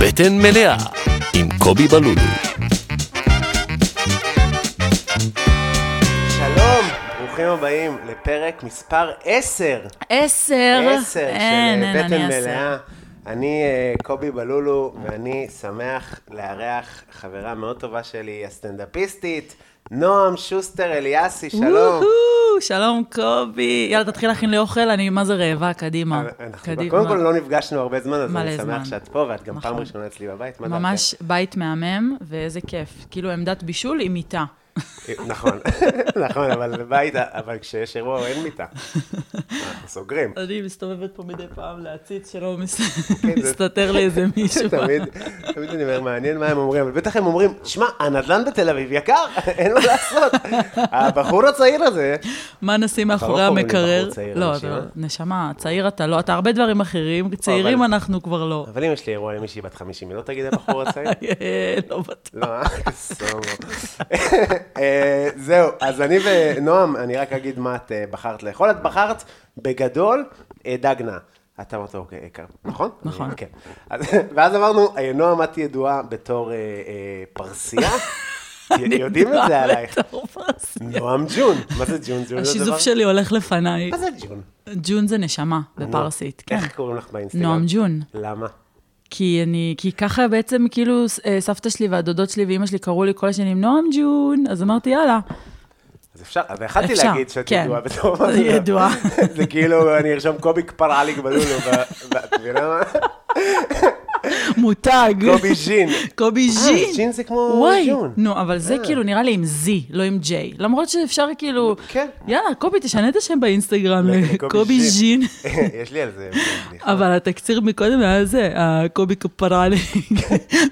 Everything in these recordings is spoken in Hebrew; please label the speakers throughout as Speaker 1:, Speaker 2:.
Speaker 1: בטן מלאה עם קובי בלולו.
Speaker 2: שלום, ברוכים הבאים לפרק מספר 10.
Speaker 3: עשר.
Speaker 2: 10 של
Speaker 3: אין,
Speaker 2: אה,
Speaker 3: אין,
Speaker 2: בטן
Speaker 3: אני עשר.
Speaker 2: מלאה. אני אה, קובי בלולו, ואני שמח לארח חברה מאוד טובה שלי, הסטנדאפיסטית, נועם שוסטר אליאסי, שלום.
Speaker 3: וואו, שלום קובי. יאללה, תתחיל להכין לי אוכל, אני מה זה רעבה, קדימה.
Speaker 2: אה, אנחנו
Speaker 3: קדימה.
Speaker 2: קודם כל לא נפגשנו הרבה זמן, אז אני
Speaker 3: מלא
Speaker 2: שמח
Speaker 3: זמן.
Speaker 2: שאת פה, ואת גם פעם
Speaker 3: נכון.
Speaker 2: ראשונה אצלי בבית, מה דעתך?
Speaker 3: ממש בית מהמם, ואיזה כיף. כאילו עמדת בישול עם מיטה.
Speaker 2: נכון, נכון, אבל בית, אבל כשיש אירוע אין מיטה. אנחנו סוגרים.
Speaker 3: אני מסתובבת פה מדי פעם להציץ שלא מס-
Speaker 2: כן, זה-
Speaker 3: מסתתר לי איזה מישהו.
Speaker 2: תמיד, תמיד אני אומר, מעניין מה הם אומרים, אבל בטח הם אומרים, שמע, הנדל"ן בתל אביב יקר, אין מה לעשות. הבחור הצעיר הזה,
Speaker 3: מה נשים
Speaker 2: לא
Speaker 3: מאחורי
Speaker 2: קוראים לי
Speaker 3: המקרר?
Speaker 2: בחור צעיר,
Speaker 3: לא,
Speaker 2: נשימה.
Speaker 3: אתה- נשמה, צעיר אתה לא, אתה הרבה דברים אחרים, צעירים
Speaker 2: אבל-
Speaker 3: אנחנו כבר לא.
Speaker 2: אבל אם יש לי אירוע עם מישהי בת 50, היא לא תגיד הבחור הצעיר?
Speaker 3: לא בטוח.
Speaker 2: לא, אה? סומו. אה, זהו, אז אני ונועם, אני רק אגיד מה את אה, בחרת לאכול. את בחרת בגדול אה, דגנה. את אמרת אוקיי, יקר, נכון?
Speaker 3: נכון.
Speaker 2: כן. אז- ואז אמרנו, אה, נועם, את ידועה בתור אה, אה, פרסייה? יודעים את זה עלייך. נועם ג'ון. מה זה ג'ון? ג'ון כאילו, זה דבר?
Speaker 3: השיזוף שלי הולך לפניי.
Speaker 2: מה זה ג'ון?
Speaker 3: ג'ון זה נשמה בפרסית, כן.
Speaker 2: איך קוראים לך באינסטגרם?
Speaker 3: נועם ג'ון.
Speaker 2: למה?
Speaker 3: כי אני, כי ככה בעצם, כאילו, ס- אה, סבתא שלי והדודות שלי ואימא שלי קראו לי כל השנים נועם ג'ון, אז אמרתי, יאללה.
Speaker 2: אז אפשר, אז יכלתי
Speaker 3: אפשר,
Speaker 2: להגיד שאת
Speaker 3: כן.
Speaker 2: ידועה בתור...
Speaker 3: אני ידועה.
Speaker 2: זה כאילו, אני ארשום קובי כפר עליק בלולו, ו- ואת מבינה מה?
Speaker 3: מותג.
Speaker 2: קובי ז'ין.
Speaker 3: קובי
Speaker 2: אה,
Speaker 3: ז'ין.
Speaker 2: ז'ין זה כמו אה.
Speaker 3: וואי,
Speaker 2: ז'ון.
Speaker 3: נו, אבל זה כאילו נראה לי עם זי, לא עם ג'יי. למרות שאפשר כאילו,
Speaker 2: כן.
Speaker 3: יאללה, קובי, תשנה את השם באינסטגרם
Speaker 2: לקובי
Speaker 3: לקובי
Speaker 2: ז'ין. נכון.
Speaker 3: ז'ין.
Speaker 2: יש לי על זה... בדיחה.
Speaker 3: אבל התקציר מקודם היה זה, אה, הקובי כפרלי,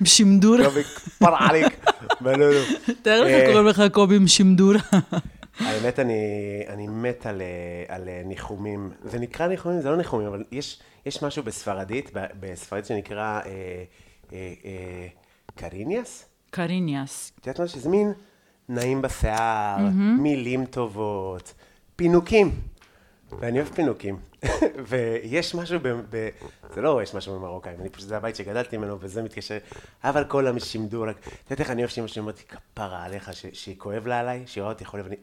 Speaker 3: בשימדורה.
Speaker 2: קובי כפר עליק בלולו.
Speaker 3: תאר
Speaker 2: אה,
Speaker 3: לך, קוראים לך קובי עם שימדורה.
Speaker 2: האמת, אני, אני מת על, אה, על אה, ניחומים. זה נקרא ניחומים, זה לא ניחומים, אבל יש, יש משהו בספרדית, ב- בספרדית שנקרא אה, אה, אה, קריניאס?
Speaker 3: קריניאס.
Speaker 2: את יודעת מה שזה מין? נעים בשיער, מילים טובות, פינוקים. ואני אוהב פינוקים. ויש משהו ב, ב... זה לא יש משהו במרוקאים, אני פשוט, זה הבית שגדלתי ממנו, וזה מתקשר. אבל כל המשימדו, רק... את יודעת איך אני אוהב שאמא שלי אומרת לי, כפרה עליך, ש... שהיא כואב לה עליי, שהיא רואה אותי חולה, ואני...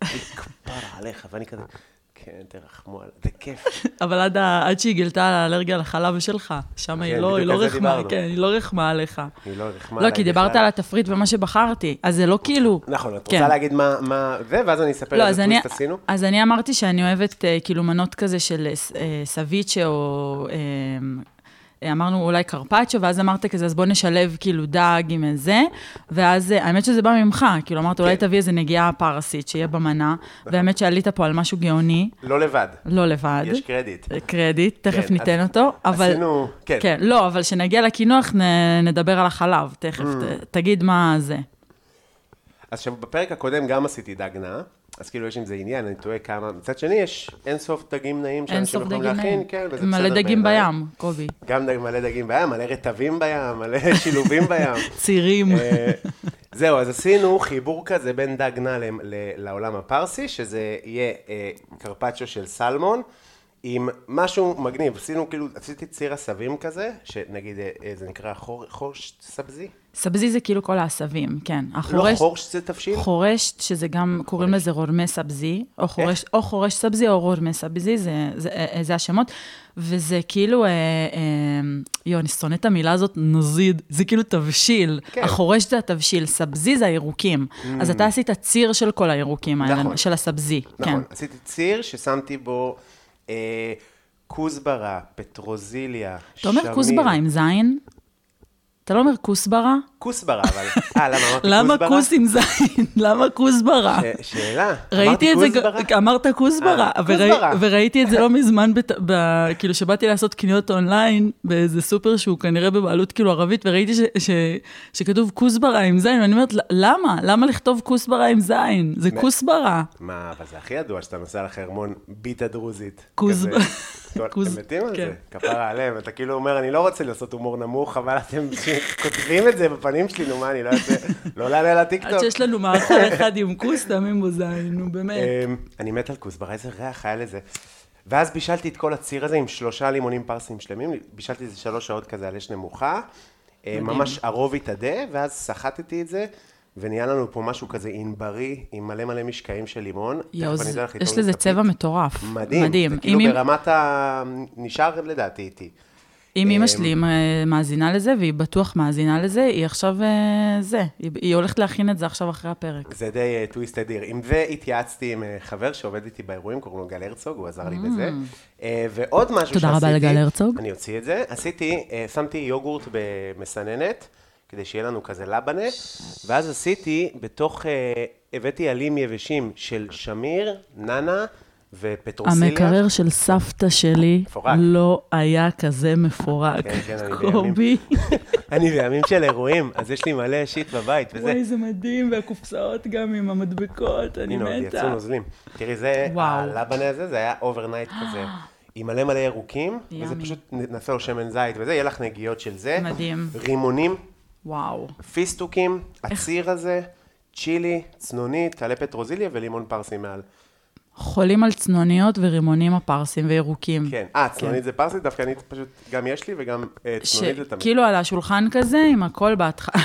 Speaker 2: "היא כפרה עליך, ואני כזה... כן, תרחמו עליי, זה כיף.
Speaker 3: אבל עד, ה- עד שהיא גילתה על האלרגיה לחלב שלך, שם היא
Speaker 2: כן,
Speaker 3: לא, היא
Speaker 2: בדיוק
Speaker 3: לא
Speaker 2: על זה
Speaker 3: רחמה,
Speaker 2: דיברנו.
Speaker 3: כן, היא לא רחמה עליך.
Speaker 2: היא לא רחמה
Speaker 3: לא,
Speaker 2: עליי
Speaker 3: כי דיברת
Speaker 2: בכלל.
Speaker 3: על התפריט ומה שבחרתי, אז זה לא כאילו...
Speaker 2: נכון, את
Speaker 3: כן.
Speaker 2: רוצה להגיד מה... מה... זה, ואז אני אספר
Speaker 3: לא, אז
Speaker 2: איזה
Speaker 3: אני,
Speaker 2: טוויסט עשינו.
Speaker 3: אז אני אמרתי שאני אוהבת אה, כאילו מנות כזה של אה, ס- אה, סביצ'ה או... אה, אמרנו אולי קרפצ'ו, ואז אמרת כזה, אז בוא נשלב כאילו דג עם איזה, ואז אה, האמת שזה בא ממך, כאילו אמרת, אולי
Speaker 2: כן.
Speaker 3: תביא איזה נגיעה פרסית שיהיה במנה,
Speaker 2: נכון.
Speaker 3: והאמת שעלית פה על משהו גאוני,
Speaker 2: לא לבד.
Speaker 3: לא לבד.
Speaker 2: יש קרדיט.
Speaker 3: קרדיט, תכף
Speaker 2: כן,
Speaker 3: ניתן
Speaker 2: אז
Speaker 3: אותו, אבל...
Speaker 2: עשינו- כן.
Speaker 3: כן, לא, אבל כשנגיע לקינוח נ- נדבר על החלב, תכף,
Speaker 2: Mm.
Speaker 3: ת- תגיד מה זה.
Speaker 2: אז עכשיו, בפרק הקודם גם עשיתי דג נאה, אז כאילו יש עם זה עניין, אני תוהה כמה. מצד שני, יש אינסוף דגים נאים
Speaker 3: אין
Speaker 2: שאנשים
Speaker 3: סוף
Speaker 2: יכולים
Speaker 3: דגים
Speaker 2: להכין,
Speaker 3: בים.
Speaker 2: כן, וזה בסדר
Speaker 3: מלא דגים
Speaker 2: בעיניי.
Speaker 3: בים, קובי.
Speaker 2: גם דג- מלא דגים בים, מלא רטבים בים, מלא שילובים בים.
Speaker 3: צירים.
Speaker 2: אה, זהו, אז עשינו חיבור כזה בין דג נא ל- ל- לעולם הפרסי, שזה יהיה אה, קרפצ'ו של סלמון, עם משהו מגניב. עשינו כאילו, עשיתי ציר עשבים כזה, שנגיד, אה, אה, זה נקרא חור- חורש סבזי?
Speaker 3: סבזי זה כאילו כל העשבים, כן.
Speaker 2: לא
Speaker 3: החורש,
Speaker 2: חורש זה תבשיל?
Speaker 3: חורש, שזה גם, קוראים לזה רורמה סבזי, או חורש, או חורש סבזי או רורמה סבזי, זה, זה, אה, זה השמות. וזה כאילו, אה, אה, יואו, אני שונאת את המילה הזאת, נזיד, זה כאילו תבשיל.
Speaker 2: כן. Mm.
Speaker 3: החורש זה התבשיל, סבזי זה הירוקים. אז אתה עשית ציר של כל הירוקים האלה,
Speaker 2: נכון.
Speaker 3: של הסבזי,
Speaker 2: נכון,
Speaker 3: כן.
Speaker 2: עשיתי ציר ששמתי בו אה, כוסברה, פטרוזיליה,
Speaker 3: אתה אומר כוסברה עם זין? אתה לא אומר כוסברה?
Speaker 2: כוסברה, אבל... אה, למה אמרתי כוסברה? אה,
Speaker 3: למה כוס עם זין? למה כוסברה?
Speaker 2: ש- שאלה.
Speaker 3: ראיתי את זה,
Speaker 2: אמרתי כוסברה?
Speaker 3: ג- אמרת כוסברה,
Speaker 2: אה,
Speaker 3: וראי-
Speaker 2: כוסברה.
Speaker 3: וראיתי את זה לא מזמן, בת- ב- כאילו, שבאתי לעשות קניות אונליין באיזה סופר שהוא כנראה בבעלות כאילו ערבית, וראיתי ש- ש- שכתוב כוסברה עם זין, ואני אומרת, "ל- למה? למה לכתוב כוסברה עם זין? זה כוסברה.
Speaker 2: מה, אבל זה הכי ידוע שאתה נוסע לחרמון ביטה דרוזית.
Speaker 3: כוסברה.
Speaker 2: כזה. טוב,
Speaker 3: כוס-
Speaker 2: הם מתים על זה,
Speaker 3: כן.
Speaker 2: כפרה עליהם. אתה כאילו אומר, אני לא רוצה לעשות הומור נמוך, אבל אתם כותבים את זה בפנים שלי, נו מה, אני לא אעשה, לא אעלה לטיקטוק.
Speaker 3: עד שיש לנו מאכל אחד עם כוס, שמים בו זין, נו באמת.
Speaker 2: אה, אמ, אני מת על כוסברה, איזה ריח היה לזה. ואז בישלתי את כל הציר הזה עם שלושה לימונים פרסים שלמים, בישלתי איזה שלוש שעות כזה על אש נמוכה, מדהים. ממש ערוב התאדה, ואז סחטתי את זה, ונהיה לנו פה משהו כזה ענברי, עם מלא מלא משקעים של לימון.
Speaker 3: יואו,
Speaker 2: תכף אני
Speaker 3: זה-
Speaker 2: אתן לך
Speaker 3: יש
Speaker 2: לטעום
Speaker 3: לזה
Speaker 2: לפפית.
Speaker 3: צבע מטורף.
Speaker 2: מדהים, מדהים.
Speaker 3: מדהים.
Speaker 2: זה כאילו
Speaker 3: אם-
Speaker 2: ברמת ה... נשאר לדעתי איתי.
Speaker 3: אם אימא
Speaker 2: אמ,
Speaker 3: שלי אה, מאזינה לזה, והיא בטוח מאזינה לזה, היא עכשיו אה, זה, היא- היא הולכת להכין את זה עכשיו אחרי הפרק.
Speaker 2: זה די אה, טוויסט אדיר. עם זה התייעצתי עם אה, חבר שעובד איתי באירועים, קוראים לו גל הרצוג, הוא עזר לי בזה. אה, ועוד משהו שעשיתי...
Speaker 3: Mm. תודה רבה לגל הרצוג.
Speaker 2: אני אוציא את זה. עשיתי, אה, שמתי יוגורט במסננת, כדי שיהיה לנו כזה לבנה, ואז עשיתי בתוך, אה, הבאתי עלים יבשים של שמיר, ננה ופטרוסיליה.
Speaker 3: המקרר של סבתא שלי
Speaker 2: מפורק.
Speaker 3: לא היה כזה מפורק.
Speaker 2: כן, כן, אני בימים.
Speaker 3: קובי,
Speaker 2: אני בימים של אירועים, אז יש לי מלא שיט בבית וזה.
Speaker 3: וואי, זה מדהים, והקופסאות גם עם המדבקות, אני
Speaker 2: הנה, עוד יצאו
Speaker 3: מתה.
Speaker 2: נוזלים. תראי, זה,
Speaker 3: וואו.
Speaker 2: הלבנה הזה, זה היה אוברנייט כזה. עם מלא מלא ירוקים, וזה
Speaker 3: ימי.
Speaker 2: פשוט נעשה לו שמן זית וזה, יהיה לך נגיעות של זה.
Speaker 3: מדהים.
Speaker 2: רימונים,
Speaker 3: וואו.
Speaker 2: פיסטוקים, הציר הזה, צ'ילי, צנונית, טלה פטרוזיליה ולימון פרסי מעל.
Speaker 3: חולים על צנוניות ורימונים הפרסים וירוקים.
Speaker 2: כן. אה, צנונית זה פרסי, דווקא אני פשוט, גם יש לי וגם אה, צנונית זה תמיד.
Speaker 3: שכאילו כן. כאילו על השולחן כזה, עם הכל בהתחלה.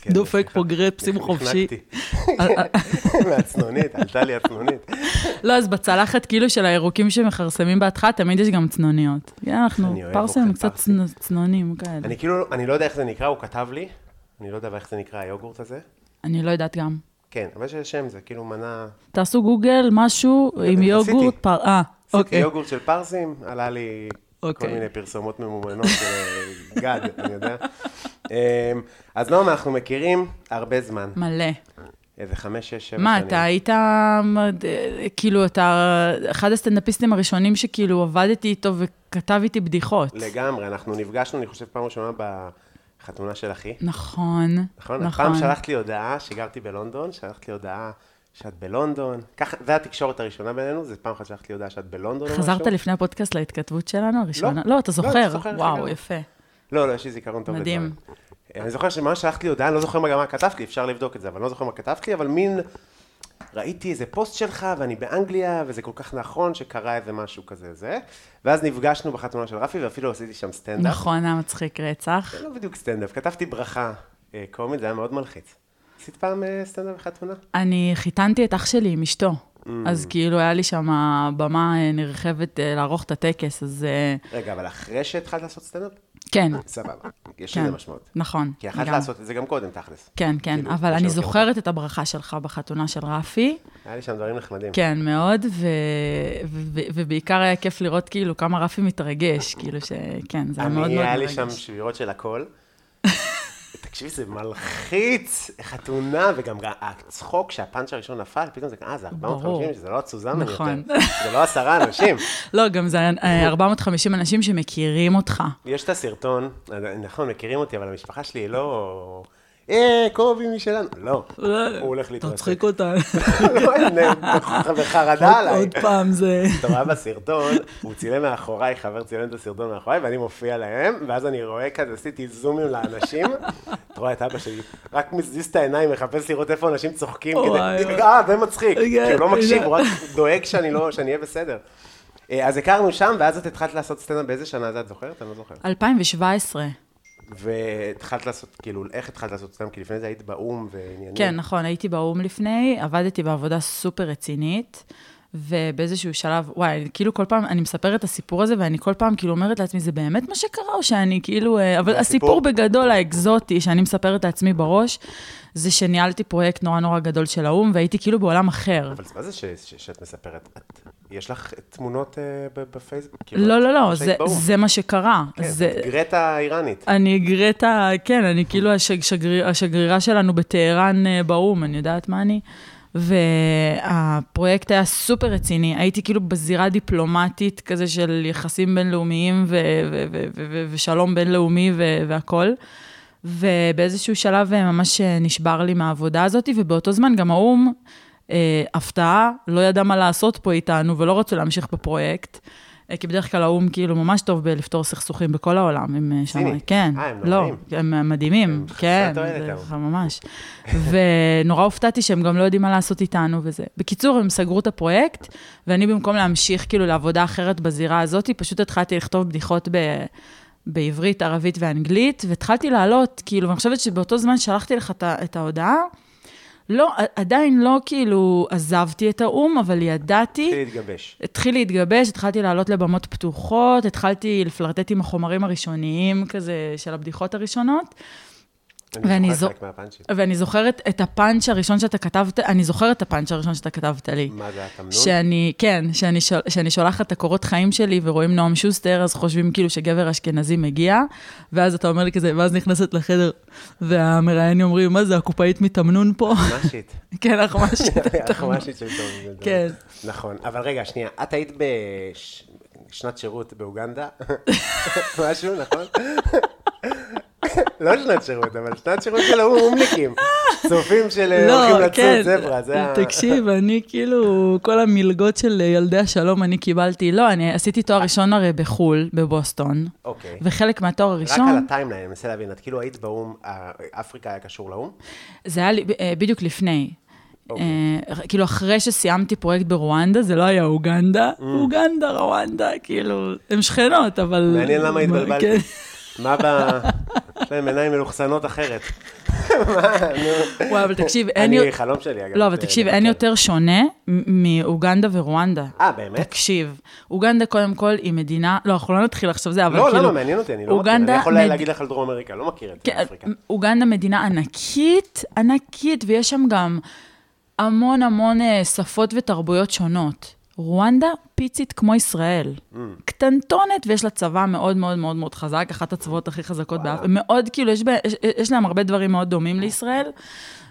Speaker 2: כן,
Speaker 3: דופק פה גרפסים חופשי.
Speaker 2: נחנקתי. כן. מהצנונית, עלתה לי הצנונית.
Speaker 3: לא, אז בצלחת כאילו של הירוקים שמכרסמים בהתחלה, תמיד יש גם צנוניות. כן, אנחנו
Speaker 2: אני אוהב
Speaker 3: פרסים הם
Speaker 2: אוכל
Speaker 3: קצת
Speaker 2: פרסי.
Speaker 3: צנ- צנונים כאלה.
Speaker 2: אני כאילו, אני לא יודע איך זה נקרא, הוא כתב לי, אני לא יודע איך זה נקרא, היוגורט הזה.
Speaker 3: אני לא יודעת גם.
Speaker 2: כן, אבל יש לזה שם, זה כאילו מנה...
Speaker 3: תעשו גוגל, משהו עם
Speaker 2: עשיתי.
Speaker 3: יוגורט, פר... אה,
Speaker 2: עשיתי
Speaker 3: אוקיי.
Speaker 2: יוגורט של פרסים, עלה לי כל
Speaker 3: אוקיי.
Speaker 2: מיני פרסומות ממומנות של אה, גד, אני יודע. אמ, אז נועם, אנחנו מכירים הרבה זמן,
Speaker 3: מלא.
Speaker 2: איזה חמש, שש, שבע שנים.
Speaker 3: מה, אתה היית, מד- כאילו, אתה אחד הסטנדאפיסטים הראשונים שכאילו עבדתי איתו וכתב איתי בדיחות.
Speaker 2: לגמרי, אנחנו נפגשנו, אני חושב, פעם ראשונה בחתונה של אחי.
Speaker 3: נכון,
Speaker 2: נכון?
Speaker 3: נכון.
Speaker 2: הפעם שלחת לי הודעה, שגרתי בלונדון, שלחת לי הודעה שאת בלונדון. ככה, זה התקשורת הראשונה בינינו, זה פעם אחת שלחת לי הודעה שאת בלונדון או משהו.
Speaker 3: חזרת לפני הפודקאסט להתכתבות שלנו הראשונה?
Speaker 2: לא,
Speaker 3: לא, אתה
Speaker 2: לא, אני
Speaker 3: זוכר.
Speaker 2: זוכר,
Speaker 3: וואו,
Speaker 2: לגמרי.
Speaker 3: יפה.
Speaker 2: לא, לא, יש לי זיכרון טוב
Speaker 3: מדהים.
Speaker 2: לדברים. אה, אני זוכר שממש שלחת לי הודעה, אני לא זוכר מה גם מה כתבת לי, אפשר לבדוק את זה, אבל אני לא זוכר מה כתבת לי, אבל מין, ראיתי איזה פוסט שלך, ואני באנגליה, וזה כל כך נכון שקרה איזה משהו כזה, זה. ואז נפגשנו בחתונה של רפי, ואפילו עשיתי שם סטנדאפ.
Speaker 3: נכון, היה מצחיק רצח.
Speaker 2: זה לא בדיוק סטנדאפ, כתבתי ברכה אה, קומית, זה היה מאוד מלחיץ. עשית פעם אה, סטנדאפ בחתונה?
Speaker 3: אני חיתנתי את אח שלי עם אשתו.
Speaker 2: Mm.
Speaker 3: אז כאילו, היה לי שם במה אה, נרחבת אה, לערוך את הטקס, אז אה,
Speaker 2: רגע, אבל אחרי שהתחלת לעשות סטנדאפ?
Speaker 3: כן,
Speaker 2: סבבה, יש
Speaker 3: כן.
Speaker 2: לזה משמעות.
Speaker 3: נכון.
Speaker 2: כי יכלת
Speaker 3: גם.
Speaker 2: לעשות את זה גם קודם, תכלס.
Speaker 3: כן, כן,
Speaker 2: כאילו,
Speaker 3: אבל
Speaker 2: יש
Speaker 3: אני
Speaker 2: לנו
Speaker 3: זוכרת את הברכה שלך בחתונה של רפי.
Speaker 2: היה לי שם דברים נחמדים.
Speaker 3: כן, מאוד, ו- ו- ו- ובעיקר היה כיף לראות כאילו כמה רפי מתרגש, כאילו שכן, זה היה מאוד מאוד
Speaker 2: אני,
Speaker 3: מרגש.
Speaker 2: היה לי שם שבירות של הכל. תקשיבי, זה מלחיץ, חתונה, וגם הצחוק שהפאנץ' הראשון נפל, פתאום זה, אה, זה
Speaker 3: ברור.
Speaker 2: 450, שזה לא הצוזמן יותר.
Speaker 3: נכון.
Speaker 2: זה לא עשרה אנשים.
Speaker 3: לא, גם זה היה אה, 450 אנשים שמכירים אותך.
Speaker 2: יש את הסרטון, נכון, מכירים אותי, אבל המשפחה שלי היא לא... אה, קובי משלנו. לא, הוא הולך להתרסק.
Speaker 3: תצחיק אותה.
Speaker 2: לא, הם בחרדה עליי.
Speaker 3: עוד פעם זה...
Speaker 2: אתה רואה בסרטון, הוא צילם מאחוריי, חבר צילם את הסרטון מאחוריי, ואני מופיע להם, ואז אני רואה כזה, עשיתי זומים לאנשים, אתה רואה את אבא שלי, רק מזיז את העיניים, מחפש לראות איפה אנשים צוחקים,
Speaker 3: וואי,
Speaker 2: כדי,
Speaker 3: וואי.
Speaker 2: אה, זה מצחיק, כי
Speaker 3: רגע,
Speaker 2: הוא לא מקשיב,
Speaker 3: רגע.
Speaker 2: הוא רק דואג שאני לא, שאני אהיה בסדר. אה, אז הכרנו שם, ואז את התחלת לעשות סטנדאפ, באיזה שנה זה את זוכרת? אני לא זוכר.
Speaker 3: 2017.
Speaker 2: והתחלת לעשות, כאילו, איך התחלת לעשות סטנדאפ? כי לפני זה היית באו"ם ועניינים.
Speaker 3: כן, נכון, הייתי באו"ם לפני, עבדתי בעבודה סופר רצינית, ובאיזשהו שלב, וואי, אני כאילו כל פעם, אני מספרת את הסיפור הזה, ואני כל פעם כאילו אומרת לעצמי, זה באמת מה שקרה, או שאני כאילו... אה, אבל
Speaker 2: הסיפור.
Speaker 3: הסיפור בגדול, האקזוטי, שאני מספרת לעצמי בראש, זה שניהלתי פרויקט נורא נורא גדול של האו"ם, והייתי כאילו בעולם אחר.
Speaker 2: אבל מה זה ש- ש- שאת מספרת? את- יש לך תמונות אה, ב- בפייסבוק? כאילו,
Speaker 3: לא,
Speaker 2: את-
Speaker 3: לא, לא,
Speaker 2: שהיית
Speaker 3: זה-
Speaker 2: באו"ם.
Speaker 3: זה מה שקרה. זה-
Speaker 2: כן, גרטה האיראנית.
Speaker 3: אני גרטה, כן, אני כאילו השג, שגריר, השגרירה שלנו בטהרן אה, באו"ם, אני יודעת מה אני. והפרויקט היה סופר רציני, הייתי כאילו בזירה דיפלומטית כזה של יחסים בינלאומיים ו- ו- ו- ו- ו- ושלום בינלאומי ו- והכול. ובאיזשהו שלב אה, ממש אה, נשבר לי מהעבודה הזאת, ובאותו זמן גם האו"ם, אה, הפתעה, לא ידע מה לעשות פה איתנו ולא רצו להמשיך בפרויקט. אה, כי בדרך כלל האו"ם כאילו ממש טוב בלפתור סכסוכים בכל העולם, הם אה, שם,
Speaker 2: סיני.
Speaker 3: כן,
Speaker 2: אה, הם
Speaker 3: לא,
Speaker 2: נוראים.
Speaker 3: הם אה, מדהימים,
Speaker 2: חסרי
Speaker 3: כן,
Speaker 2: תועלת,
Speaker 3: זה
Speaker 2: אבל.
Speaker 3: ככה ממש. ונורא הופתעתי שהם גם לא יודעים מה לעשות איתנו וזה. בקיצור, הם סגרו את הפרויקט, ואני במקום להמשיך כאילו לעבודה אחרת בזירה הזאת, פשוט התחלתי לכתוב בדיחות ב... בעברית, ערבית ואנגלית, והתחלתי לעלות, כאילו, ואני חושבת שבאותו זמן שלחתי לך את ה- את ההודעה, לא, ע- עדיין לא כאילו עזבתי את האו"ם, אבל ידעתי...
Speaker 2: התחיל להתגבש.
Speaker 3: התחיל להתגבש, התחלתי לעלות לבמות פתוחות, התחלתי לפלרטט עם החומרים הראשוניים כזה של הבדיחות הראשונות, ואני
Speaker 2: אני
Speaker 3: זו-
Speaker 2: זוכר חלק מהפאנצ'ים.
Speaker 3: ואני זוכרת את הפאנץ' הראשון שאתה כתבת, אני זוכרת את הפאנץ' הראשון שאתה כתבת לי.
Speaker 2: מה זה התמנון?
Speaker 3: אוקיי. שאני, כן, שאני, שול, שאני שולחת את הקורות חיים שלי ורואים נועם שוסטר, אז חושבים כאילו שגבר אשכנזי מגיע, ואז אתה אומר לי כזה, ואז נכנסת לחדר, והמראיינים אומרים, מה זה, הקופאית מתאמנון פה?
Speaker 2: משית.
Speaker 3: כן, אנחנו משהו.
Speaker 2: משית של טוב.
Speaker 3: כן.
Speaker 2: נכון, אבל רגע, שנייה, את היית בשנת שירות באוגנדה? משהו, נכון? לא שנת שירות, אבל שנת שירות של ההוא אומניקים. צופים של אה, הולכים לצוד זברה, זה ה...
Speaker 3: לא, כן. תקשיב, אני כאילו, כל המלגות של ילדי השלום אני קיבלתי. לא, אני עשיתי תואר ראשון הרי בחו"ל, בבוסטון,
Speaker 2: אוקיי.
Speaker 3: וחלק מהתואר
Speaker 2: רק על
Speaker 3: הראשון,
Speaker 2: הטיימליין, אני מנסה להבין, את כאילו היית באו"ם, אה, אפריקה היה קשור לאו"ם?
Speaker 3: זה היה לי, אה, בדיוק לפני.
Speaker 2: אוקיי.
Speaker 3: אה, כאילו, אחרי שסיימתי פרויקט ברואנדה, זה לא היה אוגנדה,
Speaker 2: Mm.
Speaker 3: אוגנדה, רואנדה, כאילו, הן שכנות, אבל...
Speaker 2: מעניין למה התבלבלתי.
Speaker 3: כן.
Speaker 2: מה ב... יש להם עיניים מלוכסנות אחרת. מה, נו.
Speaker 3: וואי, אבל תקשיב, אין...
Speaker 2: אני,
Speaker 3: יו-
Speaker 2: חלום שלי, אגב.
Speaker 3: לא, אבל
Speaker 2: זה-
Speaker 3: תקשיב,
Speaker 2: זה
Speaker 3: אין
Speaker 2: כן.
Speaker 3: יותר שונה מ- מאוגנדה ורואנדה.
Speaker 2: אה, באמת?
Speaker 3: תקשיב, אוגנדה קודם כל היא מדינה, לא, אנחנו לא נתחיל עכשיו זה, אבל
Speaker 2: לא,
Speaker 3: כאילו...
Speaker 2: למה, מעניין אותי, אני לא מכיר. אני
Speaker 3: אוגנדה
Speaker 2: יכול
Speaker 3: מד-
Speaker 2: להגיד לך על דרום אמריקה, לא מכיר את
Speaker 3: כן,
Speaker 2: אפריקה.
Speaker 3: אוגנדה מדינה ענקית, ענקית, ויש שם גם המון המון אה, שפות ותרבויות שונות. רואנדה פיצית כמו ישראל.
Speaker 2: Mm.
Speaker 3: קטנטונת, ויש לה צבא מאוד מאוד מאוד מאוד חזק, אחת הצבאות הכי חזקות באף... מאוד, כאילו, יש, בה, יש, יש להם הרבה דברים מאוד
Speaker 2: Mm.
Speaker 3: דומים לישראל.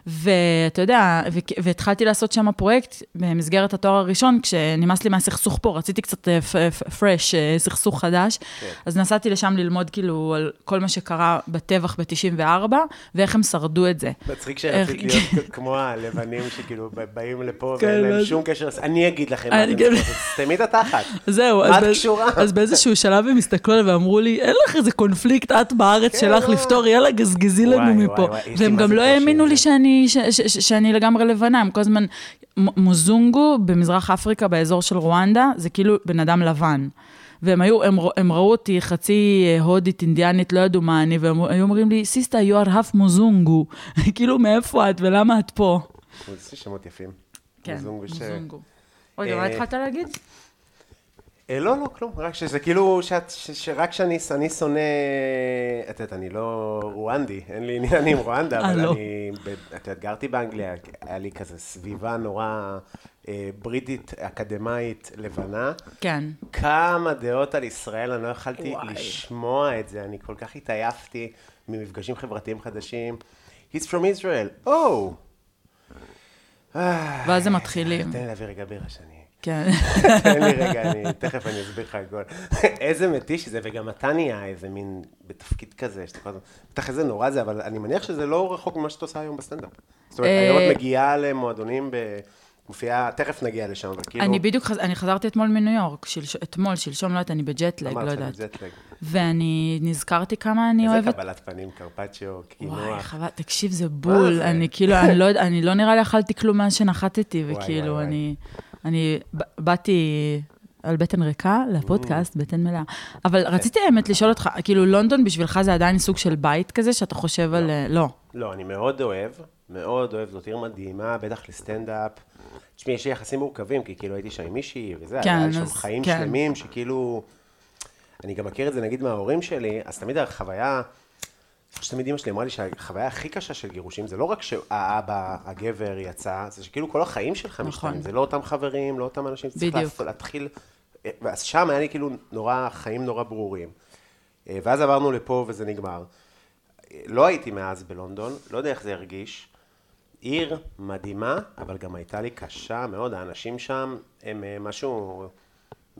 Speaker 3: ואתה יודע, ו- והתחלתי לעשות שם פרויקט במסגרת התואר הראשון, כשנמאס לי מהסכסוך פה, רציתי קצת אה, פרש, אה, סכסוך חדש, אז נסעתי לשם ללמוד כאילו על כל מה שקרה בטבח ב-94, ואיך הם שרדו את זה.
Speaker 2: מצחיק
Speaker 3: איך-
Speaker 2: שרצית להיות כמו הלבנים שכאילו ב- באים לפה
Speaker 3: אה, כן,
Speaker 2: ואין להם
Speaker 3: אז-
Speaker 2: שום קשר, אז אני אגיד לכם מה
Speaker 3: אני
Speaker 2: אתם
Speaker 3: גם-
Speaker 2: צריכים, לעשות, סתמי את התחת.
Speaker 3: זהו,
Speaker 2: מה
Speaker 3: אז,
Speaker 2: את
Speaker 3: באיז-
Speaker 2: קשורה?
Speaker 3: אז באיזשהו שלב הם הסתכלו עליי ואמרו לי, אין לך איזה קונפליקט, את בארץ
Speaker 2: כן,
Speaker 3: שלך
Speaker 2: לא.
Speaker 3: לפתור, יאללה, גזגזי
Speaker 2: וואי,
Speaker 3: לנו
Speaker 2: וואי,
Speaker 3: מפה.
Speaker 2: וואי, יש לי
Speaker 3: והם
Speaker 2: מה
Speaker 3: גם
Speaker 2: זה
Speaker 3: לא
Speaker 2: קושי
Speaker 3: האמינו
Speaker 2: עם
Speaker 3: לי
Speaker 2: זה.
Speaker 3: שאני- ש- ש- ש- שאני לגמרי לבנה, הם כל הזמן... מ- מוזונגו במזרח אפריקה, באזור של רואנדה, זה כאילו בן אדם לבן. והם היו, הם, ר- הם ראו אותי חצי אה, הודית, אינדיאנית, לא ידעו מה אני, והם היו אומרים לי, סיסטה, you are half מוזונגו. כאילו, מאיפה את ולמה את פה?
Speaker 2: יש לי שמות יפים. אה,
Speaker 3: כן,
Speaker 2: מוזונגו ש-
Speaker 3: מוזונגו. רגע, מה
Speaker 2: אה,
Speaker 3: התחלת להגיד?
Speaker 2: אה, לא, לא, כלום, רק שזה כאילו, שאת- ש- שרק שאני אני שונא, את יודעת, אני לא רואנדי, אין לי עניין עם רואנדה,
Speaker 3: אה,
Speaker 2: אבל
Speaker 3: לא.
Speaker 2: אני, ב- את יודעת, גרתי באנגליה, היה לי כזה סביבה נורא אה, בריטית, אקדמאית, לבנה.
Speaker 3: כן.
Speaker 2: כמה דעות על ישראל, אני לא יכלתי
Speaker 3: וואי.
Speaker 2: וואי. לשמוע את זה, אני כל כך התעייפתי ממפגשים חברתיים חדשים. He's from Israel, oh! אה,
Speaker 3: ואז הם מתחילים.
Speaker 2: תן לי להביא רגע בירה שאני...
Speaker 3: כן.
Speaker 2: תן לי רגע, אני, תכף אני אסביר לך הכל. איזה מתיש זה, וגם אתה נהיה איזה מין, בתפקיד כזה, שאתה כל הזמן, בטח איזה נורא זה, אבל אני מניח שזה לא רחוק ממה שאת עושה היום בסטנדאפ. זאת אומרת,
Speaker 3: אה,
Speaker 2: היום את מגיעה למועדונים, ב- מופיעה, תכף נגיע לשם, אבל כאילו...
Speaker 3: אני בדיוק, חז- אני חזרתי אתמול מניו יורק, שלש- אתמול, שלשום, לא יודעת, אני בג'טלג,
Speaker 2: אמרת
Speaker 3: לא
Speaker 2: לך,
Speaker 3: יודעת.
Speaker 2: ג'טלג.
Speaker 3: ואני נזכרתי כמה אני
Speaker 2: איזה
Speaker 3: אוהבת...
Speaker 2: קבלת פנים, קרפצ'יו,
Speaker 3: וואי,
Speaker 2: קינוח.
Speaker 3: חבל, תקשיב, זה בול.
Speaker 2: זה?
Speaker 3: אני כאילו, אני לא יודע- אני לא נראה לי אכלתי כלום מאז שנחתתי,
Speaker 2: וואי,
Speaker 3: וכאילו,
Speaker 2: וואי, וואי.
Speaker 3: אני... אני ב- באתי על בטן ריקה לפודקאסט,
Speaker 2: Mm.
Speaker 3: בטן מלאה. אבל
Speaker 2: כן.
Speaker 3: רציתי האמת לשאול אותך, כאילו, לונדון בשבילך זה עדיין סוג של בית כזה, שאתה חושב על... אה, לא.
Speaker 2: לא, אני מאוד אוהב, מאוד אוהב, זאת עיר מדהימה, בטח לסטנדאפ. תשמעי, יש לי יחסים מורכבים, כי כאילו הייתי שם עם מישהי וזה,
Speaker 3: כן,
Speaker 2: היה שם
Speaker 3: אז-
Speaker 2: חיים
Speaker 3: כן.
Speaker 2: שלמים שכאילו... אני גם מכיר את זה נגיד מההורים שלי, אז תמיד החוויה, אני חושב שתמיד אימא שלי אמרה לי שהחוויה הכי קשה של גירושים זה לא רק שהאבא, הגבר יצא, זה שכאילו כל החיים שלך
Speaker 3: נכון.
Speaker 2: משתנים, זה לא אותם חברים, לא אותם אנשים, צריך
Speaker 3: בדיוק.
Speaker 2: להפ- להתחיל, אז שם היה לי כאילו נורא, חיים נורא ברורים. אה, ואז עברנו לפה וזה נגמר. אה, לא הייתי מאז בלונדון, לא יודע איך זה הרגיש. עיר מדהימה, אבל גם הייתה לי קשה מאוד, האנשים שם הם אה, משהו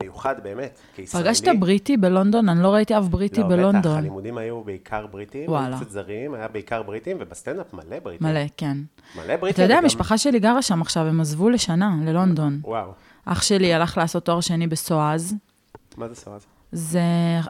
Speaker 2: מיוחד באמת, כישראלי.
Speaker 3: פגשת בריטי בלונדון? אני לא ראיתי אף בריטי
Speaker 2: לא, בטח,
Speaker 3: בלונדון.
Speaker 2: הלימודים היו בעיקר בריטים,
Speaker 3: וואלה.
Speaker 2: וואלה. קצת זרים, היה בעיקר בריטים, ובסטנדאפ מלא בריטים.
Speaker 3: מלא, כן.
Speaker 2: מלא בריטים.
Speaker 3: אתה יודע,
Speaker 2: וגם-
Speaker 3: המשפחה שלי גרה שם עכשיו, הם עזבו לשנה, ללונדון.
Speaker 2: וואו.
Speaker 3: אח שלי הלך לעשות תואר שני בסואז,
Speaker 2: מה זה סוואט?
Speaker 3: זה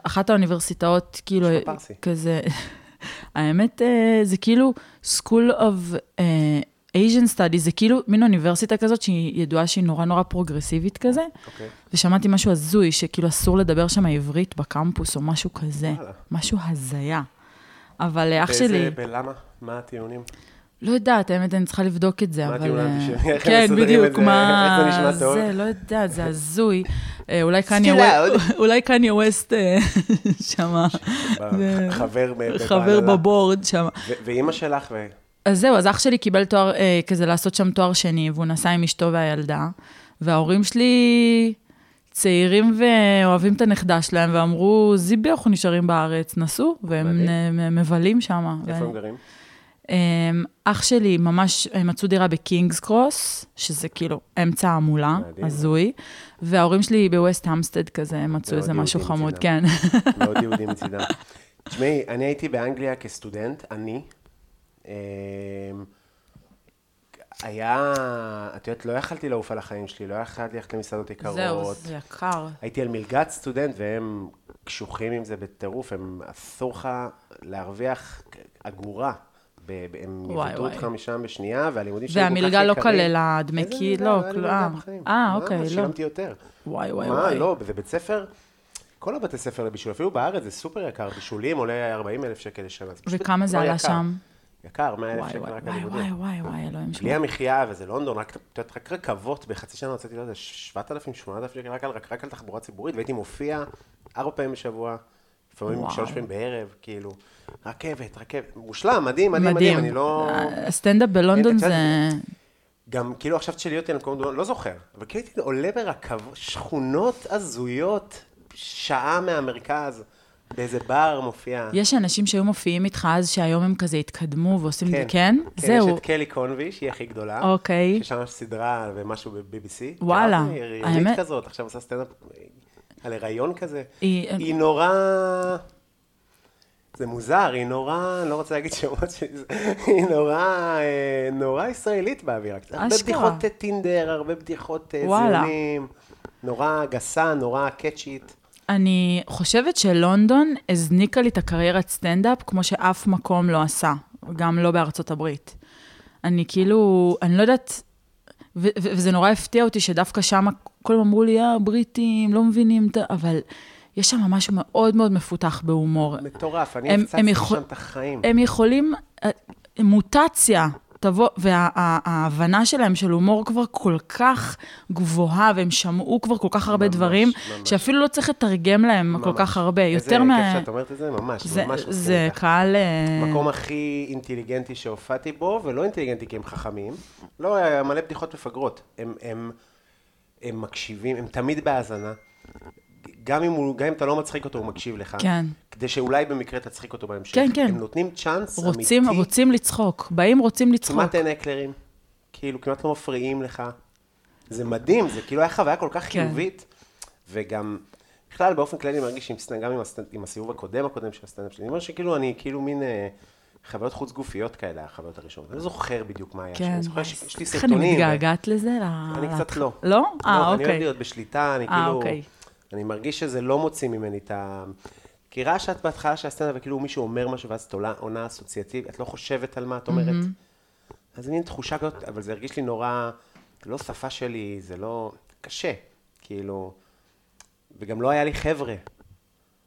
Speaker 3: אחת האוניברסיטאות, כאילו,
Speaker 2: יש לה פרסי.
Speaker 3: כזה... האמת, אה, זה כאילו School of אה, Asian Studies, זה כאילו מין אוניברסיטה כזאת שהיא ידועה שהיא נורא נורא פרוגרסיבית כזה,
Speaker 2: אוקיי.
Speaker 3: ושמעתי משהו הזוי, שכאילו אסור לדבר שם עברית בקמפוס או משהו כזה,
Speaker 2: וואלה.
Speaker 3: משהו הזיה. אבל אה, אח
Speaker 2: באיזה-
Speaker 3: שלי,
Speaker 2: בלמה? מה הטיעונים?
Speaker 3: לא יודעת, האמת, אני צריכה לבדוק את זה,
Speaker 2: מה
Speaker 3: אבל...
Speaker 2: הטיעון
Speaker 3: אה,
Speaker 2: האנטישמי? איך הם
Speaker 3: כן,
Speaker 2: מסדרים את
Speaker 3: בדיוק,
Speaker 2: זה?
Speaker 3: מה...
Speaker 2: איך זה נשמע טוב?
Speaker 3: זה, לא יודעת, זה הזוי. אה, אולי קניה
Speaker 2: Still
Speaker 3: ווסט, אולי קניה ווסט אה, שמה, זה-
Speaker 2: חבר ב-
Speaker 3: חבר
Speaker 2: בהנהלה.
Speaker 3: בבורד שמה.
Speaker 2: ו- ואימא שלך, ו-
Speaker 3: אז זהו, אז אח שלי קיבל תואר, אה, כזה לעשות שם תואר שני, והוא נסע עם אשתו והילדה, וההורים שלי צעירים ואוהבים את הנכדה שלהם, ואמרו, זיבי, אנחנו נשארים בארץ, נסעו, והם
Speaker 2: מדהים.
Speaker 3: אה, מ- מבלים שם.
Speaker 2: איפה הם גרים?
Speaker 3: אמ, אח שלי ממש, הם מצאו דירה בקינגס קרוס, שזה כאילו אמצע המולה,
Speaker 2: מדהים.
Speaker 3: הזוי, וההורים שלי בווסט המסטד כזה, הם מצאו
Speaker 2: מאוד
Speaker 3: איזה משהו
Speaker 2: יהודי
Speaker 3: חמוד, כן.
Speaker 2: מצדם. מאוד יהודי מצידם. תשמעי, אני הייתי באנגליה כסטודנט, אני. אמ, היה, את יודעת, לא יכלתי לעוף על החיים שלי, לא יכלתי ללכת למסעדות
Speaker 3: זהו,
Speaker 2: יקרות.
Speaker 3: זה יקר.
Speaker 2: הייתי על מלגת סטודנט, והם קשוחים עם זה בטירוף, הם אסור לך להרוויח אגורה. ב- ב- הם
Speaker 3: וואי,
Speaker 2: יבטאו
Speaker 3: וואי.
Speaker 2: אותך משם בשנייה, והלימודים שלי כל כך יקרים.
Speaker 3: והמלגה לא כללה דמי
Speaker 2: איזה
Speaker 3: כי,
Speaker 2: מלגה?
Speaker 3: לא,
Speaker 2: לא היה לי
Speaker 3: כלום.
Speaker 2: מלגה בחיים.
Speaker 3: אה,
Speaker 2: מה,
Speaker 3: אוקיי, לא.
Speaker 2: שילמתי יותר.
Speaker 3: וואי, וואי,
Speaker 2: מה,
Speaker 3: וואי.
Speaker 2: לא, זה בית ספר, כל הבתי ספר לבישול, אפילו בארץ זה סופר יקר, בישולים עולה 40 אלף שקל לשנה. זה פשוט
Speaker 3: וכמה זה
Speaker 2: דבר
Speaker 3: עלה
Speaker 2: יקר.
Speaker 3: שם?
Speaker 2: יקר, 100 אלף
Speaker 3: וואי,
Speaker 2: שקל
Speaker 3: וואי,
Speaker 2: רק
Speaker 3: וואי,
Speaker 2: הלימודים. אמ-
Speaker 3: וואי, וואי, וואי, אלוהים
Speaker 2: בלי
Speaker 3: שלי.
Speaker 2: המחיה, וזה לא לונדון, רק, את יודעת, רק רכבות, בחצי שנה הוצאתי, לא יודע, 7,000, 8,000 שקל, רק על, רק, רק על תחבורה ציבורית, והייתי מופיע ארבע פעמים בשבוע, לפעמים
Speaker 3: וואו.
Speaker 2: שלוש פעמים בערב, כאילו, רכבת, רכבת, מושלם, מדהים, מדהים, מדהים, אני לא...
Speaker 3: אה. הסטנדאפ בלונדון
Speaker 2: את
Speaker 3: זה...
Speaker 2: יודעת, גם, כאילו, עכשיו תשאלי אותי על מקום דומה, לא זוכר, אבל כאילו הייתי עולה ברכבות, שכונות הזויות, שעה מהמרכז, באיזה בר מופיע.
Speaker 3: יש אנשים שהיו מופיעים איתך אז, שהיום הם כזה התקדמו ועושים את זה, כן?
Speaker 2: כן, יש
Speaker 3: זהו.
Speaker 2: את קלי קונבי, שהיא הכי גדולה.
Speaker 3: אוקיי.
Speaker 2: ששם יש סדרה ומשהו ב-BBC.
Speaker 3: וואלה,
Speaker 2: היא הריונית
Speaker 3: האמת-
Speaker 2: כזאת, עכשיו עושה סטנדאפ אה, על הריון כזה.
Speaker 3: היא-
Speaker 2: היא נורא... זה מוזר, היא נורא, אני לא רוצה להגיד שמות של זה, היא נורא, אה, נורא ישראלית באווירה. הרבה
Speaker 3: אשכרה.
Speaker 2: בדיחות אה, טינדר, הרבה בדיחות אה,
Speaker 3: וואלה.
Speaker 2: זיונים, נורא גסה, נורא קאצ'ית.
Speaker 3: אני חושבת שלונדון הזניקה לי את הקריירת סטנדאפ כמו שאף מקום לא עשה, גם לא בארצות הברית. אני כאילו, אני לא יודעת, ו- ו- וזה נורא הפתיע אותי שדווקא שם כולם אמרו לי, אה, בריטים, לא מבינים, את ה-" אבל יש שם משהו מאוד מאוד מפותח בהומור.
Speaker 2: מטורף, אני
Speaker 3: הם- הם
Speaker 2: הפצצתי
Speaker 3: יכול-
Speaker 2: שם את החיים.
Speaker 3: הם יכולים, אה, מוטציה תבוא, וההבנה שלהם של הומור כבר כל כך גבוהה, והם שמעו כבר כל כך הרבה
Speaker 2: ממש,
Speaker 3: דברים,
Speaker 2: ממש.
Speaker 3: שאפילו לא צריך לתרגם להם כל
Speaker 2: ממש.
Speaker 3: כך הרבה.
Speaker 2: איזה
Speaker 3: יותר
Speaker 2: כיף
Speaker 3: מה...
Speaker 2: שאת אומרת את זה, ממש,
Speaker 3: זה,
Speaker 2: ממש מסכים
Speaker 3: זה
Speaker 2: איתך.
Speaker 3: קהל... אה,
Speaker 2: המקום הכי אינטליגנטי שהופעתי בו, ולא אינטליגנטי כי הם חכמים, לא, היה מלא בדיחות מפגרות. הם, הם, הם מקשיבים, הם תמיד בהאזנה. גם אם, הוא, גם אם אתה לא מצחיק אותו, הוא מקשיב לך.
Speaker 3: כן.
Speaker 2: כדי שאולי במקרה תצחיק אותו בהמשך.
Speaker 3: כן, כן.
Speaker 2: הם נותנים צ'אנס
Speaker 3: רוצים,
Speaker 2: אמיתי.
Speaker 3: רוצים לצחוק. באים, רוצים לצחוק.
Speaker 2: כמעט אין אקלרים. כאילו, כמעט לא מפריעים לך. זה מדהים, זה כאילו היה חוויה כל כך
Speaker 3: כן.
Speaker 2: חיובית. וגם, בכלל, באופן כללי, אני מרגיש עם סטנד, גם עם, הסטנד, עם הסיבוב הקודם הקודם של הסטנדאפ שלי. אני אומר שכאילו, אני כאילו מין אה, חוויות חוץ גופיות כאלה, החוויות הראשונות. אני לא זוכר בדיוק מה היה שם.
Speaker 3: כן,
Speaker 2: אני זוכר שיש לי
Speaker 3: איך
Speaker 2: סרטונים.
Speaker 3: אני
Speaker 2: ו-
Speaker 3: מתגעגעת לזה? ל-
Speaker 2: אני קצת
Speaker 3: להתח-
Speaker 2: לא.
Speaker 3: לא? אה,
Speaker 2: אני אוהב
Speaker 3: אוקיי.
Speaker 2: להיות בשליטה, אני
Speaker 3: אה,
Speaker 2: כאילו...
Speaker 3: אוקיי.
Speaker 2: אני מרגיש שזה לא מוציא ממני את ה... כי ראה שאת בהתחלה של הסצנה, וכאילו מישהו אומר משהו, ואז את עולה- עונה אסוציאטיבית, את לא חושבת על מה את אומרת. אז זה מין תחושה כזאת, אבל זה הרגיש לי נורא... זה לא שפה שלי, זה לא... קשה, כאילו... וגם לא היה לי חבר'ה.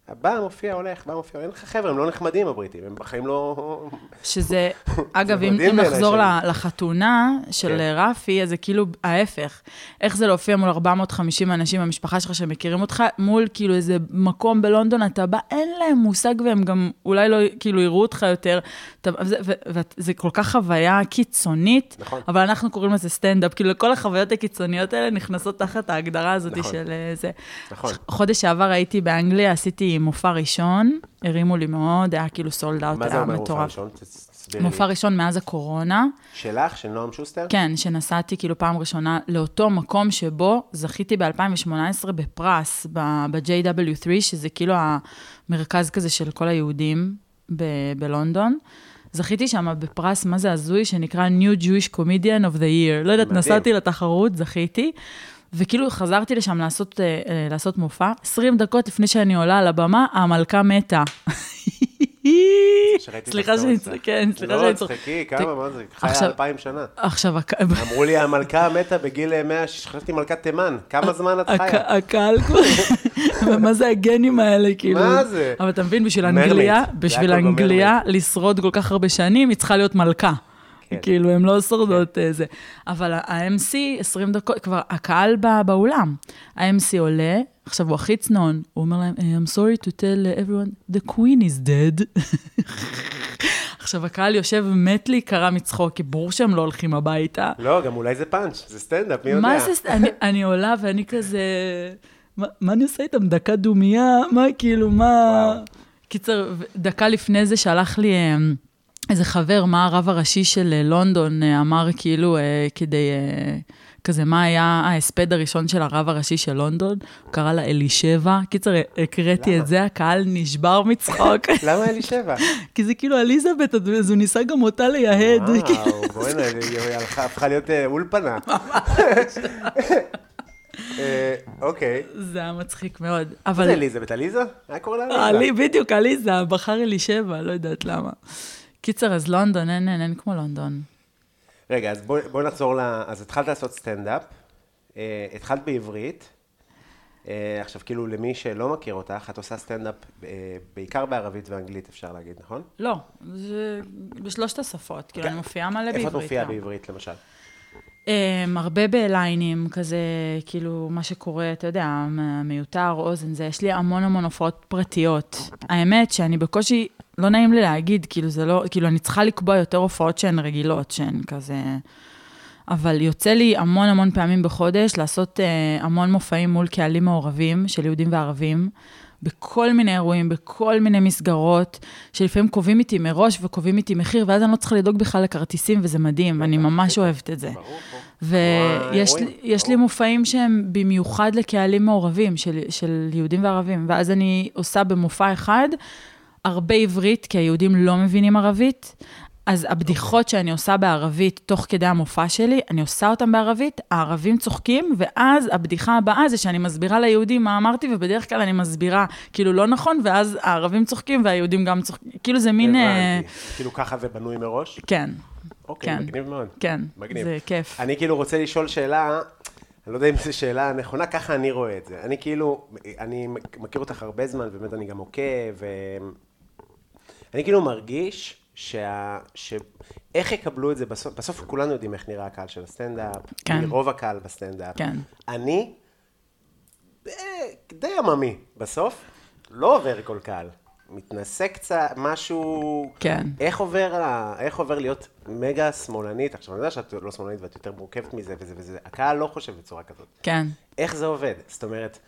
Speaker 2: הבא מופיע, הולך, בא מופיע, אין לך חבר'ה, הם לא נחמדים הבריטים, הם בחיים לא...
Speaker 3: אוקיי, שזה, אגב, אם,
Speaker 2: מדהים
Speaker 3: אם
Speaker 2: בעיניי
Speaker 3: נחזור
Speaker 2: שאני-
Speaker 3: ל- לחתונה של
Speaker 2: כן.
Speaker 3: רפי, אז זה כאילו ההפך. איך זה להופיע מול 450 אנשים במשפחה שלך שמכירים אותך, מול כאילו איזה מקום בלונדון, אתה בא, אין להם מושג, והם גם אולי לא כאילו יראו אותך יותר. אתה- וזה- ו- ואת- זה כל כך חוויה קיצונית,
Speaker 2: נכון.
Speaker 3: אבל אנחנו קוראים לזה סטנדאפ. כאילו, כל החוויות הקיצוניות האלה נכנסות תחת ההגדרה הזאת
Speaker 2: נכון.
Speaker 3: של אה, זה.
Speaker 2: נכון.
Speaker 3: חודש שעבר הייתי באנגליה, עשיתי מופע ראשון, הרימו לי מאוד, היה כאילו סולד אאוט,
Speaker 2: מה זה
Speaker 3: היה
Speaker 2: אומר מופע
Speaker 3: מטורף.
Speaker 2: ראשון? תסבירי לי.
Speaker 3: מופע ראשון מאז הקורונה,
Speaker 2: שלך, של נועם שוסטר?
Speaker 3: כן, שנסעתי כאילו פעם ראשונה לאותו מקום שבו זכיתי ב-2018 בפרס, ב- ב-JW3, שזה כאילו המרכז כזה של כל היהודים ב- בלונדון. זכיתי שם בפרס, מה זה הזוי, שנקרא New Jewish Comedian of the Year. לא יודעת,
Speaker 2: מדהים.
Speaker 3: נסעתי לתחרות, זכיתי. וכאילו חזרתי לשם לעשות, אה, אה, לעשות מופע, 20 דקות לפני שאני עולה על הבמה, המלכה מתה.
Speaker 2: שראיתי את
Speaker 3: סליחה שאני
Speaker 2: הסרט
Speaker 3: צוחקת,
Speaker 2: שלך.
Speaker 3: כן, סליחה שאני צוחקת.
Speaker 2: לא, צחקי, כמה, מה זה? חיה
Speaker 3: עכשיו-
Speaker 2: אלפיים שנה.
Speaker 3: עכשיו, הק-
Speaker 2: אמרו לי, המלכה מתה בגיל 100, שחשבתי מלכת תימן.
Speaker 3: אה,
Speaker 2: כמה זמן את
Speaker 3: הק-
Speaker 2: חיה?
Speaker 3: הקהל כבר, מה זה הגנים האלה, כאילו?
Speaker 2: מה זה?
Speaker 3: אבל אתה מבין, בשביל
Speaker 2: מרמייד.
Speaker 3: אנגליה,
Speaker 2: זה הכל
Speaker 3: בשביל
Speaker 2: במרמייד.
Speaker 3: אנגליה, לשרוד כל כך הרבה שנים, היא צריכה להיות מלכה.
Speaker 2: כן.
Speaker 3: כאילו, הן לא שורדות אה, זה. אבל ה-MC, 20 דקות, כבר הקהל בא באולם. ה-MC עולה, עכשיו הוא הכי צנון, הוא אומר להם, I'm sorry to tell everyone, the queen is dead. עכשיו, הקהל יושב, מת להיקרע מצחוק, כי ברור שהם לא הולכים הביתה.
Speaker 2: לא, גם אולי זה פאנץ', זה סטנדאפ, מי יודע?
Speaker 3: מה זה, אני, אני עולה ואני כזה, מה, מה אני עושה איתם? דקה דומייה? מה, כאילו, מה...
Speaker 2: וואו.
Speaker 3: קיצר, ו- דקה לפני זה שלח לי אה, איזה חבר, מה הרב הראשי של אה, לונדון אה, אמר, כאילו, אה, כדי... אה, כזה, מה היה ההספד הראשון של הרב הראשי של לונדון? הוא קרא לה אלישבע. קיצר, הקראתי את זה, הקהל נשבר מצחוק.
Speaker 2: למה אלישבע?
Speaker 3: כי זה כאילו אליזבת, אז הוא ניסה גם אותה לייהד. כן.
Speaker 2: וואו, בוא'נה, היא הלכה- הפכה להיות אה, אולפנה. אה, אוקיי.
Speaker 3: זה היה מצחיק מאוד.
Speaker 2: מה
Speaker 3: אבל...
Speaker 2: זה אליזבת? עליזה? היה קורא לה עליזה.
Speaker 3: עלי, אה, בדיוק, עליזה, בחר אלישבע, לא יודעת למה. קיצר, אז לונדון, אין, אין, אין כמו לונדון.
Speaker 2: רגע, אז בואי בוא נחזור ל... אז התחלת לעשות סטנדאפ, אה, התחלת בעברית, אה, עכשיו כאילו למי שלא מכיר אותך, את עושה סטנדאפ אה, בעיקר בערבית ואנגלית, אפשר להגיד, נכון?
Speaker 3: לא, זה בשלושת השפות, כאילו, אני מופיעה מלא בעברית.
Speaker 2: כן.
Speaker 3: כן.
Speaker 2: איפה את מופיעה
Speaker 3: גם.
Speaker 2: בעברית למשל?
Speaker 3: אמ, הרבה בליינים, כזה, כאילו, מה שקורה, אתה יודע, מ- מיותר, אוזן זה, יש לי המון המון הופעות פרטיות. האמת שאני בקושי, לא נעים לי להגיד, כאילו, זה לא, כאילו, אני צריכה לקבוע יותר הופעות שהן רגילות, שהן כזה... אבל יוצא לי המון המון פעמים בחודש לעשות אה, המון מופעים מול קהלים מעורבים של יהודים וערבים, בכל מיני אירועים, בכל מיני מסגרות, שלפעמים קובעים איתי מראש וקובעים איתי מחיר, ואז אני לא צריכה לדאוג בכלל לכרטיסים, וזה מדהים, אני ממש אוהבת את זה. ויש
Speaker 2: רואים,
Speaker 3: לי- יש לי
Speaker 2: ברור.
Speaker 3: מופעים שהם במיוחד לקהלים מעורבים, של, של יהודים וערבים, ואז אני עושה במופע אחד הרבה עברית, כי היהודים לא מבינים ערבית. אז הבדיחות שאני עושה בערבית תוך כדי המופע שלי, אני עושה אותן בערבית, הערבים צוחקים, ואז הבדיחה הבאה זה שאני מסבירה ליהודים מה אמרתי, ובדרך כלל אני מסבירה כאילו לא נכון, ואז הערבים צוחקים והיהודים גם צוחקים. כאילו זה מין... אה,
Speaker 2: הבנתי. כאילו ככה זה בנוי מראש?
Speaker 3: כן,
Speaker 2: אוקיי,
Speaker 3: כן.
Speaker 2: מגניב מאוד.
Speaker 3: כן.
Speaker 2: מגניב.
Speaker 3: זה כיף.
Speaker 2: אני כאילו רוצה לשאול שאלה, אני לא יודע אם זו שאלה נכונה, ככה אני רואה את זה. אני כאילו, אני מכיר אותך הרבה זמן, באמת אני גם עוקב, ו- אני כאילו מרגיש שה... ש... איך יקבלו את זה בסוף, בסוף כולנו יודעים איך נראה הקהל של הסטנדאפ,
Speaker 3: כן.
Speaker 2: רוב הקהל בסטנדאפ.
Speaker 3: כן.
Speaker 2: אני אה, די עממי, בסוף לא עובר כל קהל. מתנשא קצת, משהו...
Speaker 3: כן.
Speaker 2: איך עובר, ה... איך עובר להיות מגה שמאלנית? עכשיו, אני יודע שאת לא שמאלנית ואת יותר מורכבת מזה וזה וזה, הקהל לא חושב בצורה כזאת.
Speaker 3: כן.
Speaker 2: איך זה עובד? זאת אומרת,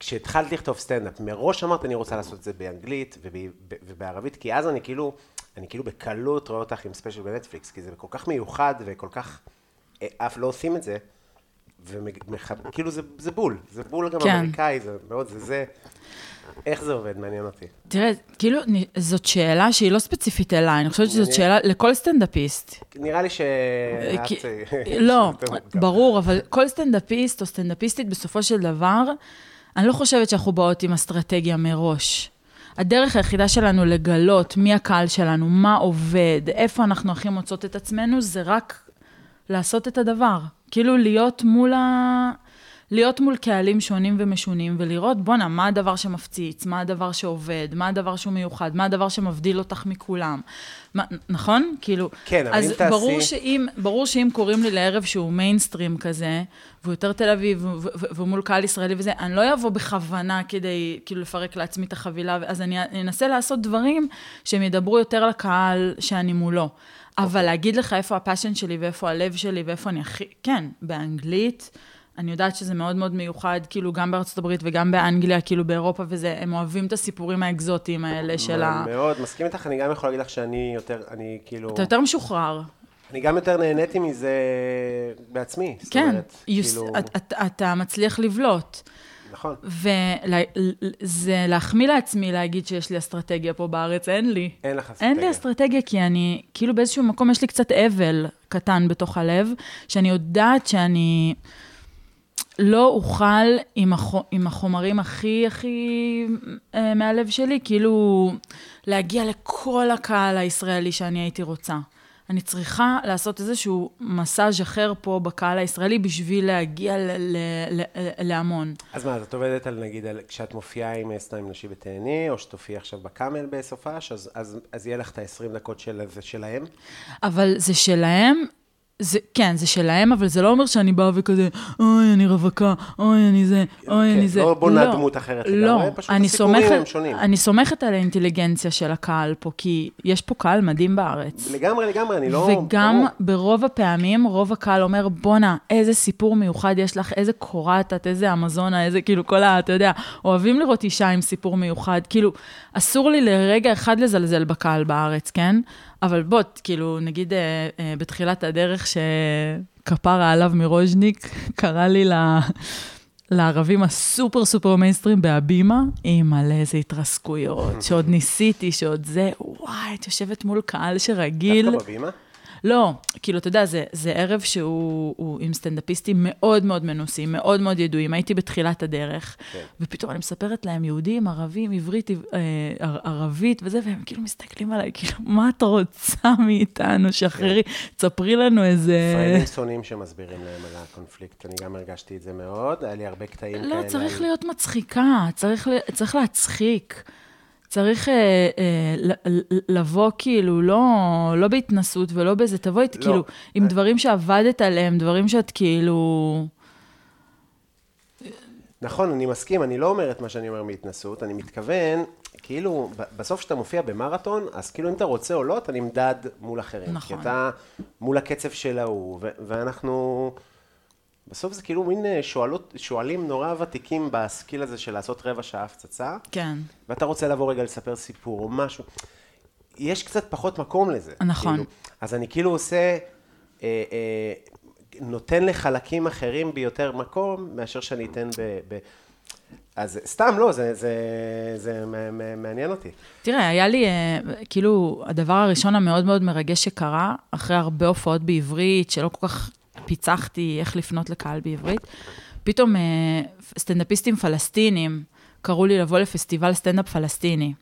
Speaker 2: כשהתחלת לכתוב סטנדאפ, מראש אמרת אני רוצה לעשות את זה באנגלית וב, ב- ובערבית, כי אז אני כאילו, אני כאילו בקלות רואה אותך עם ספיישל בנטפליקס, כי זה כל כך מיוחד וכל כך, אה, אף לא עושים את זה, וכאילו זה, זה בול, זה בול גם
Speaker 3: כן.
Speaker 2: אמריקאי, זה מאוד, זה זה. איך זה עובד? מעניין אותי.
Speaker 3: תראה, כאילו, אני- זאת שאלה שהיא לא ספציפית אליי, אני חושבת שזאת
Speaker 2: אני-
Speaker 3: שאלה לכל סטנדאפיסט.
Speaker 2: נראה לי שאת...
Speaker 3: כי-
Speaker 2: אה,
Speaker 3: לא,
Speaker 2: יותר מורכב.
Speaker 3: ברור, אבל כל סטנדאפיסט או סטנדאפיסטית בסופו של דבר, אני לא חושבת שאנחנו באות עם אסטרטגיה מראש. הדרך היחידה שלנו לגלות מי הקהל שלנו, מה עובד, איפה אנחנו הכי מוצאות את עצמנו, זה רק לעשות את הדבר. כאילו להיות מול ה... להיות מול קהלים שונים ומשונים ולראות, בואנה, מה הדבר שמפציץ, מה הדבר שעובד, מה הדבר שהוא מיוחד, מה הדבר שמבדיל אותך מכולם. מה, נכון? כאילו...
Speaker 2: כן, אבל
Speaker 3: אז
Speaker 2: אם תעשי-
Speaker 3: ברור שאם, ברור שאם קוראים לי לערב שהוא מיינסטרים כזה, והוא יותר תל אביב, ו- ו- והוא מול קהל ישראלי וזה, אני לא אבוא בכוונה כדי כאילו לפרק לעצמי את החבילה, אז אני אני אנסה לעשות דברים שהם ידברו יותר לקהל שאני מולו. אבל להגיד לך איפה הפאשן שלי ואיפה הלב שלי ואיפה אני הכי... כן, באנגלית. אני יודעת שזה מאוד מאוד מיוחד, כאילו, גם בארצות הברית וגם באנגליה, כאילו, באירופה וזה, הם אוהבים את הסיפורים האקזוטיים האלה של ה...
Speaker 2: מאוד, מסכים איתך, אני גם יכול להגיד לך שאני יותר, אני כאילו...
Speaker 3: אתה יותר משוחרר.
Speaker 2: אני גם יותר נהניתי מזה בעצמי. זאת
Speaker 3: כן,
Speaker 2: אומרת,
Speaker 3: יוס-
Speaker 2: כאילו,
Speaker 3: את- את- אתה מצליח לבלוט.
Speaker 2: נכון.
Speaker 3: וזה להחמיא לעצמי להגיד שיש לי אסטרטגיה פה בארץ, אין לי.
Speaker 2: אין לך
Speaker 3: אין
Speaker 2: אסטרטגיה.
Speaker 3: לי אסטרטגיה, כי אני, כאילו באיזשהו מקום יש לי קצת אבל קטן בתוך הלב, שאני יודעת שאני... לא אוכל עם, הח... עם החומרים הכי הכי אה, מהלב שלי, כאילו להגיע לכל הקהל הישראלי שאני הייתי רוצה. אני צריכה לעשות איזשהו מסאז' אחר פה בקהל הישראלי בשביל להגיע ל- ל- ל- להמון.
Speaker 2: אז מה, אז את עובדת על נגיד, על, כשאת מופיעה עם אה, סתם נשי בתהני, או שתופיעי עכשיו בקאמל בסופש, אז, אז, אז יהיה לך את ה-20 דקות של, זה שלהם?
Speaker 3: אבל זה שלהם, זה, כן, זה שלהם, אבל זה לא אומר שאני באה וכזה, אוי, אני רווקה, אוי, אני זה, אוי,
Speaker 2: כן,
Speaker 3: אני זה.
Speaker 2: לא בונה דמות אחרת
Speaker 3: לא,
Speaker 2: לגמרי, פשוט
Speaker 3: אני
Speaker 2: הסיפורים
Speaker 3: סומכת-
Speaker 2: הם שונים.
Speaker 3: אני סומכת על האינטליגנציה של הקהל פה, כי יש פה קהל מדהים בארץ.
Speaker 2: לגמרי, לגמרי, אני לא...
Speaker 3: וגם
Speaker 2: ברור.
Speaker 3: ברוב הפעמים, רוב הקהל אומר, בואנה, איזה סיפור מיוחד יש לך, איזה קורעת את, איזה אמזונה, איזה, כאילו, כל ה... אתה יודע, אוהבים לראות אישה עם סיפור מיוחד. כאילו, אסור לי לרגע אחד לזלזל בקהל בארץ, כן? אבל בוא, כאילו, נגיד אה, אה, בתחילת הדרך שכפרה עליו מרוז'ניק, קרא לי ל... לערבים הסופר סופר מיינסטרים בהבימה, עם מלא איזה התרסקויות, שעוד ניסיתי, שעוד זה, וואי, את יושבת מול קהל שרגיל.
Speaker 2: דווקא בבימה?
Speaker 3: לא, כאילו, אתה יודע, זה, זה ערב שהוא הוא עם סטנדאפיסטים מאוד מאוד מנוסים, מאוד מאוד ידועים. הייתי בתחילת הדרך, כן. ופתאום אני מספרת להם יהודים, ערבים, עברית, עב- אה, ער- ערבית וזה, והם כאילו מסתכלים עליי, כאילו, מה את רוצה מאיתנו? שחררי, תספרי לנו איזה...
Speaker 2: ישראלים שונאים שמסבירים להם על הקונפליקט, אני גם הרגשתי את זה מאוד, היה לי הרבה קטעים כאלה.
Speaker 3: לא, צריך
Speaker 2: על-
Speaker 3: להיות מצחיקה, צריך, ל- צריך להצחיק. צריך אה, אה, ל- ל- לבוא כאילו, לא, לא בהתנסות ולא באיזה, תבואי
Speaker 2: לא.
Speaker 3: כאילו עם דברים שעבדת עליהם, דברים שאת כאילו...
Speaker 2: נכון, אני מסכים, אני לא אומר את מה שאני אומר מהתנסות, אני מתכוון, כאילו, ב- בסוף כשאתה מופיע במרתון, אז כאילו אם אתה רוצה או לא, אתה נמדד מול אחרים.
Speaker 3: נכון.
Speaker 2: כי אתה מול הקצב של ההוא, ו- ואנחנו... בסוף זה כאילו מין אה, שואלות, שואלים נורא ותיקים בסקיל הזה של לעשות רבע שעה הפצצה.
Speaker 3: כן.
Speaker 2: ואתה רוצה לבוא רגע לספר סיפור או משהו, יש קצת פחות מקום לזה.
Speaker 3: נכון.
Speaker 2: כאילו. אז אני כאילו עושה, אה, אה, נותן לחלקים אחרים ביותר מקום, מאשר שאני אתן ב... ב... אז סתם לא, זה, זה, זה מ- מ- מעניין אותי.
Speaker 3: תראה, היה לי, אה, כאילו, הדבר הראשון המאוד מאוד מרגש שקרה, אחרי הרבה הופעות בעברית, שלא כל כך פיצחתי איך לפנות לקהל בעברית, פתאום אה, סטנדאפיסטים פלסטינים קראו לי לבוא לפסטיבל סטנדאפ פלסטיני.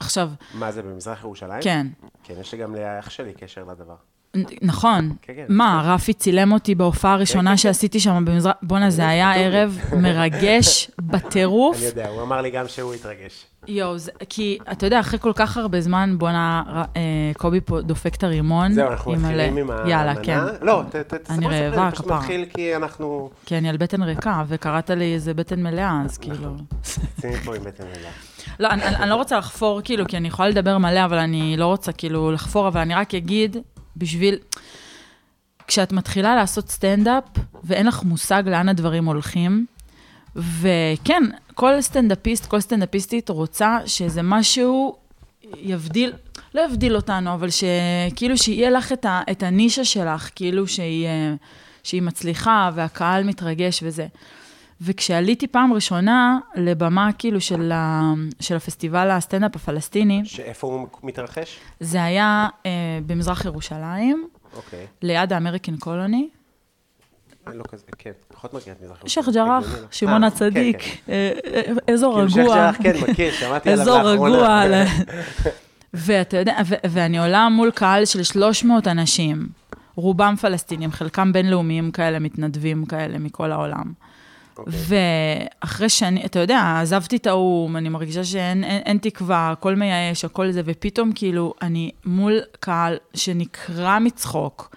Speaker 3: עכשיו,
Speaker 2: מה זה, במזרח ירושלים?
Speaker 3: כן.
Speaker 2: כן, יש לי גם לאח שלי קשר לדבר.
Speaker 3: נ- נכון.
Speaker 2: כן, כן.
Speaker 3: מה, רפי צילם אותי בהופעה הראשונה שעשיתי שם במזרח... בואנה, זה היה ערב מרגש בטירוף.
Speaker 2: לא אני יודע, הוא אמר לי גם שהוא התרגש.
Speaker 3: יואו, זה- כי אתה יודע, אחרי כל כך הרבה זמן, בואנה, ר- אה, קובי פה דופק את הרימון.
Speaker 2: זהו, אנחנו
Speaker 3: מלא-
Speaker 2: מתחילים עם המנה.
Speaker 3: יאללה, כן.
Speaker 2: לא, ת- ת- תספר,
Speaker 3: אני
Speaker 2: תספר,
Speaker 3: רעבה,
Speaker 2: פשוט
Speaker 3: כפרה.
Speaker 2: מתחיל כי אנחנו...
Speaker 3: כי אני על בטן ריקה, וקראת לי איזה בטן מלאה, אז כאילו...
Speaker 2: נכון. יוצאים פה עם בטן מילה.
Speaker 3: לא, אני, אני, אני לא רוצה לחפור, כאילו, כי אני יכולה לדבר מלא, אבל אני לא רוצה כאילו לחפור, אבל אני רק אגיד, בשביל... כשאת מתחילה לעשות סטנדאפ, ואין לך מושג לאן הדברים הולכים, וכן, כל סטנדאפיסט, כל סטנדאפיסטית רוצה שזה משהו יבדיל, לא יבדיל אותנו, אבל שכאילו שיהיה לך את, ה, את הנישה שלך, כאילו שהיא, אה, שהיא מצליחה והקהל מתרגש וזה. וכשעליתי פעם ראשונה לבמה כאילו של, ה, של הפסטיבל הסטנדאפ הפלסטיני,
Speaker 2: שאיפה הוא מתרחש?
Speaker 3: זה היה אה, במזרח ירושלים,
Speaker 2: אוקיי.
Speaker 3: ליד האמריקן קולוני,
Speaker 2: אה, לא כזה, כן, פחות מכיר את מזרח ירושלים.
Speaker 3: שייח'
Speaker 2: הגיוני
Speaker 3: ג'ראח,
Speaker 2: לך.
Speaker 3: שמעון
Speaker 2: אה,
Speaker 3: הצדיק,
Speaker 2: כן, כן.
Speaker 3: אה, אה, אזור
Speaker 2: כאילו
Speaker 3: רגוע.
Speaker 2: שייח' ג'ראח, כן, מכיר, שמעתי עליו
Speaker 3: אזור
Speaker 2: לאחרונה.
Speaker 3: רגוע. ל- ואתה יודע, ו- ואני עולה מול קהל של 300 אנשים, רובם פלסטינים, חלקם בינלאומיים כאלה, מתנדבים כאלה מכל העולם.
Speaker 2: אוקיי.
Speaker 3: ואחרי שאני, אתה יודע, עזבתי את האו"ם, אני מרגישה שאין אין, אין תקווה, הכל מייאש, הכל זה, ופתאום כאילו אני מול קהל שנקרע מצחוק,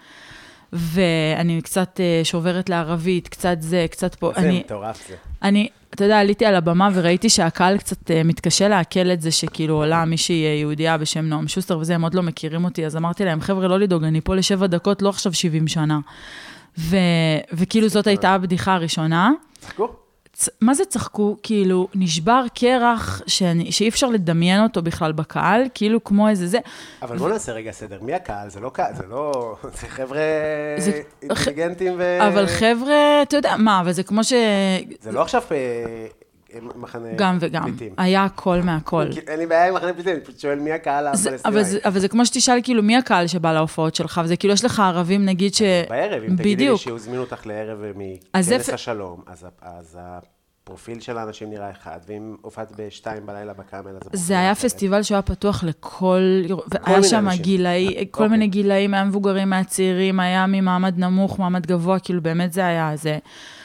Speaker 3: ואני קצת אה, שוברת לערבית, קצת זה, קצת פה.
Speaker 2: זה
Speaker 3: אני,
Speaker 2: מטורף זה.
Speaker 3: אני, אתה יודע, עליתי על הבמה וראיתי שהקהל קצת אה, מתקשה לעכל את זה שכאילו עולה מישהי אה, יהודייה בשם נועם שוסטר וזה, הם עוד לא מכירים אותי, אז אמרתי להם, חבר'ה, לא לדאוג, אני פה לשבע דקות, לא עכשיו 70 שנה. ו, וכאילו זאת הייתה הבדיחה הראשונה.
Speaker 2: צחקו?
Speaker 3: צ- מה זה צחקו? כאילו, נשבר קרח שאני, שאי אפשר לדמיין אותו בכלל בקהל, כאילו כמו איזה זה.
Speaker 2: אבל בוא נעשה רגע סדר, מי הקהל? זה לא קהל, זה לא... זה חבר'ה
Speaker 3: זה-
Speaker 2: אינטליגנטים ו...
Speaker 3: אבל חבר'ה, אתה יודע, מה, אבל זה כמו ש...
Speaker 2: זה לא עכשיו אה, מחנה
Speaker 3: גם וגם.
Speaker 2: פליטים.
Speaker 3: היה הכל מהכל.
Speaker 2: כי אין לי בעיה עם מחנה פליטים, אני פשוט שואל מי הקהל
Speaker 3: זה- אבל זה-
Speaker 2: הפלסטיני.
Speaker 3: אבל זה כמו שתשאל, כאילו, מי הקהל שבא להופעות שלך? וזה כאילו, יש לך ערבים, נגיד ש...
Speaker 2: בערב, אם תגידי לי
Speaker 3: בדיוק.
Speaker 2: שהזמינו אותך לערב
Speaker 3: אז
Speaker 2: מכנס
Speaker 3: איפה-
Speaker 2: השלום, אז ה- אז הפרופיל של האנשים נראה אחד, ואם הופעת בשתיים בלילה בקאמל, אז... הפרופיל
Speaker 3: זה היה
Speaker 2: אחרת.
Speaker 3: פסטיבל שהיה פתוח לכל... והיה
Speaker 2: מיני
Speaker 3: שם
Speaker 2: אנשים.
Speaker 3: גילאי, כל
Speaker 2: אוקיי.
Speaker 3: מיני גילאים, היה מבוגרים, היה צעירים, היה ממעמד נמוך, מעמד גבוה, כאילו באמת זה היה זה.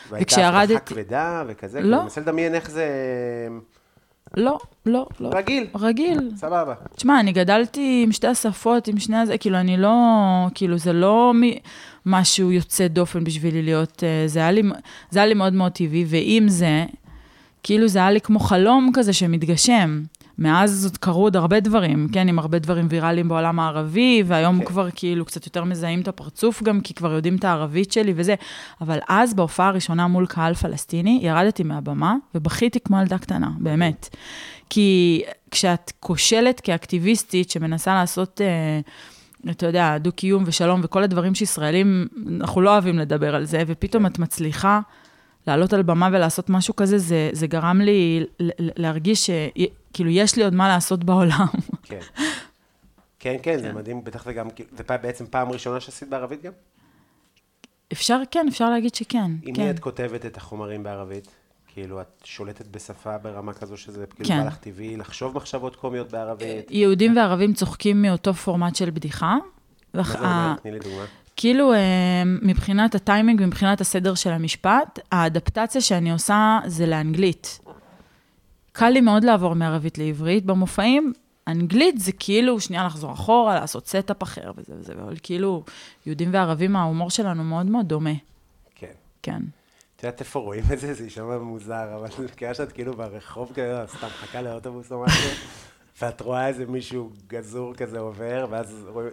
Speaker 2: והייתה הבטחה
Speaker 3: וכשירדתי...
Speaker 2: כבדה וכזה,
Speaker 3: לא.
Speaker 2: כי אני מנסה לדמיין איך זה...
Speaker 3: לא, לא, לא.
Speaker 2: רגיל.
Speaker 3: רגיל.
Speaker 2: סבבה.
Speaker 3: תשמע, אני גדלתי עם שתי השפות, עם שני הזה, כאילו, אני לא, כאילו, זה לא מ- משהו יוצא דופן בשבילי להיות, אה, זה היה לי, זה היה לי מאוד מאוד טבעי, ועם זה, כאילו, זה היה לי כמו חלום כזה שמתגשם. מאז עוד קרו עוד הרבה דברים, כן, עם הרבה דברים ויראליים בעולם הערבי, והיום
Speaker 2: כן.
Speaker 3: כן. כבר כאילו קצת יותר מזהים את הפרצוף גם, כי כבר יודעים את הערבית שלי וזה. אבל אז, בהופעה הראשונה מול קהל פלסטיני, ירדתי מהבמה ובכיתי כמו ילדה קטנה, באמת. כי כשאת כושלת כאקטיביסטית שמנסה לעשות, אה, אתה יודע, דו-קיום ושלום וכל הדברים שישראלים, אנחנו לא אוהבים לדבר על זה, ופתאום את מצליחה לעלות על במה ולעשות משהו כזה, זה, זה גרם לי ל- ל- להרגיש שכאילו יש לי עוד מה לעשות בעולם.
Speaker 2: כן. כן, כן, זה מדהים, בטח זה גם, כאילו, זה פע- בעצם פעם ראשונה שעשית בערבית גם?
Speaker 3: אפשר, כן, אפשר להגיד שכן,
Speaker 2: עם מי
Speaker 3: כן.
Speaker 2: את כותבת את החומרים בערבית? כאילו, את שולטת בשפה ברמה כזו שזה כאילו
Speaker 3: כן.
Speaker 2: בא לך טבעי לחשוב מחשבות קומיות בערבית?
Speaker 3: יהודים וערבים צוחקים מאותו פורמט של בדיחה.
Speaker 2: מה
Speaker 3: ואח- אה,
Speaker 2: זה אומר? תני לי דוגמה.
Speaker 3: כאילו, אה, מבחינת הטיימינג, מבחינת הסדר של המשפט, האדפטציה שאני עושה זה לאנגלית. קל לי מאוד לעבור מערבית לעברית במופעים. אנגלית זה כאילו שנייה לחזור אחורה, לעשות סטאפ אחר וזה וזה, אבל כאילו, יהודים וערבים, ההומור שלנו מאוד מאוד דומה,
Speaker 2: כן.
Speaker 3: כן.
Speaker 2: את יודעת איפה רואים את זה? זה יישמע מוזר, אבל זה כאילו שאת כאילו ברחוב כזה, סתם מחכה לאוטובוס או משהו, ואת רואה איזה מישהו גזור כזה עובר, ואז רואים...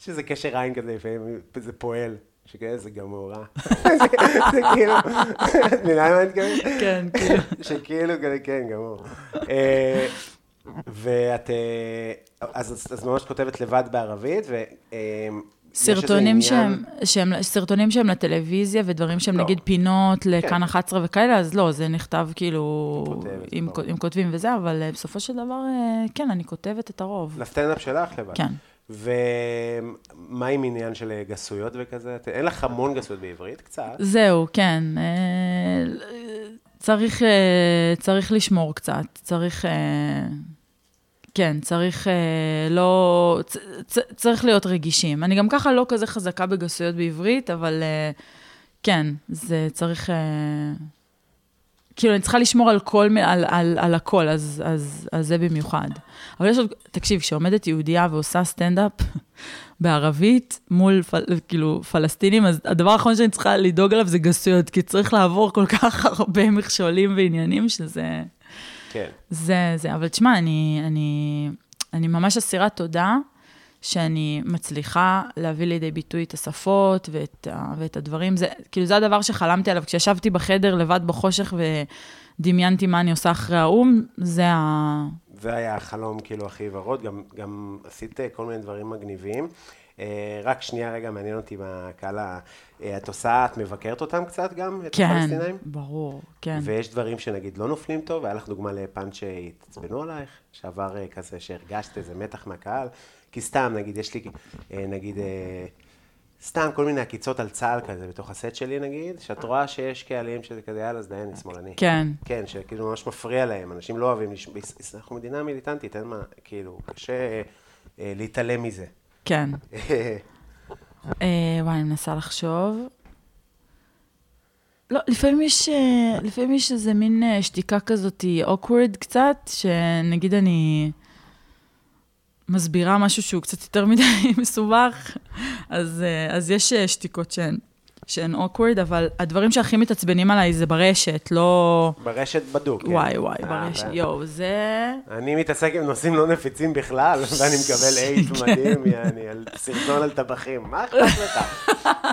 Speaker 2: יש איזה קשר עין כזה לפעמים, זה פועל, שכאילו זה גמורה. זה זה כאילו... את מבינה מה אני מתכוונת?
Speaker 3: כן, כאילו.
Speaker 2: שכאילו, כזה, כן, גמור. אה, ואת... אה, אז, אז- אז ממש כותבת לבד בערבית, ו... אה, יש איזה
Speaker 3: סרטונים
Speaker 2: עניין-
Speaker 3: שהם, שהם, סרטונים שהם לטלוויזיה ודברים שהם
Speaker 2: לא.
Speaker 3: נגיד פינות
Speaker 2: כן.
Speaker 3: לכאן 11 וכאלה, אז לא, זה נכתב כאילו,
Speaker 2: כותבת, לא.
Speaker 3: אם
Speaker 2: ברור.
Speaker 3: אם כותבים וזה, אבל אה, בסופו של דבר, אה, כן, אני כותבת את הרוב.
Speaker 2: לסטנדאפ שלך לבד.
Speaker 3: כן.
Speaker 2: ומה עם עניין של אה, גסויות וכזה? את- אין לך המון גסויות בעברית, קצת.
Speaker 3: זהו, כן. אה, צריך, אה, צריך לשמור קצת, צריך... אה, כן, צריך אה, לא... צ, צ, צריך להיות רגישים. אני גם ככה לא כזה חזקה בגסויות בעברית, אבל אה, כן, זה צריך... אה, כאילו, אני צריכה לשמור על כל, מ- על, על, על הכל, אז, אז, אז זה במיוחד. אבל יש עוד... תקשיב, כשעומדת יהודייה ועושה סטנדאפ, בערבית מול פל, כאילו פלסטינים, אז הדבר האחרון שאני צריכה לדאוג עליו זה גסויות, כי צריך לעבור כל כך הרבה מכשולים ועניינים שזה...
Speaker 2: כן.
Speaker 3: זה, זה, אבל תשמע, אני, אני, אני ממש אסירת תודה שאני מצליחה להביא לידי ביטוי את השפות ואת, ה- ואת הדברים. זה, כאילו, זה הדבר שחלמתי עליו. כשישבתי בחדר לבד בחושך ודמיינתי מה אני עושה אחרי האו"ם, זה ה...
Speaker 2: זה היה החלום כאילו הכי ורוד, גם, גם עשית אה, כל מיני דברים מגניבים. אה, רק שנייה רגע, מעניין אותי בקהל ה... אה, את עושה, את מבקרת אותם קצת גם, את
Speaker 3: כן,
Speaker 2: הפלסטינאים?
Speaker 3: ברור, כן.
Speaker 2: ויש דברים שנגיד לא נופלים טוב, והיה לך דוגמה לפאנץ' שהתעצבנו עלייך, שעבר אה, כזה שהרגשת איזה מתח מהקהל, כי סתם, נגיד, יש לי, אה, נגיד, אה, סתם כל מיני עקיצות על צה"ל כזה בתוך הסט שלי, נגיד, שאת רואה שיש קהלים שזה כזה, יאללה, אז דיין, אני שמאלני.
Speaker 3: כן.
Speaker 2: כן, שכאילו ממש מפריע להם, אנשים לא אוהבים, לש... ביס- אנחנו מדינה מיליטנטית, אין מה, כאילו, קשה אה, אה, להתעלם מזה.
Speaker 3: כן. אה, וואי, אני מנסה לחשוב. לא, לפעמים יש, אה, לפעמים יש איזה מין אה, שתיקה כזאת אוקוורד קצת, שנגיד אני מסבירה משהו שהוא קצת יותר מדי מסובך, אז, אה, אז יש אה, שתיקות שהן, שהן אוקוורד, אבל הדברים שהכי מתעצבנים עליי זה ברשת, לא...
Speaker 2: ברשת בדוק. כן.
Speaker 3: וואי, וואי,
Speaker 2: אה,
Speaker 3: ברשת,
Speaker 2: ב-
Speaker 3: יואו, זה...
Speaker 2: אני מתעסק עם נושאים לא נפיצים בכלל, ואני מקבל אייט
Speaker 3: כן.
Speaker 2: מדהים, יעני, על סרטון על טבחים. מה אכפת לך?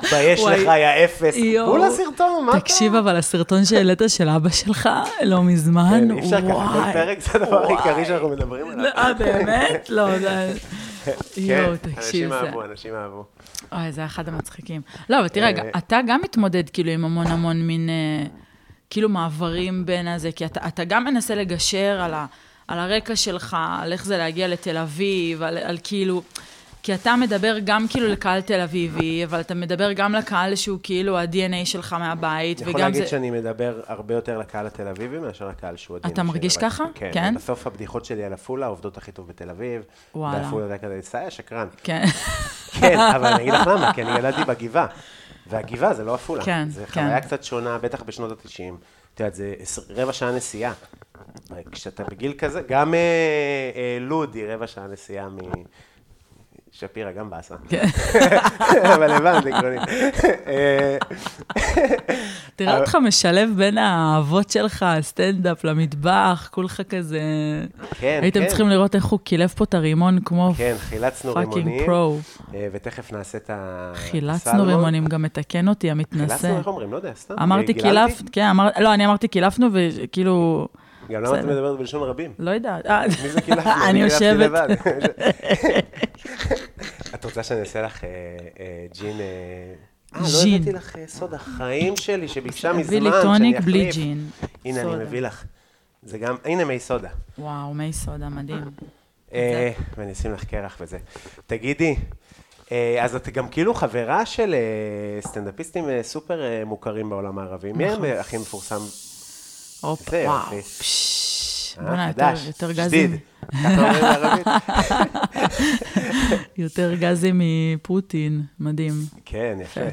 Speaker 2: תתבייש
Speaker 3: וואי.
Speaker 2: לך, יא אפס.
Speaker 3: יואו.
Speaker 2: כולה סרטון, מה אתה?
Speaker 3: תקשיב, אבל הסרטון שהעלית של אבא שלך לא מזמן,
Speaker 2: כן,
Speaker 3: וואי.
Speaker 2: אי אפשר ככה, כל פרק זה הדבר
Speaker 3: וואי.
Speaker 2: העיקרי שאנחנו מדברים עליו.
Speaker 3: אה, באמת? לא, זה... יואו,
Speaker 2: אוקיי. כן,
Speaker 3: תקשיב,
Speaker 2: אנשים
Speaker 3: זה...
Speaker 2: אהבו, אנשים אהבו.
Speaker 3: אוי, זה היה אחד המצחיקים. לא, אבל תראה,
Speaker 2: אה,
Speaker 3: אתה גם מתמודד כאילו עם המון המון מין... אה, כאילו מעברים בין הזה, כי אתה, אתה גם מנסה לגשר על, ה, על הרקע שלך, על איך זה להגיע לתל אביב, על, על כאילו... כי אתה מדבר גם כאילו לקהל תל אביבי, אבל אתה מדבר גם לקהל שהוא כאילו ה-DNA שלך מהבית,
Speaker 2: אני יכול
Speaker 3: וגם
Speaker 2: להגיד
Speaker 3: זה...
Speaker 2: זה... שאני מדבר הרבה יותר לקהל התל אביבי מאשר לקהל שהוא עדין.
Speaker 3: אתה
Speaker 2: שלי,
Speaker 3: מרגיש
Speaker 2: אבל-
Speaker 3: ככה?
Speaker 2: כן.
Speaker 3: כן?
Speaker 2: בסוף הבדיחות שלי על עפולה עובדות הכי טוב בתל אביב.
Speaker 3: וואלה.
Speaker 2: בעפולה זה כזה, סייע שקרן.
Speaker 3: כן,
Speaker 2: כן, אבל אני אגיד לך למה, כי אני גדלתי בגבעה. והגבעה זה לא עפולה.
Speaker 3: כן,
Speaker 2: זה
Speaker 3: כן.
Speaker 2: חוויה קצת שונה, בטח בשנות ה-90. את יודעת, זה עשר- רבע שעה נסיעה. כשאתה בגיל כזה, גם אה, אה, לוד היא רבע שעה נסיעה מ... שפירא גם באסה.
Speaker 3: כן.
Speaker 2: אבל הבנת, עקרונית. אה,
Speaker 3: תראה אותך משלב בין האהבות שלך, הסטנדאפ, למטבח, כולך כזה...
Speaker 2: כן,
Speaker 3: הייתם
Speaker 2: כן.
Speaker 3: צריכים לראות איך הוא קילף פה את הרימון כמו
Speaker 2: כן, חילצנו
Speaker 3: פאקינג
Speaker 2: רימונים.
Speaker 3: פרו.
Speaker 2: אה, ותכף נעשה את ה...
Speaker 3: חילצנו
Speaker 2: הסלמון.
Speaker 3: רימונים, גם מתקן אותי,
Speaker 2: חילצנו,
Speaker 3: המתנשא.
Speaker 2: איך אומרים? לא יודע, סתם.
Speaker 3: אמרתי
Speaker 2: גיללתי?
Speaker 3: קילפת, כן, אמר- לא, אני אמרתי קילפנו, וכאילו,
Speaker 2: גם למה את
Speaker 3: בסדר.
Speaker 2: מדברת בלשון רבים?
Speaker 3: לא יודעת. אה,
Speaker 2: מי זה כאילו קילפנו?
Speaker 3: אני
Speaker 2: קילפתי
Speaker 3: יושבת.
Speaker 2: לבד. את רוצה שאני אעשה לך אה, אה, ג'ין... אה, אה, לא
Speaker 3: ג'ין.
Speaker 2: הבאתי לך אה, סוד החיים שלי, שביקשה מזמן שאני
Speaker 3: תביא לי
Speaker 2: אחליף.
Speaker 3: טוניק בלי ג'ין.
Speaker 2: הנה,
Speaker 3: סודה.
Speaker 2: אני מביא לך. זה גם, הנה מי סודה.
Speaker 3: וואו, מי סודה, מדהים.
Speaker 2: אה,
Speaker 3: אוקיי.
Speaker 2: ואני אשים לך קרח וזה. תגידי, אה, אז את גם כאילו חברה של אה, סטנדאפיסטים אה, סופר אה, מוכרים בעולם הערבי. מי
Speaker 3: נכון.
Speaker 2: הכי מפורסם?
Speaker 3: הופ,
Speaker 2: זה
Speaker 3: וואו.
Speaker 2: יופי.
Speaker 3: פשש,
Speaker 2: אה,
Speaker 3: בוא'נה, יותר-
Speaker 2: חדש,
Speaker 3: יותר
Speaker 2: שדיד.
Speaker 3: גזים.
Speaker 2: ככה אומרים בערבית?
Speaker 3: יותר גזים מפוטין, מדהים.
Speaker 2: כן, יפה.
Speaker 3: יפה.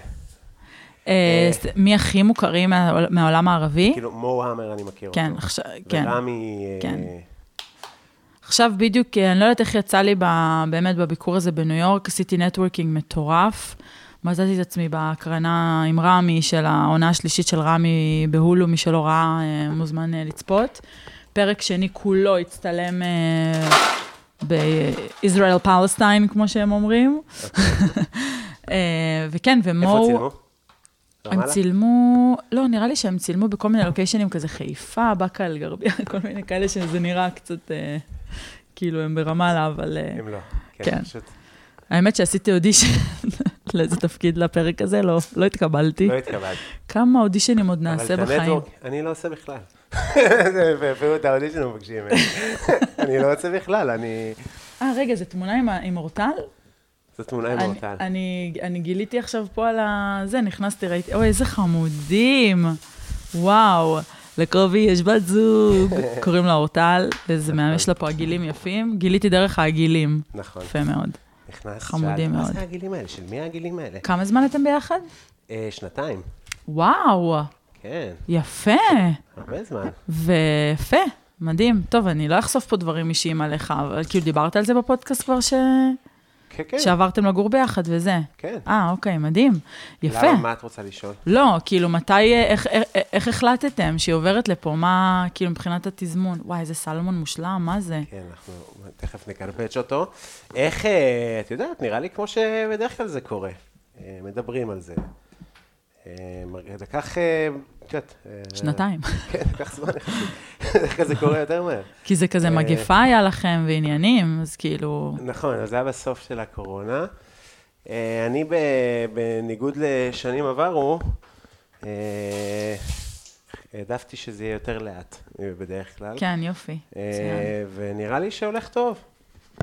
Speaker 3: אה, ס- מי הכי מוכרים מהעול- מהעולם הערבי?
Speaker 2: כאילו, מו המר אני מכיר אותו.
Speaker 3: כן, עכשיו, כן.
Speaker 2: ורמי... אה,
Speaker 3: כן. עכשיו בדיוק, אה, אני לא יודעת איך יצא לי ב, באמת בביקור הזה בניו יורק, עשיתי נטוורקינג מטורף. מצאתי את עצמי בהקרנה עם רמי של העונה השלישית של רמי בהולו, מי שלא ראה אה, מוזמן אה, לצפות. פרק שני כולו הצטלם אה, בישראל פלסטיין, כמו שהם אומרים. אה, וכן, ומו...
Speaker 2: אוקיי. איפה צילמו?
Speaker 3: הם
Speaker 2: רמאללה?
Speaker 3: צילמו, לא, נראה לי שהם צילמו בכל מיני לוקיישנים כזה, חיפה, באקה אל-גרבייה, כל מיני כאלה שזה נראה קצת, אה, כאילו הם ברמאללה, אבל אה,
Speaker 2: הם לא.
Speaker 3: כן.
Speaker 2: כן. פשוט
Speaker 3: האמת שעשיתי אודישן לאיזה תפקיד לפרק הזה, לא, לא התקבלתי.
Speaker 2: לא התקבלתי.
Speaker 3: כמה אודישנים עוד
Speaker 2: אבל
Speaker 3: נעשה
Speaker 2: את
Speaker 3: בחיים?
Speaker 2: הנטוורק אני לא עושה בכלל. זה- ואפילו את האודישן הוא מבקשים ממני. אני לא עושה בכלל, אני...
Speaker 3: אה, רגע, זו תמונה עם ה- עם אורטל?
Speaker 2: זו תמונה עם
Speaker 3: אני-
Speaker 2: אורטל.
Speaker 3: אני אני גיליתי עכשיו פה על ה... זה, נכנסתי, ראיתי, אוי, איזה חמודים. וואו, לקובי יש בת זוג, קוראים לה אורטל, וזה מהמם, יש לה פה עגילים יפים. גיליתי דרך העגילים.
Speaker 2: נכון.
Speaker 3: יפה מאוד.
Speaker 2: נכנס,
Speaker 3: חמודים
Speaker 2: שאל, מה
Speaker 3: מאוד.
Speaker 2: זה העגילים האלה? של מי העגילים האלה?
Speaker 3: כמה זמן אתם ביחד?
Speaker 2: אה, שנתיים.
Speaker 3: וואו,
Speaker 2: כן,
Speaker 3: יפה.
Speaker 2: הרבה זמן.
Speaker 3: ויפה, מדהים. טוב, אני לא אחשוף פה דברים אישיים עליך, אבל כאילו דיברת על זה בפודקאסט כבר ש...
Speaker 2: כן, כן.
Speaker 3: שעברתם לגור ביחד וזה.
Speaker 2: כן.
Speaker 3: אה, אוקיי, מדהים. יפה.
Speaker 2: למה, מה את רוצה לשאול?
Speaker 3: לא, כאילו, מתי, איך, איך, איך החלטתם שהיא עוברת לפה? מה, כאילו, מבחינת התזמון? וואי, איזה סלמון מושלם, מה זה?
Speaker 2: כן, אנחנו תכף נקרפץ' אותו. איך, אה, את יודעת, נראה לי כמו שבדרך כלל זה קורה. אה, מדברים על זה. אה, מר- לקח, אה, את יודעת... אה,
Speaker 3: שנתיים.
Speaker 2: כן, לקח זמן יחסית. בדרך כלל זה קורה יותר מהר.
Speaker 3: כי זה כזה
Speaker 2: אה.
Speaker 3: מגפה היה לכם ועניינים, אז כאילו...
Speaker 2: נכון, אבל זה היה בסוף של הקורונה. אה, אני, ב- בניגוד לשנים עברו, אה, העדפתי שזה יהיה יותר לאט אה, בדרך כלל.
Speaker 3: כן, יופי.
Speaker 2: אה,
Speaker 3: מצוין.
Speaker 2: ונראה לי שהולך טוב.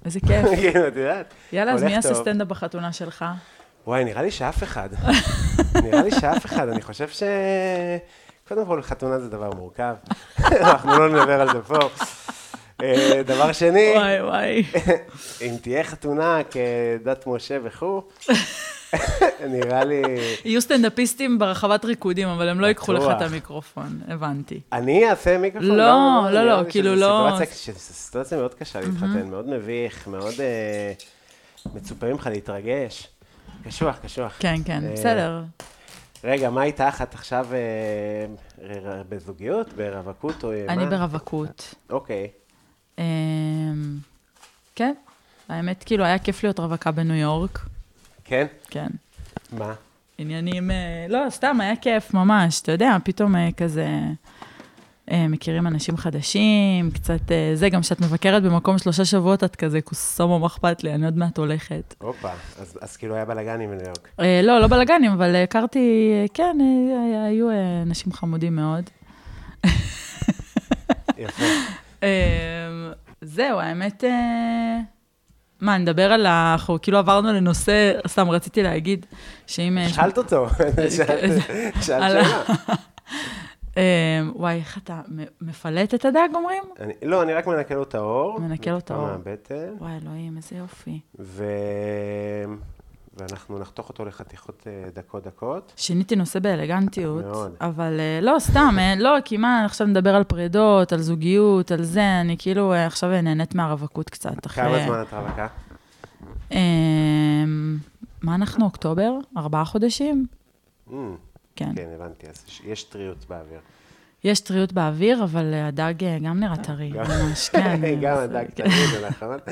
Speaker 3: איזה כיף.
Speaker 2: כאילו, את יודעת.
Speaker 3: יאללה, אז מי
Speaker 2: הולך
Speaker 3: יעשה
Speaker 2: טוב.
Speaker 3: סטנדאפ בחתונה שלך?
Speaker 2: וואי, נראה לי שאף אחד. נראה לי שאף אחד. אני חושב ש... קודם כל, חתונה זה דבר מורכב. אנחנו לא נדבר על זה פה. אה, דבר שני,
Speaker 3: וואי, וואי.
Speaker 2: אם תהיה חתונה כדת משה וכו', נראה לי...
Speaker 3: יהיו סטנדאפיסטים ברחבת ריקודים, אבל הם לא ייקחו לך את
Speaker 2: בטוח.
Speaker 3: המיקרופון, הבנתי.
Speaker 2: אני אעשה מיקרופון?
Speaker 3: לא, לא,
Speaker 2: נראה
Speaker 3: לא,
Speaker 2: לי
Speaker 3: כאילו
Speaker 2: שזו
Speaker 3: לא-
Speaker 2: סיטואציה- ש- זו סיטואציה מאוד קשה להתחתן, מאוד מביך, מאוד אה, מצופה ממך להתרגש. קשוח, קשוח.
Speaker 3: כן, כן,
Speaker 2: אה,
Speaker 3: בסדר.
Speaker 2: רגע, מה איתך? את עכשיו אה, ר- ר- בזוגיות? ברווקות? או אה,
Speaker 3: אני
Speaker 2: מה?
Speaker 3: ברווקות.
Speaker 2: אוקיי.
Speaker 3: אמ, כן, האמת, כאילו, היה כיף להיות רווקה בניו יורק.
Speaker 2: כן?
Speaker 3: כן.
Speaker 2: מה?
Speaker 3: עניינים, אה, לא, סתם, היה כיף ממש, אתה יודע, פתאום אה, כזה... אה, מכירים אנשים חדשים, קצת אה, זה, גם כשאת מבקרת במקום שלושה שבועות, את כזה קוסומו, מה אכפת לי, אני עוד מעט הולכת.
Speaker 2: הופה. אז, אז כאילו היה בלאגנים בניו יורק.
Speaker 3: אה, לא, לא בלאגנים, אבל הכרתי, אה, כן, אה, היו אה, אנשים חמודים מאוד.
Speaker 2: יפה.
Speaker 3: אמ, זהו, האמת... אה, מה, נדבר על ה... אנחנו כאילו עברנו לנושא, סתם רציתי להגיד, שאם... אה,
Speaker 2: שאלת אותו, שאלת שאלת
Speaker 3: על-
Speaker 2: שאלה.
Speaker 3: אמ, וואי, איך אתה מ- מפלט את הדג, אומרים?
Speaker 2: אני- לא, אני רק מנקה לו את האור.
Speaker 3: מנקה לו את
Speaker 2: טיפה
Speaker 3: האור.
Speaker 2: מהבטן,
Speaker 3: וואי, אלוהים, איזה יופי.
Speaker 2: ו... ואנחנו נחתוך אותו לחתיכות אה, דקות-דקות.
Speaker 3: שיניתי נושא באלגנטיות,
Speaker 2: מאוד.
Speaker 3: אבל אה, לא, סתם, אה, לא, כי מה, עכשיו נדבר על פרידות, על זוגיות, על זה, אני כאילו אה, עכשיו נהנית מהרווקות קצת. אחרי- כן.
Speaker 2: כמה זמן את רווקה?
Speaker 3: אמ, מה אנחנו, אוקטובר? ארבעה חודשים?
Speaker 2: Mm,
Speaker 3: כן.
Speaker 2: כן, הבנתי, אז יש- יש טריות באוויר.
Speaker 3: יש טריות באוויר, אבל אה, הדג אה, גם נראה טרי,
Speaker 2: גם-
Speaker 3: ממש, כן. אה,
Speaker 2: גם
Speaker 3: זה-
Speaker 2: הדג
Speaker 3: כן.
Speaker 2: תגיד, זה נכון?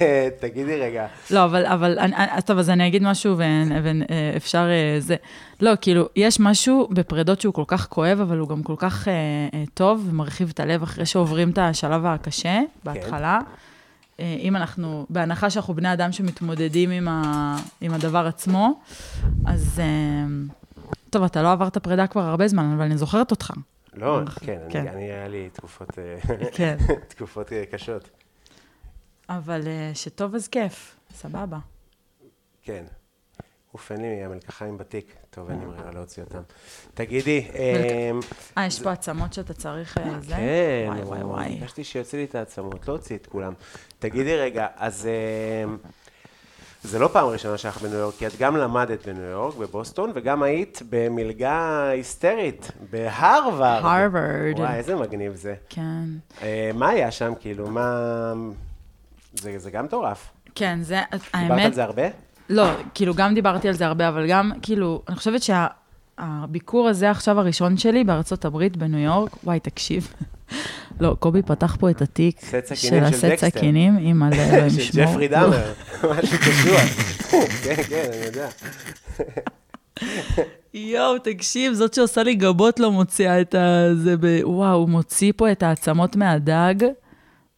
Speaker 2: אה, תגידי רגע,
Speaker 3: לא, אבל, אבל, אני- אני- אז טוב, אז אני אגיד משהו ואפשר זה. לא, כאילו, יש משהו בפרדות שהוא כל כך כואב, אבל הוא גם כל כך אה, אה, טוב ומרחיב את הלב אחרי שעוברים את השלב הקשה, בהתחלה. אה, אם אנחנו, בהנחה שאנחנו בני אדם שמתמודדים עם, ה, עם הדבר עצמו, אז... אה, טוב, אתה לא עברת פרידה כבר הרבה זמן, אבל אני זוכרת אותך.
Speaker 2: לא, כן, אני-
Speaker 3: כן.
Speaker 2: אני, היה לי תקופות, אה,
Speaker 3: כן.
Speaker 2: תקופות אה, קשות.
Speaker 3: אבל אה, שטוב אז כיף, סבבה.
Speaker 2: כן. אוף, אין לי המלקחיים בתיק. טוב, אין לי ברירה להוציא אותם. תגידי, אמ,
Speaker 3: אה, יש פה עצמות שאתה צריך אה, זה?
Speaker 2: כן,
Speaker 3: וואי, וואי, וואי.
Speaker 2: הרגשתי שיוצא לי את העצמות, לא הוציא את כולם. תגידי רגע, אז אמ, זה לא פעם ראשונה שלך בניו יורק, כי את גם למדת בניו יורק, בבוסטון, וגם היית במלגה היסטרית, בהרווארד.
Speaker 3: הרווארד.
Speaker 2: וואי, איזה מגניב זה.
Speaker 3: כן.
Speaker 2: אה, מה היה שם, כאילו, מה... זה זה גם מטורף.
Speaker 3: כן, זה,
Speaker 2: דיברת על
Speaker 3: האמת,
Speaker 2: זה הרבה?
Speaker 3: לא, כאילו, גם דיברתי על זה הרבה, אבל גם, כאילו, אני חושבת שהביקור הזה עכשיו הראשון שלי בארצות הברית, בניו יורק, וואי, תקשיב. לא, קובי פתח פה את התיק
Speaker 2: סט סכינים
Speaker 3: של
Speaker 2: של
Speaker 3: הסט
Speaker 2: דקסטר.
Speaker 3: סכינים, עם הלב, עם
Speaker 2: של
Speaker 3: שמו.
Speaker 2: ג'פרי דאמר, משהו קשוח. כן, כן, אני יודע.
Speaker 3: יואו, תקשיב, זאת שעושה לי גבות לא מוציאה את ה... זה ב... וואו, הוא מוציא פה את העצמות מהדג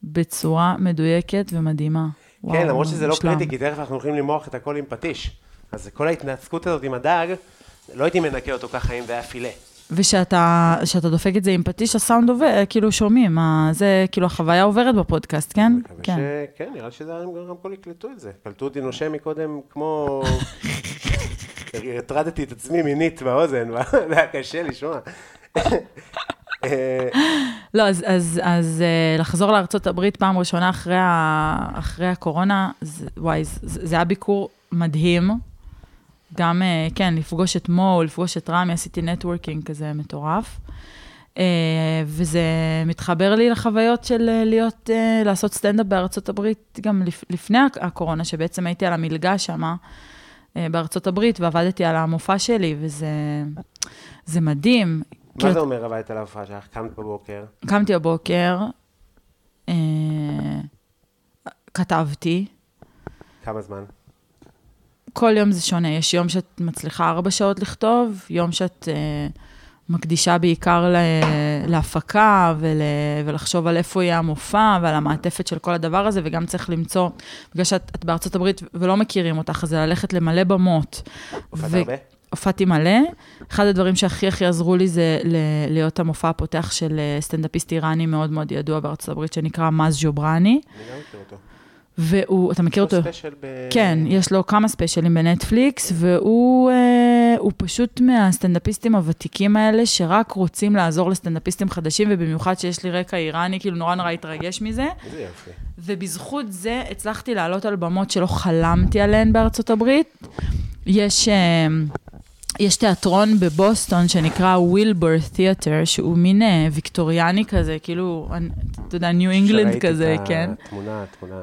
Speaker 3: בצורה מדויקת ומדהימה. וואו,
Speaker 2: כן, למרות שזה לא
Speaker 3: מושלם.
Speaker 2: קריטי, כי תכף אנחנו הולכים למרוח את הכל עם פטיש. אז כל ההתנצקות הזאת עם הדג, לא הייתי מנקה אותו ככה אם זה היה פילה.
Speaker 3: ושאתה שאתה דופק את זה עם פטיש, הסאונד עובר, כאילו שומעים, ה- זה כאילו החוויה עוברת בפודקאסט, כן?
Speaker 2: מקווה
Speaker 3: כן.
Speaker 2: ש- כן, נראה לי שזה היה- גם כל יקלטו את זה. קלטו אותי נושם מקודם כמו... הטרדתי את עצמי מינית באוזן, זה היה קשה לשמוע. אה,
Speaker 3: לא, אז, אז, אז אה, לחזור לארה"ב פעם ראשונה אחרי, ה, אחרי הקורונה, זה, וואי, זה, זה היה ביקור מדהים. גם, אה, כן, לפגוש את מו, לפגוש את רמי, עשיתי נטוורקינג כזה מטורף. אה, וזה מתחבר לי לחוויות של אה, להיות, אה, לעשות סטנדאפ בארצות הברית, גם לפ, לפני הק- הקורונה, שבעצם הייתי על המלגה שמה אה, בארצות הברית, ועבדתי על המופע שלי, וזה זה מדהים.
Speaker 2: מה
Speaker 3: כאילו,
Speaker 2: זה אומר אבל את על ההופעה שלך? קמת בבוקר,
Speaker 3: קמתי בבוקר, אה, כתבתי,
Speaker 2: כמה זמן?
Speaker 3: כל יום זה שונה, יש יום שאת מצליחה ארבע שעות לכתוב, יום שאת אה, מקדישה בעיקר ל, להפקה ול, ולחשוב על איפה יהיה המופע ועל המעטפת של כל הדבר הזה, וגם צריך למצוא, בגלל שאת את בארצות הברית ולא מכירים אותך, אז זה ללכת למלא במות.
Speaker 2: הופעת
Speaker 3: ו-
Speaker 2: הרבה?
Speaker 3: הופעתי מלא. אחד הדברים שהכי הכי עזרו לי זה ל- להיות המופע הפותח של אה, סטנדאפיסט איראני מאוד מאוד ידוע בארצות הברית, שנקרא מאז ג'ובראני.
Speaker 2: אני גם מכיר אותו.
Speaker 3: והוא, אתה מכיר אותו?
Speaker 2: לא ספיישל ב-
Speaker 3: כן, יש לו כמה ספיישלים בנטפליקס, והוא אה, הוא פשוט מהסטנדאפיסטים הוותיקים האלה, שרק רוצים לעזור לסטנדאפיסטים חדשים, ובמיוחד שיש לי רקע איראני, כאילו נורא נורא התרגש מזה.
Speaker 2: איזה יופי.
Speaker 3: ובזכות זה הצלחתי לעלות על במות שלא חלמתי עליהן בארצות הברית. יש, אה, יש תיאטרון בבוסטון שנקרא וילבור תיאטר, שהוא מין אה, ויקטוריאני כזה, כאילו, אני- אתה יודע, ניו אינגלנד
Speaker 2: שראיתי
Speaker 3: כזה,
Speaker 2: את
Speaker 3: כן?
Speaker 2: התמונה, התמונה.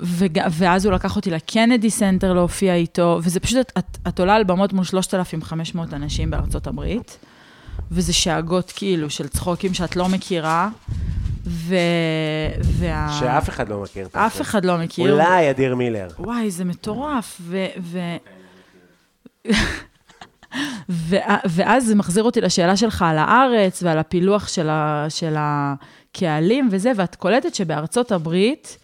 Speaker 3: וג... ואז הוא לקח אותי לקנדי סנטר להופיע איתו, וזה פשוט, את, את, את עולה על במות מול 3,500 אנשים בארצות הברית, וזה שאגות כאילו של צחוקים שאת לא מכירה, ו... וה...
Speaker 2: שאף אחד לא מכיר. את
Speaker 3: אה. אף
Speaker 2: זה.
Speaker 3: אחד לא מכיר.
Speaker 2: אולי אדיר מילר.
Speaker 3: וואי, זה מטורף, ו... ו... וה- ואז זה מחזיר אותי לשאלה שלך על הארץ ועל הפילוח של, ה, של הקהלים וזה, ואת קולטת שבארצות הברית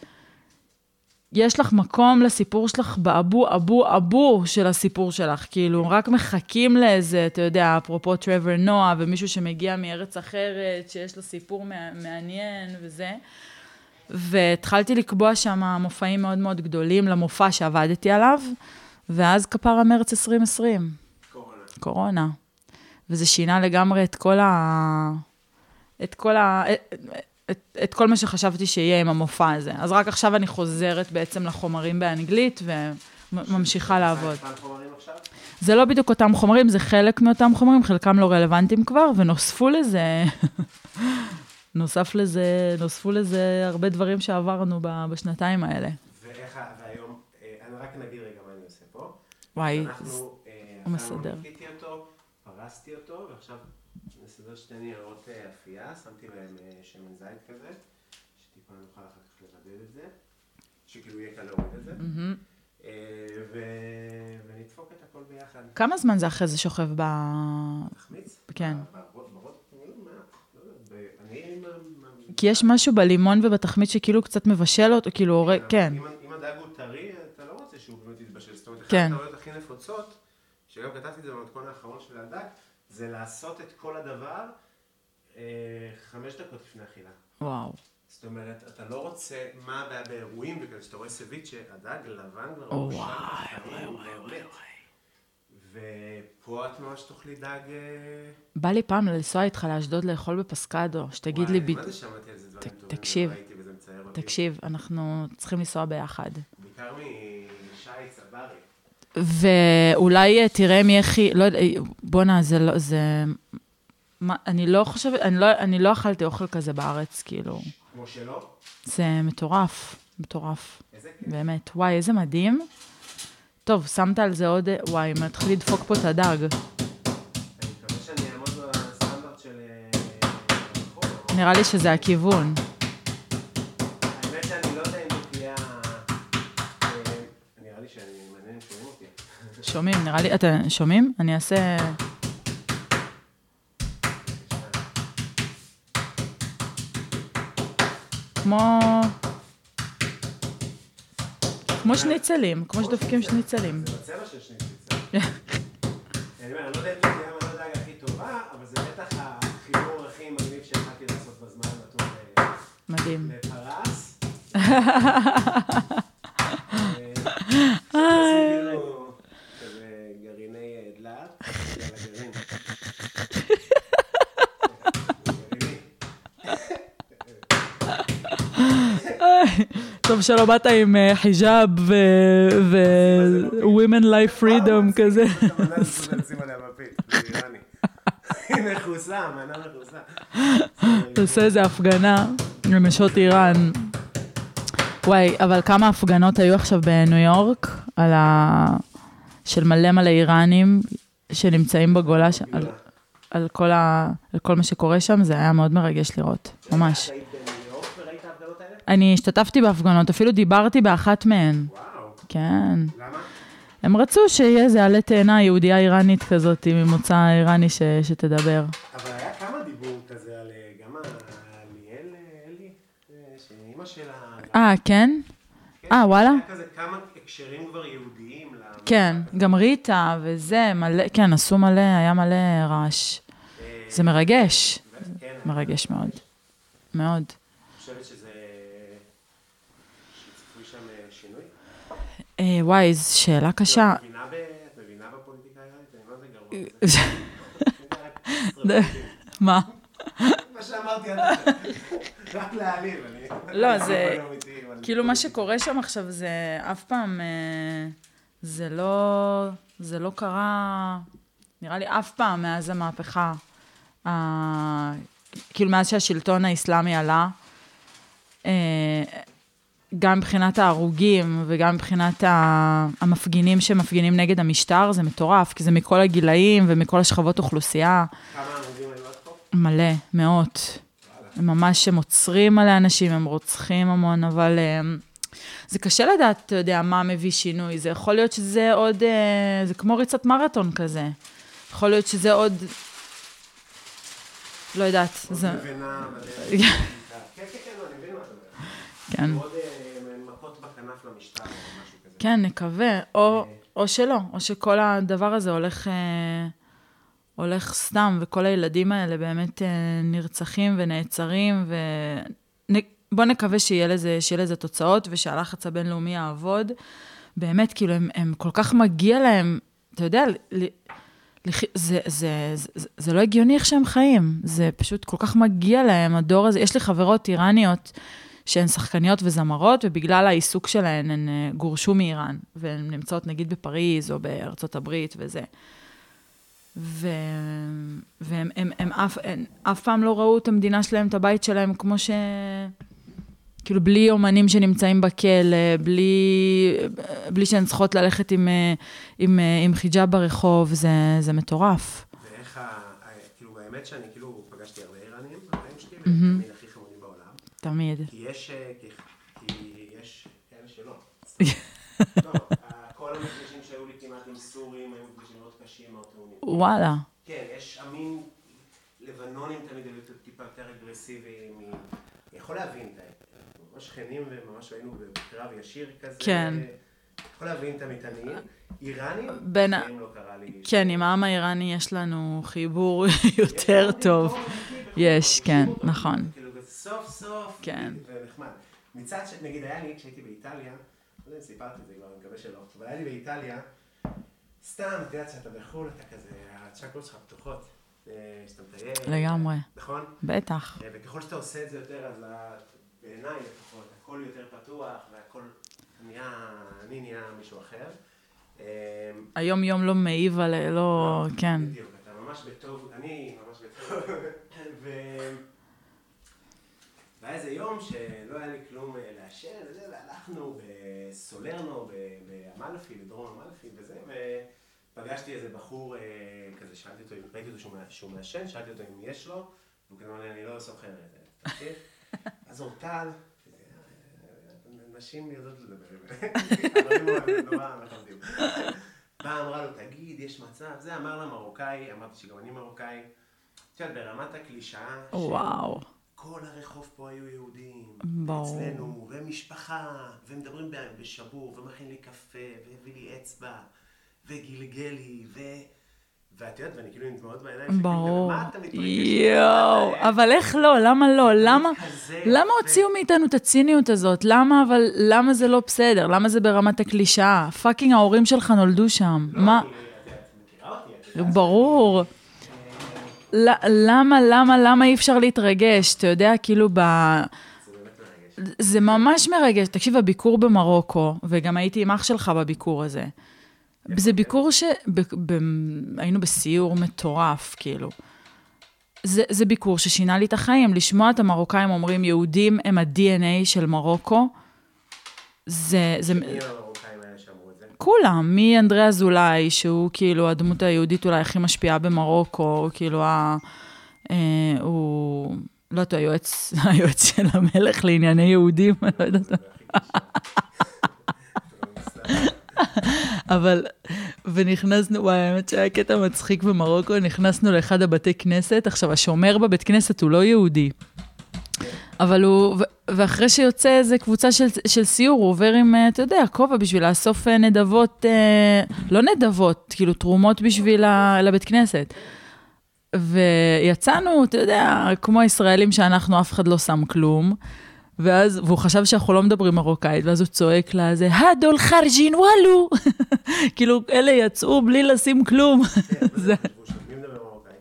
Speaker 3: יש לך מקום לסיפור שלך באבו, אבו, אבו של הסיפור שלך, כאילו, רק מחכים לאיזה, אתה יודע, אפרופו טרוור נועה, ומישהו שמגיע מארץ אחרת, שיש לו סיפור מע- מעניין וזה. והתחלתי לקבוע שם מופעים מאוד מאוד גדולים למופע שעבדתי עליו, ואז כפרה מרץ 2020. קורונה. קורונה. וזה שינה לגמרי את כל ה... את כל ה... את, את, את כל מה שחשבתי שיהיה עם המופע הזה. אז רק עכשיו אני חוזרת בעצם לחומרים באנגלית וממשיכה לעבוד. זה לא בדיוק אותם חומרים, זה חלק מאותם חומרים, חלקם לא רלוונטיים כבר, ונוספו לזה, נוסף לזה, נוספו לזה הרבה דברים שעברנו ב- בשנתיים האלה.
Speaker 2: ואיך, ה- והיום, אה, אני רק נגיד רגע מה אני עושה פה.
Speaker 3: וואי, אז-
Speaker 2: אנחנו, אה,
Speaker 3: הוא
Speaker 2: אכלנו,
Speaker 3: מסדר.
Speaker 2: ניקיתי אותו, פרסתי אותו, ועכשיו נסדר שתי ניירות אה, אפייה, שמתי להם אה, שמן זית כזה, שטיפה נוכל אחר כך לבדל את זה, שכאילו יהיה קל להוריד את זה, אה, ו- ונדפוק את הכל ביחד.
Speaker 3: כמה זמן זה אחרי זה שוכב ב...
Speaker 2: תחמיץ?
Speaker 3: כן.
Speaker 2: ברוב, ברוב, כאילו, מה? לא יודע, ב- אני עם ה- עם-
Speaker 3: כי יש משהו בלימון ובתחמית שכאילו קצת מבשל אותו, כאילו הורג, כן.
Speaker 2: אם- אם הדג הוא טרי, אתה לא רוצה שהוא באמת יתבשל. זאת אומרת, אחת
Speaker 3: כן.
Speaker 2: הטעויות הכי נפוצות, שגם כתבתי את זה במתכון האחרון של הדג, זה לעשות את כל הדבר אה, חמש דקות לפני אכילה.
Speaker 3: כן. וואו.
Speaker 2: זאת אומרת, אתה לא רוצה, מה הבעיה באירועים, וכאילו שאתה רואה סביצ'ה, הדג לבן כבר
Speaker 3: וואי,
Speaker 2: מבושל
Speaker 3: וואי,
Speaker 2: בחיים,
Speaker 3: וואי,
Speaker 2: הוא
Speaker 3: וואי,
Speaker 2: מת. ופה את ממש תאכלי דג... אה,
Speaker 3: בא לי פעם לנסוע איתך לאשדוד לאכול בפסקדו, שתגיד
Speaker 2: וואי,
Speaker 3: לי
Speaker 2: מה
Speaker 3: בדיוק.
Speaker 2: זה שמעתי על זה דברים
Speaker 3: ת-
Speaker 2: טובים?
Speaker 3: תקשיב.
Speaker 2: ולא ראיתי וזה מצער אותי.
Speaker 3: תקשיב, אנחנו צריכים לנסוע ביחד.
Speaker 2: בעיקר משי צברי.
Speaker 3: ואולי אה, תראה מי הכי, לא יודע, אה, בואנה, זה לא, זה... מה, אני לא חושבת, אני לא, אני לא אכלתי אוכל כזה בארץ, כאילו.
Speaker 2: כמו שלא?
Speaker 3: זה מטורף, מטורף,
Speaker 2: איזה כיף.
Speaker 3: באמת. וואי, איזה מדהים. טוב, שמת על זה עוד, אה, וואי, מתחיל לדפוק פה את הדג.
Speaker 2: אני מקווה שאני אעמוד בסטנדרט של... אה, החוק.
Speaker 3: נראה לי שזה הכיוון.
Speaker 2: האמת שאני לא יודע אם זו תהיה... אה, נראה לי שאני מעניין אם שומעים אותי.
Speaker 3: שומעים, נראה לי, אתם שומעים? אני אעשה... כמו... כמו שניצלים, כמו שדופקים שניצלים.
Speaker 2: זה בצבע של שניצל. אני אומר, אני לא יודע אם זו תהיה המנות דג הכי טובה, אבל זה בטח החיבור הכי מגניב שהתחלתי לעשות בזמן הנתון ל-
Speaker 3: מדהים.
Speaker 2: לפרס. אה,
Speaker 3: אה.
Speaker 2: כאילו, כזה גרעיני אה, דלעת, על הגרעין. גרעיני.
Speaker 3: טוב שלא באת עם אה, חיג'אב ו... ו... Women Life Freedom כזה.
Speaker 2: המנה הזאת צריך לשים עליה מפית, זה איראני. היא מכוסה, המנה מכוסה.
Speaker 3: תעשה איזה הפגנה לנשות איראן. וואי, אבל כמה הפגנות היו עכשיו בניו יורק, על ה... של מלא מלא איראנים שנמצאים בגולה, ש... על, על, כל ה... על כל מה שקורה שם, זה היה מאוד מרגש לראות, ממש.
Speaker 2: היית בניו יורק וראית את ההפגנות האלה?
Speaker 3: אני השתתפתי בהפגנות, אפילו דיברתי באחת מהן.
Speaker 2: וואו,
Speaker 3: כן.
Speaker 2: למה?
Speaker 3: הם רצו שיהיה איזה עלה תאנה יהודייה איראנית כזאת, ממוצא איראני ש... שתדבר.
Speaker 2: אבל היה כמה דיבור כזה על אה, גם ה- ליאל אה, אלי, אה, שאימא שלה...
Speaker 3: אה, כן? אה, וואלה?
Speaker 2: היה כזה כמה הקשרים כבר יהודיים. ל-
Speaker 3: כן, גם ריטה וזה, מלא, כן, עשו מלא, היה מלא רעש.
Speaker 2: אה,
Speaker 3: זה מרגש,
Speaker 2: כן, אני
Speaker 3: מרגש מאוד. מאוד.
Speaker 2: חושבת שזה... שצפוי שם אה, שינוי.
Speaker 3: אה, וואי, זו שאלה קשה.
Speaker 2: את מבינה ב- את מבינה בפוליטיקה האיראנית? אני לא יודע גרוע. בזה. אני רק עשרה
Speaker 3: מה?
Speaker 2: מה שאמרתי עד עכשיו, רק להעליב, אני...
Speaker 3: לא, זה-
Speaker 2: אני לא אמיתי, אבל-
Speaker 3: כאילו, מה שקורה שם עכשיו זה אף פעם, אה, זה לא, זה לא קרה, נראה לי אף פעם מאז המהפכה, אה, כאילו, מאז שהשלטון האסלאמי עלה, אה, גם מבחינת ההרוגים וגם מבחינת ה- המפגינים שמפגינים נגד המשטר, זה מטורף, כי זה מכל הגילאים ומכל השכבות אוכלוסייה.
Speaker 2: כמה עמודים היו עד פה?
Speaker 3: מלא, מאות. הם ממש, הם עוצרים על האנשים, הם רוצחים המון, אבל אמ, זה קשה לדעת, אתה יודע, מה מביא שינוי. זה יכול להיות שזה עוד, אה, זה כמו ריצת מרתון כזה. יכול להיות שזה עוד, לא יודעת, זה,
Speaker 2: מבינה, אבל- כן, כן, כן, אני מבין מה אתה אומר.
Speaker 3: כן.
Speaker 2: עוד אה, מכות בכנף נכנס למשטר או משהו כזה.
Speaker 3: כן, נקווה, או, או שלא, או שכל הדבר הזה הולך, אה, הולך סתם, וכל הילדים האלה באמת אה, נרצחים ונעצרים, ו... נ... בוא נקווה שיהיה לזה, שיהיה לזה תוצאות, ושהלחץ הבינלאומי יעבוד. באמת, כאילו, הם, הם כל כך מגיע להם, אתה יודע, ל... לח- זה, זה, זה, זה, זה לא הגיוני איך שהם חיים, זה פשוט כל כך מגיע להם, הדור הזה. יש לי חברות איראניות שהן שחקניות וזמרות, ובגלל העיסוק שלהן הן אה, גורשו מאיראן, והן נמצאות נגיד בפריז או בארצות הברית וזה. ו... והם הם, הם, אף, הם, אף פעם לא ראו את המדינה שלהם, את הבית שלהם, כמו ש... כאילו, בלי אומנים שנמצאים בכלא, בלי, בלי שהן צריכות ללכת עם, אה, עם, אה, עם חיג'אב ברחוב, זה, זה מטורף.
Speaker 2: ואיך ה... ה- כאילו, האמת שאני כאילו פגשתי הרבה איראנים בחיים שלי, והם תמיד הכי חמודים בעולם.
Speaker 3: תמיד.
Speaker 2: כי יש... אה, כי- כי יש כאלה שלא. לא, ה- כל המפגשים שהיו לי כמעט עם סורים היו מפגשים מאוד קשים, מאוד טעונים.
Speaker 3: וואלה.
Speaker 2: כן, יש עמים לבנונים תמיד היו טיפה יותר אגרסיביים. מ- אני יכול להבין, אתה- ממש שכנים וממש היינו בקרב ישיר כזה.
Speaker 3: כן.
Speaker 2: יכול להבין את המטענים. איראנים?
Speaker 3: בין ה-
Speaker 2: בחיים לא קרה לי.
Speaker 3: כן, עם העם האיראני יש לנו חיבור יותר טוב. יש, כן, נכון.
Speaker 2: כאילו, כזה סוף סוף,
Speaker 3: כן.
Speaker 2: ונחמד. מצד ש... נגיד, היה לי, כשהייתי באיטליה, לא יודע אם סיפרתי את זה כבר, אני מקווה שלא, אבל היה לי באיטליה, סתם, את יודעת שאתה בחו"ל, אתה כזה, הצ'קלות שלך פתוחות. אה, שאתה מטייל.
Speaker 3: לגמרי.
Speaker 2: נכון?
Speaker 3: בטח.
Speaker 2: אה, וככל שאתה עושה את זה יותר, אז ה- בעיניי לפחות, הכל יותר פתוח, והכל נהיה, אני נהיה מישהו אחר. אה,
Speaker 3: היום-יום לא מעיב על... לא... כן.
Speaker 2: בדיוק, אתה ממש בטוב, אני ממש בטוב. ו... והיה איזה יום שלא היה לי כלום אה, לעשן, וזה, והלכנו בסולרנו, ב- באמלפי, בדרום אמלפי וזה, ופגשתי איזה בחור אה, כזה, שאלתי אותו, אם- ראיתי אותו שהוא מע- שהוא מעשן, שאלתי אותו אם יש לו, והוא כזה אומר לי, אני לא סוחר את זה, תקשיב. אז אורטל, אה, נשים יודעות לדבר עם זה, נורא מכבדים. באה, אמרה לו, תגיד, יש מצב, זה אמר לה מרוקאי, אמרתי שגם אני מרוקאי. את יודעת, ברמת הקלישאה, של
Speaker 3: וואו.
Speaker 2: כל הרחוב פה היו יהודים.
Speaker 3: ברור.
Speaker 2: אצלנו, ומשפחה, ומדברים ב- בשבור, ומכין לי קפה, והביא לי אצבע, וגלגל לי, ו... ואת יודעת, ואני כאילו עם דמעות בעיניים, שכאילו,
Speaker 3: ברור.
Speaker 2: "למה אתה מתרגש?
Speaker 3: יואו, אבל איך לא? למה לא? למה?
Speaker 2: כזה
Speaker 3: למה
Speaker 2: יפה.
Speaker 3: הוציאו מאיתנו את הציניות הזאת? למה, אבל למה זה לא בסדר? למה זה ברמת הקלישאה? פאקינג ההורים שלך נולדו שם.
Speaker 2: לא,
Speaker 3: מה?
Speaker 2: אני- את יודעת, את מכירה אותי, את יודעת.
Speaker 3: ברור. ל- למה, למה, למה אי אפשר להתרגש? אתה יודע, כאילו ב...
Speaker 2: זה באמת מרגש.
Speaker 3: זה ממש מרגש. תקשיב, הביקור במרוקו, וגם הייתי עם אח שלך בביקור הזה. זה ביקור ש... ב... ב... היינו בסיור מטורף, כאילו. זה, זה ביקור ששינה לי את החיים. לשמוע את המרוקאים אומרים, יהודים הם ה-DNA של מרוקו, זה... זה...
Speaker 2: מי המרוקאים האלה שאמרו את זה?
Speaker 3: כולם, מאנדרי אזולאי, שהוא כאילו הדמות היהודית אולי הכי משפיעה במרוקו, כאילו ה... אה, הוא, לא יודעת, הוא היועץ, היועץ של המלך לענייני יהודים, אני לא יודעת. אבל, ונכנסנו, וואי, האמת שהיה קטע מצחיק במרוקו, נכנסנו לאחד הבתי כנסת, עכשיו, השומר בבית כנסת הוא לא יהודי. אבל הוא, ו- ואחרי שיוצא איזה קבוצה של, של סיור, הוא עובר עם, אה, אתה יודע, כובע בשביל לאסוף אה, נדבות, אה, לא נדבות, כאילו תרומות בשביל ה, לבית כנסת. ויצאנו, אתה יודע, כמו הישראלים שאנחנו, אף אחד לא שם כלום. ואז, והוא חשב שאנחנו לא מדברים מרוקאית, ואז הוא צועק לה, זה הדול חרג'ין וואלו. כאילו, אלה יצאו בלי לשים כלום.
Speaker 2: זה... מי מדבר מרוקאי?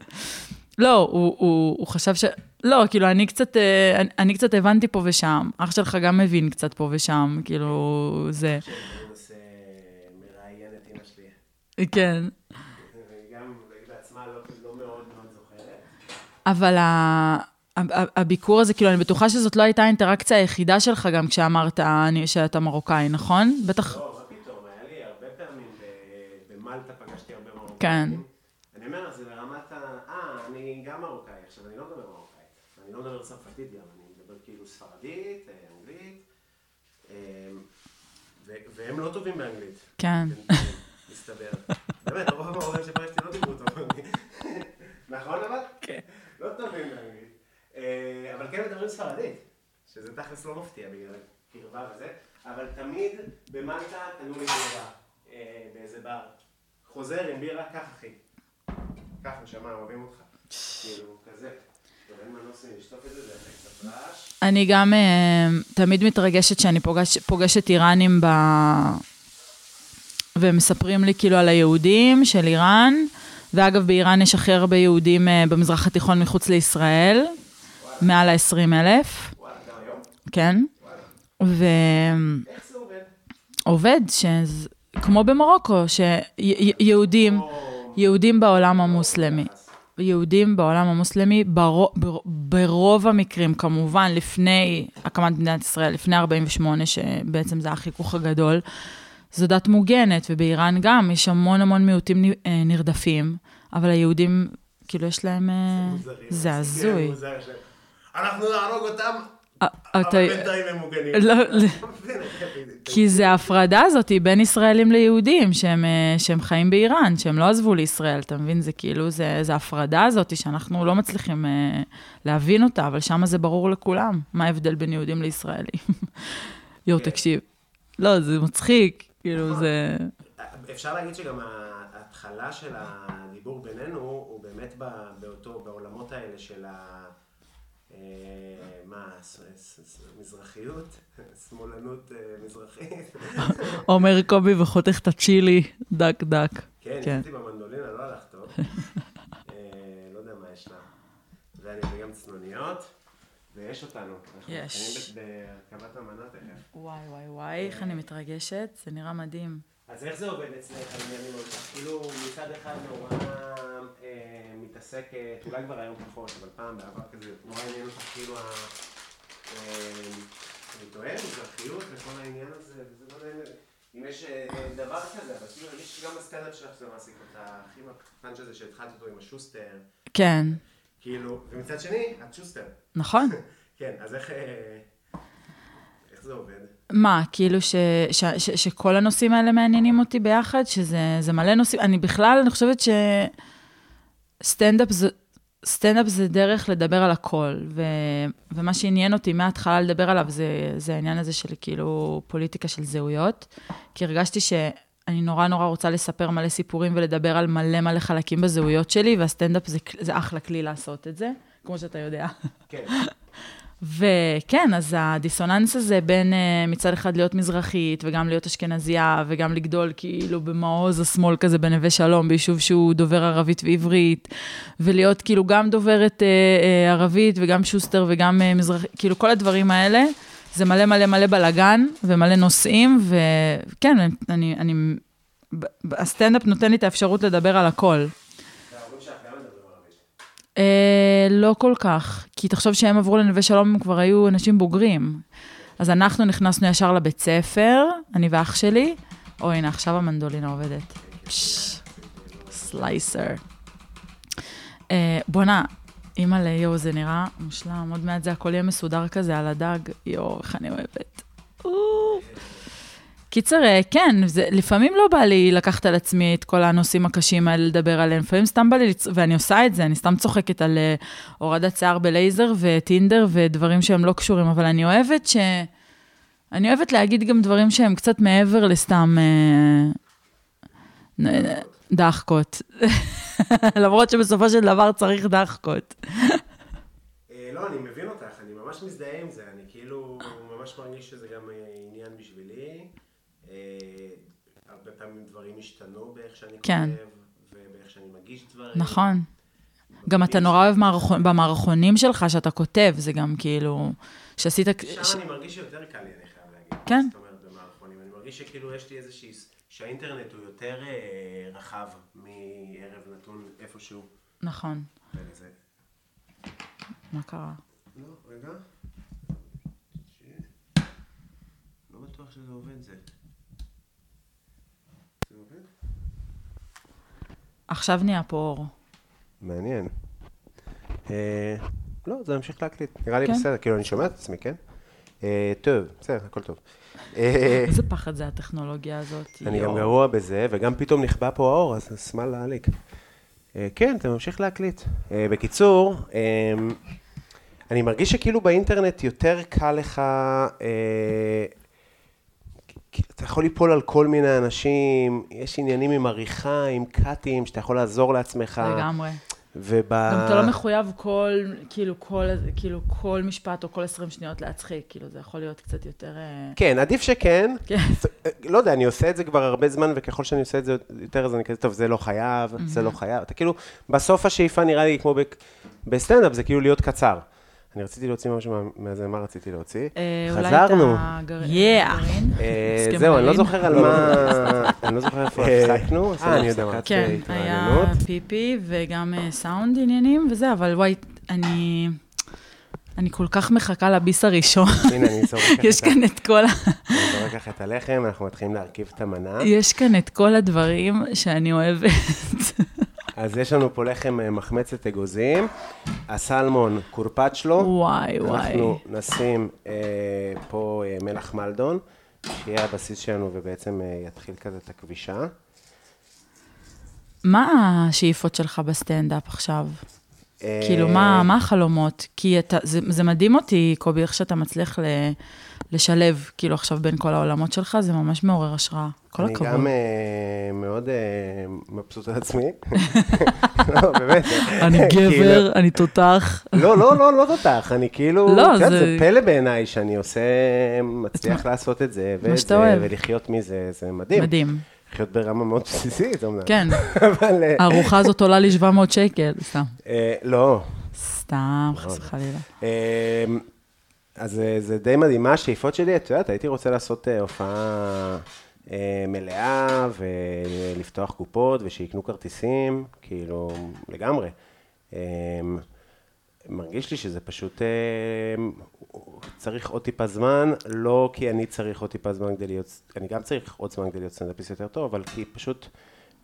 Speaker 3: לא, הוא, הוא, הוא חשב ש... לא, כאילו, אני קצת, אה, אני, אני קצת הבנתי פה ושם. אח שלך גם מבין קצת פה ושם, כאילו, זה...
Speaker 2: שאני מנסה מראיין את אה, אמא שלי.
Speaker 3: כן.
Speaker 2: והיא אה, גם היא בעצמה לא- לא מאוד מאוד זוכרת.
Speaker 3: אבל ה... ה- ה- הביקור הזה, כאילו, אני בטוחה שזאת לא הייתה האינטראקציה היחידה שלך גם כשאמרת אני- שאתה מרוקאי, נכון? בטח,
Speaker 2: לא, מה פתאום, היה לי הרבה פעמים ב- במלטה פגשתי הרבה מרוקאים.
Speaker 3: כן.
Speaker 2: אני אומר, זה ברמת ה... אה, אני גם מרוקאי, עכשיו אני לא מדבר מרוקאי. אני לא מדבר צרפתית גם, אני מדבר כאילו ספרדית, אה, אנגלית. אה, ו- והם לא טובים באנגלית.
Speaker 3: כן.
Speaker 2: מסתבר. באמת, רוב המורים שפגשתי לא דיברו טוב באנגלית. נכון אבל?
Speaker 3: כן.
Speaker 2: לא טובים באנגלית. אה, אבל כן מדברים ספרדית, שזה תכלס לא מפתיע בגלל הקרבה וזה. אבל תמיד במלטה תנו לי בירה, אה, באיזה בר. חוזר עם בירה, קח אחי. קח נשמה, אוהבים אותך. כאילו, כזה. טוב, אין מנוס מלשתות את זה, זה יפה קצת רעש.
Speaker 3: אני גם אה, תמיד מתרגשת שאני פוגש, פוגשת איראנים ב... והם מספרים לי כאילו על היהודים של איראן, ואגב, באיראן יש הכי הרבה יהודים אה, במזרח התיכון מחוץ לישראל, מעל ה-20 אלף,
Speaker 2: וואלה, גם היום?
Speaker 3: כן? ועובד,
Speaker 2: איך זה עובד?
Speaker 3: שז... כמו במרוקו, שיהודים, יהודים בעולם המוסלמי. יהודים בעולם המוסלמי ברו, בר, ברוב המקרים, כמובן, לפני הקמת מדינת ישראל, לפני 48', שבעצם זה החיכוך הגדול, זו דת מוגנת, ובאיראן גם יש המון המון מיעוטים נ- אה, נרדפים, אבל היהודים, כאילו, יש להם... אה,
Speaker 2: מוזרים.
Speaker 3: זה
Speaker 2: כן,
Speaker 3: הזוי.
Speaker 2: מוזר שלהם. אנחנו נהרוג אותם,
Speaker 3: אה, אתה-
Speaker 2: אבל בינתיים הם מוגנים.
Speaker 3: לא, לא.
Speaker 2: אתה מבין?
Speaker 3: כי זה ההפרדה הזאת בין ישראלים ליהודים, שהם, אה, שהם חיים באיראן, שהם לא עזבו לישראל, אתה מבין? זה כאילו, זה, זה ההפרדה הזאת שאנחנו לא מצליחים אה, להבין אותה, אבל שם זה ברור לכולם, מה ההבדל בין יהודים לישראלים. יואו,
Speaker 2: כן.
Speaker 3: תקשיב. לא, זה מצחיק, כאילו, זה...
Speaker 2: אפשר להגיד שגם ההתחלה של הדיבור בינינו הוא באמת ב- באותו, בעולמות האלה של ה... אה, מה, ס- ס- ס- מזרחיות? שמאלנות אה, מזרחית?
Speaker 3: אומר קובי וחותך את הצ'ילי, דק דק.
Speaker 2: כן,
Speaker 3: כן.
Speaker 2: ניסיתי במנדולינה, לא הלך טוב. אה, לא יודע מה יש לה. ואני וגם צנוניות, ויש אותנו. אנחנו
Speaker 3: יש.
Speaker 2: מתחילים ב- בהרכבת המנה תכף.
Speaker 3: וואי, וואי, וואי, איך אני מתרגשת, זה נראה מדהים.
Speaker 2: אז איך זה עובד אצלך העניינים האלה? כאילו מצד אחד נורא אה, מתעסקת, אולי כבר היום פחות, אבל פעם בעבר כזה, נורא עניין אותך כאילו ה... אה, אני טועה, מזרחיות וכל העניין הזה, וזה לא נעים. אם יש אה, דבר כזה, אבל כאילו אני חושב שגם הסטנדאפ שלך זה מעסיק אותך, הכי מהפאנץ' הזה שהתחלת אותו עם השוסטר,
Speaker 3: כן,
Speaker 2: כאילו, ומצד שני, את שוסטר.
Speaker 3: נכון.
Speaker 2: כן, אז איך... אה, איך זה עובד?
Speaker 3: מה, כאילו ש, ש, ש, שכל הנושאים האלה מעניינים אותי ביחד? שזה זה מלא נושאים? אני בכלל, אני חושבת שסטנדאפ זה, סטנדאפ זה דרך לדבר על הכל, ו, ומה שעניין אותי מההתחלה לדבר עליו זה, זה העניין הזה של כאילו פוליטיקה של זהויות, כי הרגשתי שאני נורא נורא רוצה לספר מלא סיפורים ולדבר על מלא מלא חלקים בזהויות שלי, והסטנדאפ זה, זה אחלה כלי לעשות את זה, כמו שאתה יודע.
Speaker 2: כן,
Speaker 3: וכן, אז הדיסוננס הזה בין אה, מצד אחד להיות מזרחית, וגם להיות אשכנזייה, וגם לגדול כאילו במעוז השמאל כזה בנווה שלום, ביישוב שהוא דובר ערבית ועברית, ולהיות כאילו גם דוברת אה, אה, ערבית, וגם שוסטר, וגם אה, מזרחית, כאילו כל הדברים האלה, זה מלא מלא מלא בלאגן, ומלא נושאים, וכן, אני... אני ב- ב- הסטנדאפ נותן לי את האפשרות לדבר על הכל.
Speaker 2: וההורים שלך גם מדברים ערבית.
Speaker 3: אה, לא כל כך, כי תחשוב שהם עברו לנווה שלום, הם כבר היו אנשים בוגרים. אז אנחנו נכנסנו ישר לבית ספר, אני ואח שלי. או, הנה, עכשיו המנדולינה עובדת. סלייסר. אה, בואנה, אימא'לה, יואו, זה נראה מושלם. עוד מעט זה הכל יהיה מסודר כזה על הדג. יואו, איך אני אוהבת. אוו. קיצר, אה, כן, זה, לפעמים לא בא לי לקחת על עצמי את כל הנושאים הקשים האלה לדבר עליהם, לפעמים סתם בא לי, לצ... ואני עושה את זה, אני סתם צוחקת על אה, הורדת שיער בלייזר וטינדר ודברים שהם לא קשורים, אבל אני אוהבת ש... אני אוהבת להגיד גם דברים שהם קצת מעבר לסתם אה, נ- נ- דחקות. למרות שבסופו של דבר צריך דחקות.
Speaker 2: אה, לא, אני מבין אותך, אני ממש מזדהה עם זה, אני כאילו ממש מרגיש שזה גם אה, עניין בשבילי. אה, הרבה פעמים דברים השתנו באיך שאני
Speaker 3: כן.
Speaker 2: כותב, ובאיך שאני מגיש דברים.
Speaker 3: נכון. גם אתה נורא אוהב מערכון, במערכונים שלך שאתה כותב, זה גם כאילו, שעשית... ש-
Speaker 2: שם אני מרגיש שיותר קל לי, אני חייב להגיד.
Speaker 3: כן.
Speaker 2: זאת אומרת, במערכונים. אני מרגיש שכאילו יש לי איזושהי... שהאינטרנט הוא יותר אה, רחב מערב נתון איפשהו.
Speaker 3: נכון.
Speaker 2: ולזה.
Speaker 3: מה קרה?
Speaker 2: לא, רגע. ש- לא בטוח שזה עובד זה. זה עובד?
Speaker 3: עכשיו נהיה פה אור.
Speaker 2: מעניין. אה, לא, זה ממשיך להקליט. נראה לי
Speaker 3: כן.
Speaker 2: בסדר, כאילו אני שומע את עצמי, כן? אה, טוב, בסדר, הכל טוב. אה,
Speaker 3: איזה פחד זה הטכנולוגיה הזאת.
Speaker 2: אני גם
Speaker 3: יואו.
Speaker 2: גרוע בזה, וגם פתאום נכבה פה האור, אז אז שמאל להעליק. אה, כן, אתה ממשיך להקליט. אה, בקיצור, אה, אני מרגיש שכאילו באינטרנט יותר קל לך אה, יכול ליפול על כל מיני אנשים, יש עניינים עם עריכה, עם קאטים, שאתה יכול לעזור לעצמך.
Speaker 3: לגמרי.
Speaker 2: וב...
Speaker 3: גם אתה לא מחויב כל, כאילו, כל, כאילו, כל משפט או כל 20 שניות להצחיק, כאילו, זה יכול להיות קצת יותר... אה,
Speaker 2: כן, עדיף שכן.
Speaker 3: כן.
Speaker 2: לא יודע, אני עושה את זה כבר הרבה זמן, וככל שאני עושה את זה יותר, אז אני כזה, טוב, זה לא חייב, זה לא חייב. אתה כאילו, בסוף השאיפה נראה לי כמו בק- בסטנדאפ, זה כאילו להיות קצר. אני רציתי להוציא משהו מה- מהזה, מה רציתי להוציא?
Speaker 3: אה, אולי את
Speaker 2: חזרנו.
Speaker 3: הגרעין-
Speaker 4: Yeah.
Speaker 3: הגרעין?
Speaker 2: אה,
Speaker 3: הסכם
Speaker 2: זהו, אני לא
Speaker 3: גרעין.
Speaker 2: זוכר על מה... אני לא זוכר איפה הפסקנו, עשינו
Speaker 4: אני יודע מה.
Speaker 2: הפסקת
Speaker 3: כן, היה
Speaker 2: התרעננות.
Speaker 3: פיפי וגם אה, סאונד עניינים וזה, אבל וואי, אני... אני כל כך מחכה לביס הראשון.
Speaker 2: הנה, אני זורק לך
Speaker 3: יש
Speaker 2: את ה-
Speaker 3: כאן את כל ה...
Speaker 2: אני זורק לך את הלחם, אנחנו מתחילים להרכיב את המנה.
Speaker 3: יש כאן את כל הדברים שאני אוהבת.
Speaker 2: אז יש לנו פה לחם אה, מחמצת אגוזים, הסלמון קורפצ'לו.
Speaker 3: וואי, וואי.
Speaker 2: אנחנו נשים אה, פה אה, מלח מלדון, שיהיה הבסיס שלנו ובעצם אה, יתחיל כזה את הכבישה.
Speaker 3: מה השאיפות שלך בסטנדאפ עכשיו?
Speaker 2: אה,
Speaker 3: כאילו, מה, מה החלומות? כי אתה, זה, זה מדהים אותי, קובי, איך שאתה מצליח ל, לשלב, כאילו, עכשיו בין כל העולמות שלך, זה ממש מעורר השראה. כל הכבוד.
Speaker 2: אני גם אה, מאוד אה, מבסוט על עצמי. לא, באמת.
Speaker 3: אני
Speaker 2: כאילו,
Speaker 3: גבר, אני תותח.
Speaker 2: לא, לא, לא, לא תותח, אני כאילו,
Speaker 3: לא,
Speaker 2: את יודעת, זה
Speaker 3: זה-
Speaker 2: פלא בעיניי שאני עושה, מצליח לעשות את זה, ואת
Speaker 3: שאתה
Speaker 2: זה,
Speaker 3: אוהב.
Speaker 2: ולחיות מזה, זה מדהים.
Speaker 3: מדהים.
Speaker 2: לחיות ברמה מאוד בסיסית, אמנם.
Speaker 3: כן,
Speaker 2: אבל... אה,
Speaker 3: הארוחה הזאת עולה לי 700 שקל. סתם.
Speaker 2: אה, לא.
Speaker 3: סתם,
Speaker 2: נכון.
Speaker 3: חס וחלילה.
Speaker 2: אה, אז אה, זה די מדהים. מה השאיפות שלי? את יודעת, הייתי רוצה לעשות אה, הופעה אה, מלאה, ולפתוח קופות, ושיקנו כרטיסים, כאילו, לגמרי. אה, מרגיש לי שזה פשוט אה, צריך עוד טיפה זמן, לא כי אני צריך עוד טיפה זמן כדי להיות, אני גם צריך עוד זמן כדי להיות סטנדאפיסט יותר טוב, אבל כי פשוט,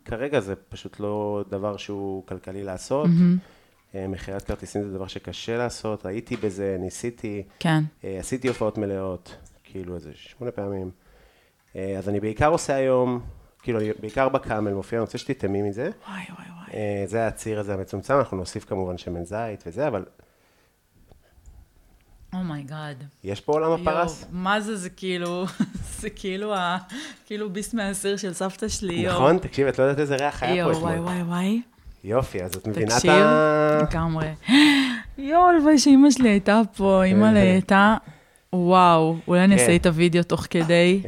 Speaker 2: כרגע זה פשוט לא דבר שהוא כלכלי לעשות. אה, מכירת כרטיסים זה דבר שקשה לעשות, הייתי בזה, ניסיתי,
Speaker 3: כן.
Speaker 2: אה, עשיתי הופעות מלאות, כאילו איזה שמונה פעמים. אה, אז אני בעיקר עושה היום, כאילו, אני בעיקר בקאמל מופיע, אני רוצה שתטעמי מזה.
Speaker 3: וואי, וואי, וואי.
Speaker 2: אה, זה הציר הזה המצומצם, אנחנו נוסיף כמובן שמן זית וזה, אבל
Speaker 3: Oh אומייגאד.
Speaker 2: יש פה עולם הפרס?
Speaker 3: מה זה, זה כאילו, זה כאילו ה... כאילו ביס מהסיר של סבתא שלי, יואו.
Speaker 2: נכון? תקשיב, את לא יודעת איזה ריח היה פה
Speaker 3: יואו, וואי,
Speaker 2: אתמול.
Speaker 3: וואי, וואי.
Speaker 2: יופי, אז את מבינה את
Speaker 3: תקשיב,
Speaker 2: ה...
Speaker 3: לגמרי. יואו, הלוואי שאימא שלי הייתה פה, אימא לי הייתה, וואו, אולי אני
Speaker 2: כן.
Speaker 3: אעשה איתה וידאו תוך כדי.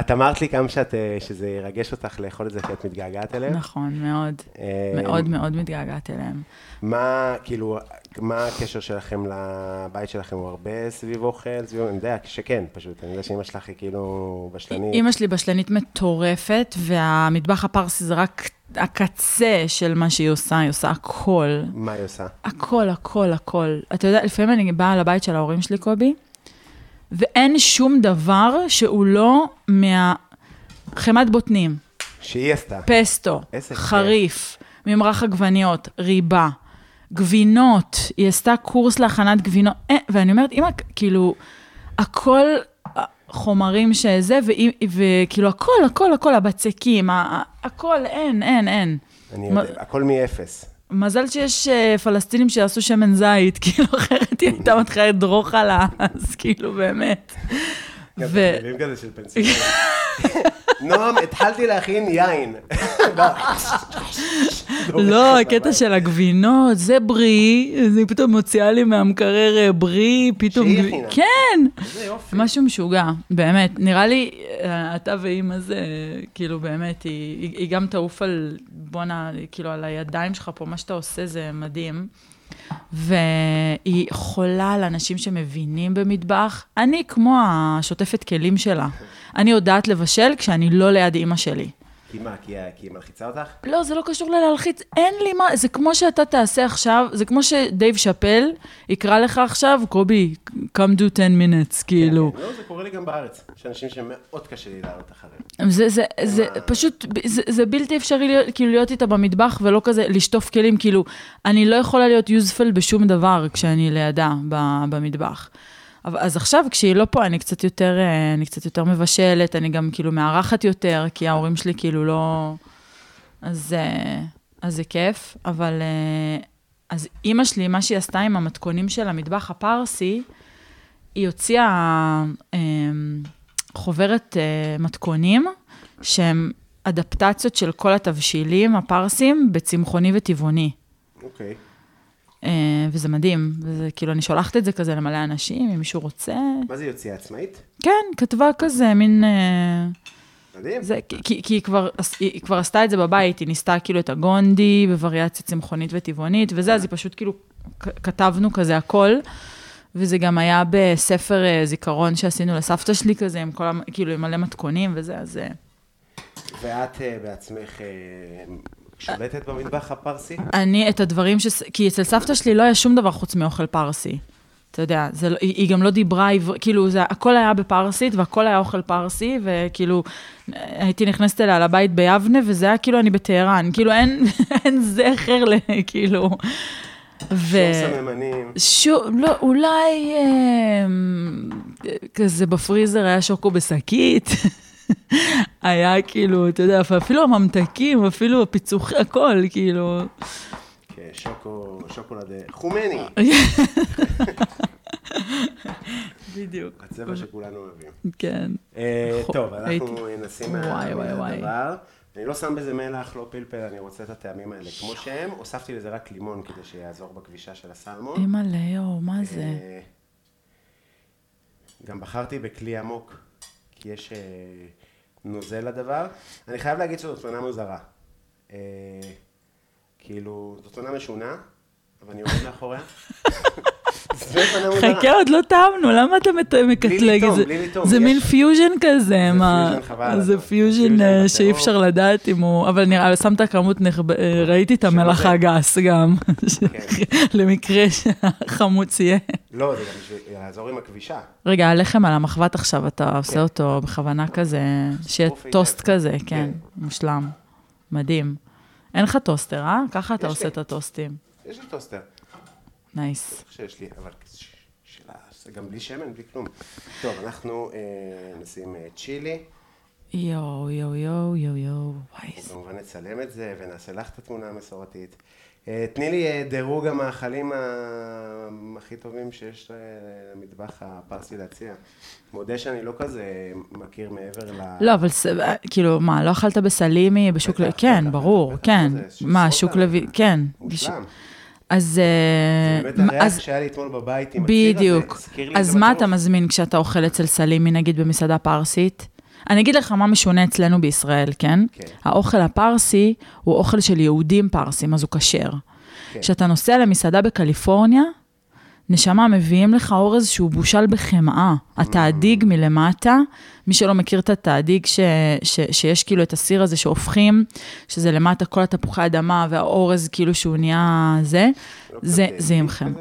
Speaker 2: את אמרת לי כמה שאת, אה, שזה ירגש אותך לאכול את זה כי את מתגעגעת אליהם.
Speaker 3: נכון, מאוד.
Speaker 2: אה,
Speaker 3: מאוד מאוד מתגעגעת אליהם.
Speaker 2: מה, כאילו, מה הקשר שלכם לבית שלכם? הוא הרבה סביב אוכל? סביב... אני יודע שכן, פשוט. אני יודע שאימא שלך היא כאילו בשלנית.
Speaker 3: אימא שלי בשלנית מטורפת, והמטבח הפרסי זה רק הקצה של מה שהיא עושה, היא עושה הכל.
Speaker 2: מה היא עושה?
Speaker 3: הכל, הכל, הכל. אתה יודע, לפעמים אני באה לבית של ההורים שלי, קובי, ואין שום דבר שהוא לא מה... חמת בוטנים,
Speaker 2: שהיא עשתה.
Speaker 3: פסטו,
Speaker 2: איזה כיף.
Speaker 3: חריף, ממרח עגבניות, ריבה, גבינות, היא עשתה קורס להכנת גבינות, אה, ואני אומרת, אמא, כאילו, הכל אה, חומרים שזה, ואי- וכאילו, הכל, הכל, הכל, הבצקים, ה- ה- הכל, אין, אין, אין.
Speaker 2: אני
Speaker 3: מה-
Speaker 2: יודע, הכל מאפס.
Speaker 3: מזל שיש אה, פלסטינים שיעשו שמן זית, כאילו אחרת היא הייתה מתחילה לדרוך על האס, כאילו באמת. ו...
Speaker 2: מילים כזה של פנסיליה. נועם, התחלתי להכין יין.
Speaker 3: לא, הקטע של הגבינות, זה ברי, אז היא פתאום מוציאה לי מהמקרר אה, ברי, פתאום...
Speaker 2: שהיא הכינה.
Speaker 3: כן,
Speaker 2: איזה יופי.
Speaker 3: משהו משוגע, באמת. נראה לי, אה, אתה ואימא זה, כאילו באמת, היא, היא, היא גם תעוף על, בואנה, כאילו על הידיים שלך פה, מה שאתה עושה זה מדהים. והיא חולה על אנשים שמבינים במטבח. אני כמו השוטפת כלים שלה. אני יודעת לבשל כשאני לא ליד אימא שלי.
Speaker 2: כי מה, כי ה- כי היא מלחיצה אותך?
Speaker 3: לא, זה לא קשור ללהלחיץ, אין לי מה, זה כמו שאתה תעשה עכשיו, זה כמו שדייב שאפל יקרא לך עכשיו, קובי, come do 10 minutes, כאילו.
Speaker 2: לא, זה קורה לי גם בארץ. יש אנשים שמאוד קשה לי לעלות אחריהם.
Speaker 3: זה, זה, זה פשוט, זה, זה בלתי אפשרי להיות, כאילו להיות איתה במטבח ולא כזה לשטוף כלים, כאילו, אני לא יכולה להיות יוזפל בשום דבר כשאני לידה ב- במטבח. אבל- אז עכשיו, כשהיא לא פה, אני קצת יותר, אה, אני קצת יותר מבשלת, אני גם כאילו מארחת יותר, כי ההורים שלי כאילו לא... אז, אה, אז זה כיף, אבל... אה, אז אימא שלי, מה שהיא עשתה עם המתכונים של המטבח הפרסי, היא הוציאה אה, חוברת אה, מתכונים, שהם אדפטציות של כל התבשילים הפרסים בצמחוני וטבעוני.
Speaker 2: אוקיי.
Speaker 3: אה, וזה מדהים, וזה כאילו, אני שולחת את זה כזה למלא אנשים, אם מישהו רוצה.
Speaker 2: מה זה יוציאה עצמאית?
Speaker 3: כן, כתבה כזה, מין... אה,
Speaker 2: מדהים.
Speaker 3: זה, כי- כי, כי היא, כבר, עש- היא היא כבר עשתה את זה בבית, היא ניסתה כאילו את הגונדי בווריאציה צמחונית וטבעונית וזה, אז היא פשוט כאילו, כ- כתבנו כזה הכל, וזה גם היה בספר אה, זיכרון שעשינו לסבתא שלי כזה, עם כל, המ- כאילו עם מלא מתכונים וזה, אז אה,
Speaker 2: ואת אה, בעצמך אה, שולטת במטבח הפרסי?
Speaker 3: אני את הדברים ש... כי אצל סבתא שלי לא היה שום דבר חוץ מאוכל פרסי. אתה יודע, זה, לא- היא, היא גם לא דיברה עברית, כאילו, זה, הכל היה בפרסית והכל היה אוכל פרסי, וכאילו, הייתי נכנסת אליה לבית ביבנה, וזה היה כאילו אני בטהרן, כאילו אין, אין זכר ל... כאילו... ו...
Speaker 2: שום לא סממנים.
Speaker 3: שוב, לא, אולי אה, כזה בפריזר היה שוקו בשקית. היה כאילו, אתה יודע, אפילו הממתקים, אפילו הפיצוחי, הכל, כאילו.
Speaker 2: כן, שוקו, שוקולד אה, חומני.
Speaker 3: בדיוק.
Speaker 2: הצבע שכולנו אוהבים.
Speaker 3: כן.
Speaker 2: אה,
Speaker 3: חו-
Speaker 2: טוב, אנחנו
Speaker 3: הייתי-
Speaker 2: נשים
Speaker 3: וואי, וואי, וואי.
Speaker 2: מהדבר. אני לא שם בזה מלח, לא פלפל, אני רוצה את הטעמים האלה כמו שהם. הוספתי לזה רק לימון כדי שיעזור בכבישה של הסלמון.
Speaker 3: אימא'לה, יואו, מה זה?
Speaker 2: אה, גם בחרתי בכלי עמוק, כי יש אה, נוזל לדבר. אני חייב להגיד שזאת מנה מוזרה. אה, כאילו, זאת מנה משונה, אבל אני עומד מאחוריה. זאת מנה מוזרה.
Speaker 3: חכה, עוד לא טעמנו, למה אתה מת- מקטלג
Speaker 2: לטעום,
Speaker 3: את זה?
Speaker 2: בלי לטעום,
Speaker 3: זה
Speaker 2: יש-
Speaker 3: מין פיוז'ן כזה, מה?
Speaker 2: פיוז'ן, חבל
Speaker 3: זה
Speaker 2: עליו.
Speaker 3: פיוז'ן
Speaker 2: פיוז'ן
Speaker 3: אה,
Speaker 2: בטרור.
Speaker 3: שאי אפשר לדעת אם הוא... אבל נראה, לי, שמת כמות נכב... אה, ראיתי את המלח
Speaker 2: זה. כן.
Speaker 3: הגס גם, למקרה שהחמוץ יהיה.
Speaker 2: לא, זה גם בשביל לעזור עם הכבישה.
Speaker 3: רגע, הלחם על המחבת עכשיו,
Speaker 2: כן.
Speaker 3: אתה עושה אותו בכוונה כזה, שיהיה
Speaker 2: שרוף היטב.
Speaker 3: טוסט כזה, כן,
Speaker 2: כן.
Speaker 3: מושלם, מדהים. אין לך טוסטר, אה? ככה אתה
Speaker 2: יש
Speaker 3: עושה
Speaker 2: לי.
Speaker 3: את הטוסטים.
Speaker 2: יש לי טוסטר,
Speaker 3: נייס.
Speaker 2: איך שיש לי, אבל ש- שאלה, זה גם בלי שמן, בלי כלום. טוב, אנחנו אה, נשים אה, צ'ילי,
Speaker 3: יואו, יואו, יואו, יואו, יואו, וואי. זה-
Speaker 2: כמובן נצלם את זה ונעשה לך את התמונה המסורתית. אה, תני לי אה, דירוג המאכלים ה- הכי טובים שיש אה, למטבח הפרסי להציע. מודה שאני לא כזה מכיר מעבר ל...
Speaker 3: לא, אבל ס- כאילו, מה, לא אכלת בסלימי בשוק לוי?
Speaker 2: בטח,
Speaker 3: כן,
Speaker 2: בטח,
Speaker 3: ברור,
Speaker 2: בטח,
Speaker 3: כן.
Speaker 2: זה של
Speaker 3: מה,
Speaker 2: סודה.
Speaker 3: שוק לוי, כן.
Speaker 2: מושלם.
Speaker 3: אז... אה,
Speaker 2: באמת
Speaker 3: מה-
Speaker 2: הריח
Speaker 3: אז-
Speaker 2: שהיה לי אתמול בבית עם הציר הזה,
Speaker 3: בדיוק.
Speaker 2: הזכיר לי את
Speaker 3: אז
Speaker 2: זה
Speaker 3: מה
Speaker 2: בטירוף.
Speaker 3: אתה מזמין כשאתה אוכל אצל סלימי, נגיד במסעדה פרסית? אני אגיד לך מה משונה אצלנו בישראל, כן?
Speaker 2: כן.
Speaker 3: האוכל הפרסי הוא אוכל של יהודים פרסים, אז הוא כשר.
Speaker 2: כן.
Speaker 3: כשאתה נוסע למסעדה בקליפורניה, נשמה, מביאים לך אורז שהוא בושל בחמאה. התאדיג
Speaker 2: Mm.
Speaker 3: מלמטה, מי שלא מכיר את התאדיג, ש, ש, שיש כאילו את הסיר הזה שהופכים, שזה למטה כל התפוחי אדמה והאורז כאילו שהוא נהיה זה,
Speaker 2: לא
Speaker 3: זה,
Speaker 2: כזה
Speaker 3: זה עם
Speaker 2: כזה.
Speaker 3: חמאה.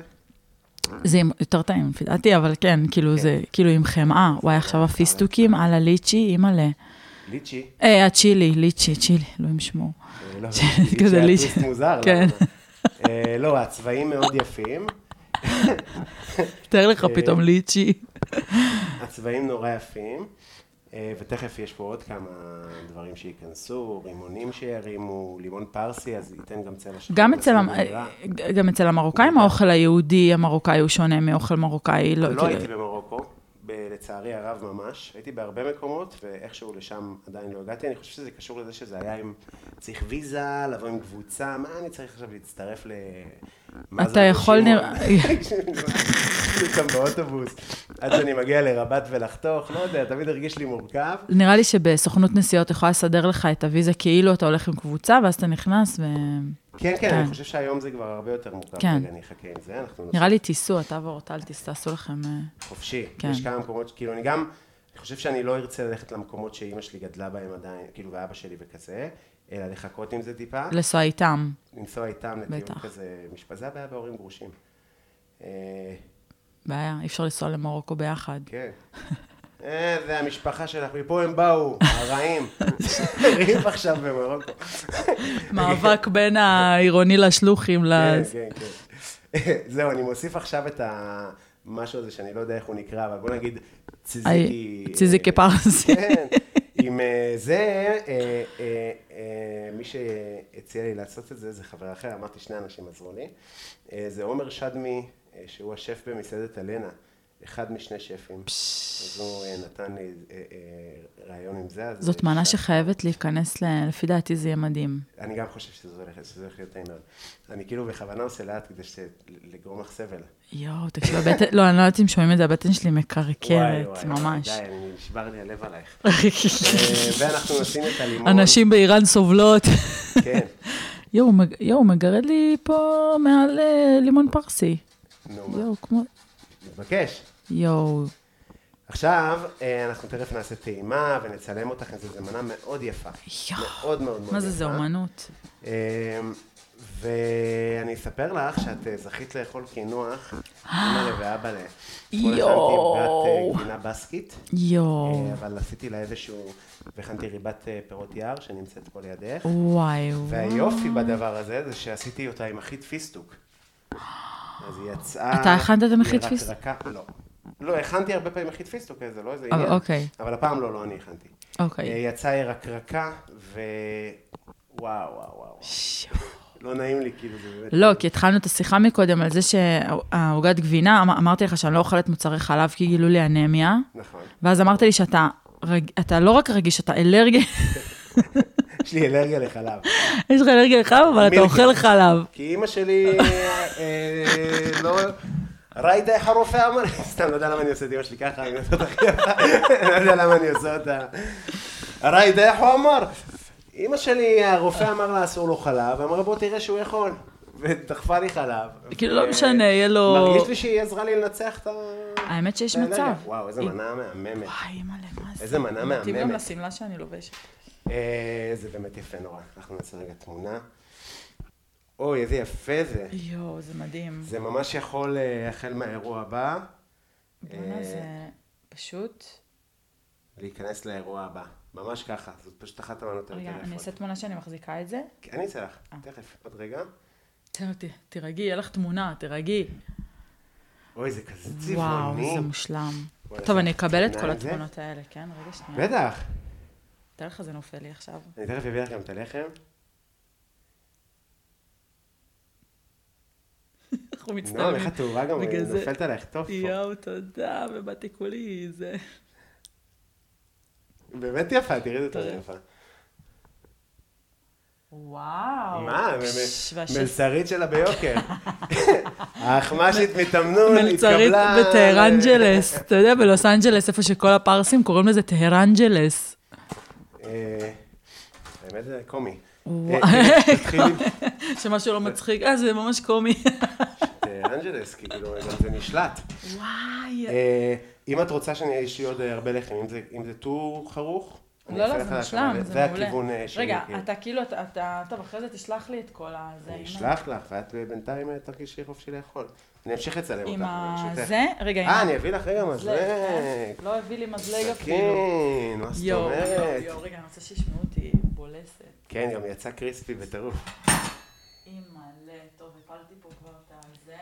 Speaker 3: זה עם- יותר טעים לפי דעתי, אבל כן, כאילו זה, כאילו עם חמאה. וואי, עכשיו הפיסטוקים על הליצ'י, אימא'לה.
Speaker 2: ליצ'י.
Speaker 3: אה, הצ'ילי, ליצ'י, צ'ילי, אלוהים שמור.
Speaker 2: אה, לא,
Speaker 3: כזה
Speaker 2: זה היה
Speaker 3: ליצ'י.
Speaker 2: טוויסט מוזר.
Speaker 3: כן.
Speaker 2: למה? אה, לא, הצבעים מאוד יפים,
Speaker 3: תאר לך פתאום ליצ'י.
Speaker 2: הצבעים נורא יפים, אה, ותכף יש פה עוד כמה דברים שייכנסו, רימונים שירימו, לימון פרסי, אז ייתן גם צבע שחור.
Speaker 3: גם אצל, המ- אה,
Speaker 2: מסוים נראה.
Speaker 3: גם אצל המרוקאים, האוכל היהודי המרוקאי הוא שונה מאוכל מרוקאי. לא,
Speaker 2: לא
Speaker 3: כאילו-
Speaker 2: הייתי במרוקו, ב- לצערי הרב ממש, הייתי בהרבה מקומות, ואיכשהו לשם עדיין לא הגעתי, אני חושב שזה קשור לזה שזה היה עם, צריך ויזה, לבוא עם קבוצה, מה אני צריך עכשיו להצטרף ל... מה זה
Speaker 3: אתה יכול
Speaker 2: אנשים?
Speaker 3: נראה-
Speaker 2: כאילו שם באוטובוס, עד שאני מגיע לרבת ולחתוך, לא יודע, תמיד הרגיש לי מורכב.
Speaker 3: נראה לי שבסוכנות נסיעות יכולה לסדר לך את הוויזה כאילו אתה הולך עם קבוצה, ואז אתה נכנס, ונראה
Speaker 2: כן, כן,
Speaker 3: כן.
Speaker 2: אני חושב שהיום זה כבר הרבה יותר מורכב.
Speaker 3: כן.
Speaker 2: רגע, אני אחכה עם זה, אנחנו
Speaker 3: לי תיסעו, אתה ואורטל תעשו לכם... אה,
Speaker 2: חופשי.
Speaker 3: כן.
Speaker 2: כן. יש כמה מקומות, כאילו אני גם, אני חושב שאני לא ארצה ללכת למקומות שאימא שלי גדלה בהם עדיין, כאילו ואבא שלי וכזה, אלא לחכות עם זה טיפה,
Speaker 3: לנסוע איתם.
Speaker 2: לנסוע איתם לטיול
Speaker 3: בטח.
Speaker 2: כזה משפט. זה הבעיה בהורים גרושים. אה,
Speaker 3: בעיה, אי אפשר לנסוע למרוקו ביחד.
Speaker 2: כן. אה, זה המשפחה שלך, מפה הם באו, הרעים. ריב עכשיו במרוקו.
Speaker 3: מאבק בין העירוני לשלוחים
Speaker 2: כן,
Speaker 3: לז...
Speaker 2: כן, כן. זהו, אני מוסיף עכשיו את המשהו הזה שאני לא יודע איך הוא נקרא, אבל בוא נגיד ציזיקי...
Speaker 3: איי, ציזיקי
Speaker 2: אה,
Speaker 3: פרסי.
Speaker 2: כן. עם אה, זה, אה, אה, אה, מי שהציע לי לעשות את זה, זה חבר אחר, אמרתי שני אנשים עזרו לי. אה, זה עומר שדמי, אה, שהוא השף במסעדת אלנה. אחד משני שפים. אז הוא אה, נתן לי אה, אה, רעיון עם זה. אז
Speaker 3: זאת
Speaker 2: אה,
Speaker 3: מנה שחייבת להיכנס, ל- לפי דעתי זה יהיה מדהים.
Speaker 2: אני גם חושב שזה הולך שזה הולך להיות העניין. אני כאילו בכוונה עושה לאט כדי ש- לגרום לך סבל.
Speaker 3: יואו, תקשיב, הבטן, לא, אני לא יודעת אם שומעים את זה, הבטן שלי
Speaker 2: וואי,
Speaker 3: מקרקרת,
Speaker 2: וואי,
Speaker 3: כן, ממש.
Speaker 2: די, אני נשבר לי הלב עלייך. אה, ואנחנו נשים את הלימון.
Speaker 3: הנשים באיראן סובלות.
Speaker 2: כן.
Speaker 3: יואו, מג- יואו, מגרד לי פה מעל אה, לימון פרסי.
Speaker 2: נו, מה?
Speaker 3: יואו, כמו...
Speaker 2: מתבקש.
Speaker 3: יואו,
Speaker 2: עכשיו, אה, אנחנו תכף נעשה טעימה ונצלם אותך עם זה, זו מנה מאוד יפה.
Speaker 3: יואו.
Speaker 2: מאוד מאוד מאוד יפה.
Speaker 3: מה זה, זה אומנות?
Speaker 2: אמ, ואני אספר לך שאת אה, זכית לאכול קינוח, אימא ואבא ל... אתמול
Speaker 3: יואו.
Speaker 2: הכנתי ריבת אה, גבינה בסקית,
Speaker 3: יואו,
Speaker 2: אה, אבל עשיתי לה איזשהו... והכנתי ריבת אה, פירות יער שנמצאת פה לידך.
Speaker 3: וואי, וואי.
Speaker 2: והיופי בדבר הזה זה שעשיתי אותה עם אחית פיסטוק. אז היא יצאה...
Speaker 3: אתה הכנת את זה עם אחית
Speaker 2: היא
Speaker 3: פיסטוק?
Speaker 2: רקרקה- לא. לא, הכנתי הרבה פעמים אחית פיסטוק, זה לא איזה
Speaker 3: אבל
Speaker 2: עניין.
Speaker 3: אוקיי.
Speaker 2: אבל הפעם לא, לא אני הכנתי.
Speaker 3: אוקיי.
Speaker 2: אה, יצאה ירקרקה, ו... וואו, וואו, וואו. לא נעים לי, כאילו, זה באמת...
Speaker 3: לא, כי התחלנו את השיחה מקודם על זה שהעוגת גבינה, אמ- אמרתי לך שאני לא אוכלת מוצרי חלב כי גילו לי אנמיה,
Speaker 2: נכון.
Speaker 3: ואז אמרת לי שאתה רג- אתה לא רק רגיש, אתה אלרגי,
Speaker 2: יש לי אלרגיה לחלב.
Speaker 3: יש לך אלרגיה לחלב, אבל אתה
Speaker 2: מילקי.
Speaker 3: אוכל חלב.
Speaker 2: כי אימא שלי, אה, אה, לא... ראית איך הרופא אמר? סתם, לא יודע למה אני עושה את אימא שלי ככה, אני עושה אותה הכי יפה. לא יודע למה אני עושה אותה. ראית איך הוא אמר? אימא שלי, הרופא אמר לה אסור לו חלב, אמרה בוא תראה שהוא יכול. ודחפה לי חלב.
Speaker 3: כאילו,
Speaker 2: ו-
Speaker 3: לא משנה, יהיה לו-
Speaker 2: מרגיש לי שהיא עזרה לי לנצח את ה...
Speaker 3: האמת שיש
Speaker 2: את האלרגיה.
Speaker 3: מצב.
Speaker 2: וואו, איזה
Speaker 3: היא-
Speaker 2: מנה מהממת.
Speaker 3: וואי, אימא'לה, מה זה?
Speaker 2: איזה מנה
Speaker 3: מתאים גם
Speaker 2: מהממת.
Speaker 3: לשמלה שאני לובשת.
Speaker 2: אה, זה באמת יפה נורא. אנחנו נעשה רגע תמונה. אוי, איזה יפה זה.
Speaker 3: יואו, זה מדהים.
Speaker 2: זה ממש יכול, אה, החל מהאירוע הבא,
Speaker 3: בואנה,
Speaker 2: אה,
Speaker 3: זה פשוט...
Speaker 2: להיכנס לאירוע הבא. ממש ככה, זאת פשוט אחת המנות היותר
Speaker 3: רגע, אני אעשה אה.
Speaker 2: יפות.
Speaker 3: תמונה שאני מחזיקה את זה.
Speaker 2: כן, אני אצא לך, תכף, עוד רגע.
Speaker 3: ת- ת- תירגעי, יהיה לך תמונה, תירגעי.
Speaker 2: אוי, זה כזה
Speaker 3: וואו,
Speaker 2: צבעוני.
Speaker 3: זה מושלם.
Speaker 2: וואי,
Speaker 3: טוב,
Speaker 2: זה
Speaker 3: אני אקבל את
Speaker 2: תמונה
Speaker 3: כל
Speaker 2: עם זה?
Speaker 3: התמונות האלה, כן? רגע, שנייה.
Speaker 2: בטח.
Speaker 3: תאר לך, זה נופל לי עכשיו.
Speaker 2: אני תכף אביא לך גם את הלחם.
Speaker 3: אנחנו
Speaker 2: נועם,
Speaker 3: מצטלמים.
Speaker 2: לא, איך התאורה גם אה,
Speaker 3: בגלל זה-
Speaker 2: נופלת עלייך טוב פה.
Speaker 3: יואו, תודה, ובאתי כולי זה.
Speaker 2: באמת יפה, תראי איזה תאורה יפה.
Speaker 3: וואו.
Speaker 2: מה, מ- מ-
Speaker 3: ש- והש-
Speaker 2: מלצרית שלה ביוקר. האחמ"שית מתאמנון, התקבלה...
Speaker 3: מלצרית בטהרנג'לס. אתה יודע, בלוס אנג'לס, איפה שכל הפרסים קוראים לזה טהרנג'לס.
Speaker 2: אה, האמת זה קומי.
Speaker 3: וואי.
Speaker 2: אה, אה, תתחילי
Speaker 3: שמשהו לא מצחיק, אה, זה ממש קומי.
Speaker 2: באנג'לס, כי כאילו גם זה נשלט.
Speaker 3: וואי.
Speaker 2: אה, אם את רוצה שאני יש לי עוד אה, הרבה לחם, אם זה- אם זה טור חרוך, אני
Speaker 3: לא,
Speaker 2: אעשה
Speaker 3: לא,
Speaker 2: לך
Speaker 3: זה
Speaker 2: להקרבה,
Speaker 3: מושלם, זה
Speaker 2: זה
Speaker 3: מעולה.
Speaker 2: הכיוון אה, שלי.
Speaker 3: רגע,
Speaker 2: כאילו.
Speaker 3: אתה כאילו, אתה- אתה, טוב, אחרי זה תשלח לי את כל ה... זה,
Speaker 2: אני
Speaker 3: עם ה-
Speaker 2: אשלח לך, ואת בינתיים אה, תרגישי חופשי לאכול. אני אמשיך לצלם אותך.
Speaker 3: עם ה...
Speaker 2: ברשותך.
Speaker 3: זה, רגע, עם
Speaker 2: אה,
Speaker 3: ה-
Speaker 2: אני אביא לך רגע
Speaker 3: מזלג, אה?
Speaker 2: מזלג.
Speaker 3: לא הביא לי מזלג אפילו.
Speaker 2: סכין, מה זאת
Speaker 3: יואו, יואו,
Speaker 2: אומרת?
Speaker 3: יואו, רגע, אני רוצה שישמעו אותי בולסת.
Speaker 2: כן, גם יצא קריספי בטירוף.
Speaker 3: אימא'לה, טוב, הפלתי פה כבר את הזה.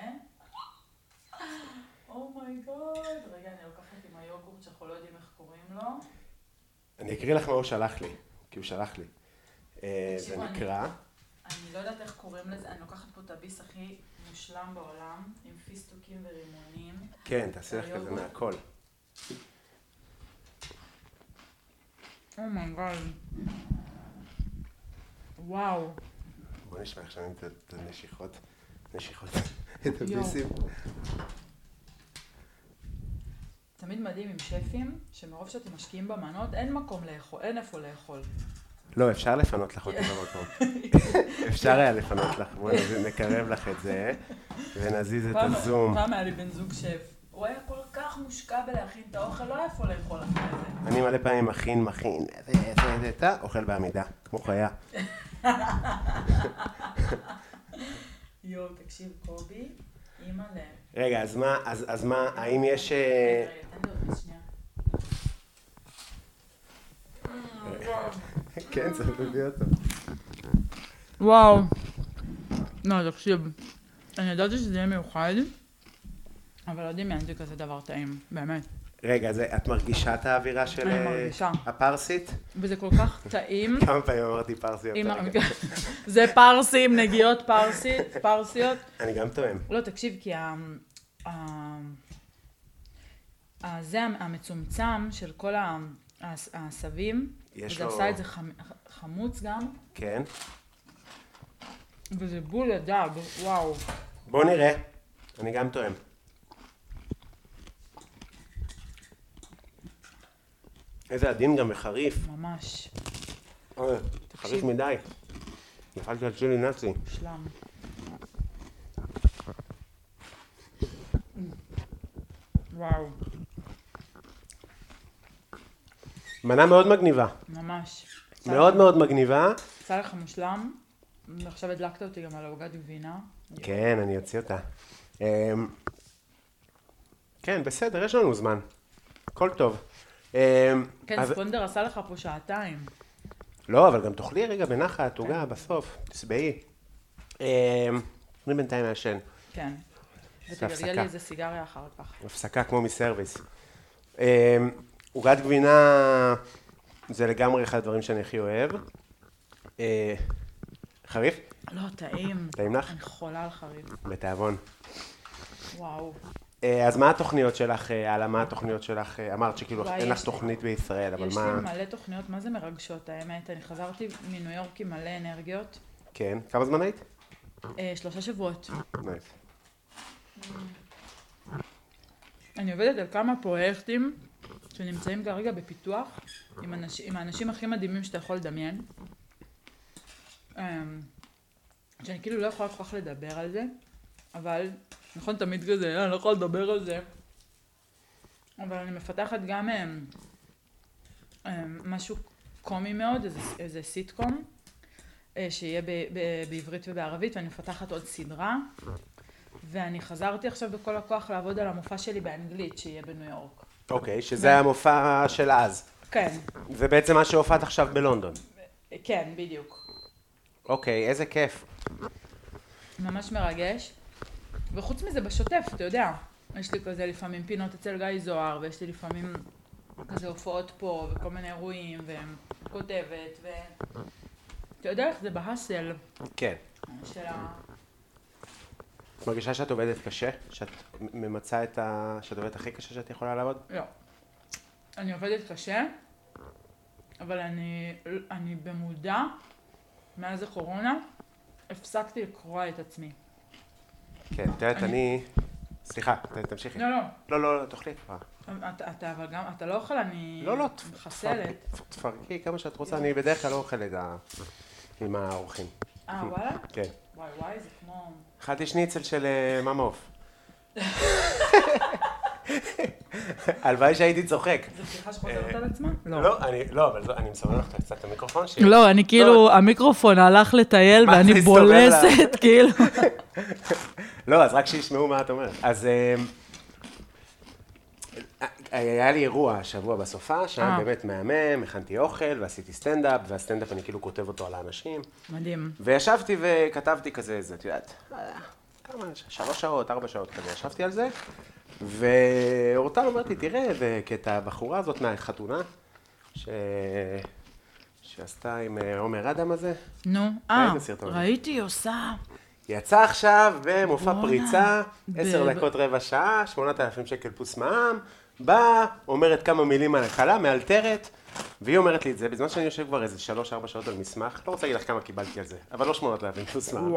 Speaker 3: אומייגוד. רגע, אני לוקחת עם היוגורט שאנחנו לא יודעים איך קוראים לו.
Speaker 2: אני אקריא לך מה הוא שלח לי, כי הוא שלח לי. אה, זה
Speaker 3: תקשיבו, אני-
Speaker 2: נקרא...
Speaker 3: אני לא יודעת איך קוראים לזה, אני לוקחת פה את הביס הכי מושלם בעולם, עם פיסטוקים ורימונים.
Speaker 2: כן, תעשי
Speaker 3: אה,
Speaker 2: לך כזה מהכל.
Speaker 3: אומייגוד. וואו.
Speaker 2: בוא נשמע עכשיו את- את הנשיכות, נשיכות, את הביסים.
Speaker 3: תמיד מדהים עם שפים, שמרוב שאתם משקיעים במנות, אין מקום לאכול, אין איפה לאכול.
Speaker 2: לא, אפשר לפנות לך אותי במקום. אפשר היה לפנות לך, בואי נז- נקרב לך את זה, ונזיז את
Speaker 3: פעם-
Speaker 2: הזום.
Speaker 3: פעם היה לי בן זוג שף. הוא היה כל כך מושקע בלהכין את האוכל, לא היה איפה לאכול אחרי זה.
Speaker 2: אני מלא פעמים מכין, מכין, זה, זה, זה, טה, אוכל בעמידה, כמו חיה.
Speaker 3: יואו, תקשיב, קובי, אימא ל...
Speaker 2: רגע, אז מה, אז אז מה, האם יש... אה,
Speaker 3: רגע, רגע, תן לי עוד שנייה.
Speaker 2: כן, צריך להביא אותו.
Speaker 3: וואו. לא, תקשיב, אני ידעתי שזה יהיה מיוחד, אבל לא דמיינתי כזה דבר טעים, באמת.
Speaker 2: רגע, אז את מרגישה את האווירה של
Speaker 3: אני
Speaker 2: אה,
Speaker 3: מרגישה.
Speaker 2: הפרסית?
Speaker 3: וזה כל כך טעים.
Speaker 2: כמה פעמים אמרתי פרסי
Speaker 3: עם
Speaker 2: יותר?
Speaker 3: ה- זה פרסי עם נגיעות פרסית, פרסיות.
Speaker 2: אני גם תואם.
Speaker 3: לא, תקשיב, כי ה... ה... הזה המצומצם של כל ה- הס- העשבים,
Speaker 2: יש
Speaker 3: וזה
Speaker 2: לו-
Speaker 3: עשה את זה חמ- ח- חמוץ גם,
Speaker 2: כן.
Speaker 3: וזה בול הדג, וואו.
Speaker 2: בואו נראה. אני גם טועם. איזה עדין גם וחריף.
Speaker 3: ממש,
Speaker 2: אוי, חריף מדי. נפלתי על צ'ילי נאצי.
Speaker 3: מושלם. וואו,
Speaker 2: מנה מאוד מגניבה.
Speaker 3: ממש.
Speaker 2: מאוד מאוד מגניבה.
Speaker 3: יצא לך מושלם, ועכשיו הדלקת אותי גם על העוגת גבינה.
Speaker 2: כן, אני אוציא אותה. אמ, כן, בסדר, יש לנו זמן. הכל טוב. אמ,
Speaker 3: כן,
Speaker 2: אז-
Speaker 3: ספונדר עשה לך פה שעתיים.
Speaker 2: לא, אבל גם תאכלי רגע בנחת, עוגה, בסוף, תשבעי. אמ, אני בינתיים מעשן.
Speaker 3: כן.
Speaker 2: הפסקה.
Speaker 3: ותגלגל לי איזה סיגריה אחר כך.
Speaker 2: הפסקה כמו מסרוויס. אמ, עוגת גבינה זה לגמרי אחד הדברים שאני הכי אוהב. אה, חריף?
Speaker 3: לא, טעים.
Speaker 2: טעים לך?
Speaker 3: אני חולה על חריף.
Speaker 2: בתיאבון.
Speaker 3: וואו.
Speaker 2: אה, אז מה התוכניות שלך, אה, הלאה, מה התוכניות שלך, אה, אמרת שכאילו
Speaker 3: וואי,
Speaker 2: אין
Speaker 3: יש
Speaker 2: לך
Speaker 3: לי-
Speaker 2: תוכנית בישראל, אבל
Speaker 3: יש לי
Speaker 2: מה,
Speaker 3: מלא תוכניות, מה זה מרגשות, האמת? אני חזרתי מניו יורק עם מלא אנרגיות.
Speaker 2: כן, כמה זמן היית?
Speaker 3: אה, שלושה שבועות.
Speaker 2: נייס.
Speaker 3: אני עובדת על כמה פרויקטים שנמצאים כרגע בפיתוח, עם, אנש, עם האנשים הכי מדהימים שאתה יכול לדמיין. אמ, שאני כאילו לא יכולה כל כך לדבר על זה, אבל נכון תמיד כזה, "אה, אני לא יכולה לדבר על זה. אבל אני מפתחת גם אמ, אמ, משהו קומי מאוד, איזה, איזה סיטקום, אה, שיהיה ב, ב, בעברית ובערבית, ואני מפתחת עוד סדרה. ואני חזרתי עכשיו בכל הכוח לעבוד על המופע שלי באנגלית שיהיה בניו יורק.
Speaker 2: אוקיי, שזה המופע של אז.
Speaker 3: כן,
Speaker 2: זה בעצם מה שהופעת עכשיו בלונדון.
Speaker 3: כן, בדיוק.
Speaker 2: אוקיי, איזה כיף.
Speaker 3: ממש מרגש. וחוץ מזה, בשוטף, אתה יודע, יש לי כזה לפעמים פינות אצל גיא זוהר, ויש לי לפעמים כזה הופעות פה, וכל מיני אירועים, וכותבת, ו... אתה יודע איך זה בהאסל
Speaker 2: כן.
Speaker 3: של ה...
Speaker 2: את מרגישה שאת עובדת קשה? שאת ממצה את ה... שאת עובדת הכי קשה שאת יכולה לעבוד?
Speaker 3: לא. אני עובדת קשה, אבל אני, אני במודע, מאז הקורונה, הפסקתי לקרוע את עצמי.
Speaker 2: כן, את יודעת, אני... סליחה, ת- תמשיכי.
Speaker 3: לא, לא.
Speaker 2: לא, לא, לא, תאכלי כבר.
Speaker 3: אתה, אתה אבל גם, אתה לא אוכל, אני
Speaker 2: לא, לא, תפ-
Speaker 3: מחסלת.
Speaker 2: תפ- תפרקי כמה שאת רוצה, אני בדרך כלל לא אוכל את ה... עם האורחים.
Speaker 3: אה, וואלה?
Speaker 2: כן.
Speaker 3: וואי וואי, זה כמו...
Speaker 2: אכלתי שניצל של אה, מאמה עוף. הלוואי שהייתי צוחק.
Speaker 3: זו בדיחה שחוזרת על עצמה?
Speaker 2: לא, אני, לא, אבל זו- אני מסמן לך קצת את המיקרופון שלי.
Speaker 3: לא, אני כאילו, המיקרופון הלך לטייל
Speaker 2: מה,
Speaker 3: ואני
Speaker 2: זה הסתובב לה?
Speaker 3: בולסת, כאילו.
Speaker 2: לא, אז רק שישמעו מה את אומרת. אז אמ, היה לי אירוע השבוע בסופה, שהיה
Speaker 3: אה.
Speaker 2: באמת מהמם, הכנתי אוכל ועשיתי סטנדאפ, והסטנדאפ אני כאילו כותב אותו על האנשים.
Speaker 3: מדהים.
Speaker 2: וישבתי וכתבתי כזה, זה, את יודעת, אה, כמה, שלוש שעות, ארבע שעות כזה, ישבתי על זה, ואורטל אומרת לי, תראה, זה קטע הבחורה הזאת מהחתונה, ש... שעשתה עם אה, עומר אדם הזה,
Speaker 3: נו, אה,
Speaker 2: איזה סרטון.
Speaker 3: ראיתי, היא עושה.
Speaker 2: יצא עכשיו במופע
Speaker 3: וואלה.
Speaker 2: פריצה,
Speaker 3: ב- ב-
Speaker 2: עשר דקות רבע שעה, שמונת אלפים שקל פלוס מע"מ, באה, אומרת כמה מילים על הכלה, מאלתרת, והיא אומרת לי את זה, בזמן שאני יושב כבר איזה שלוש-ארבע שעות על מסמך, לא רוצה להגיד לך כמה קיבלתי על זה, אבל לא שמונת אלפים פלוס מע"מ.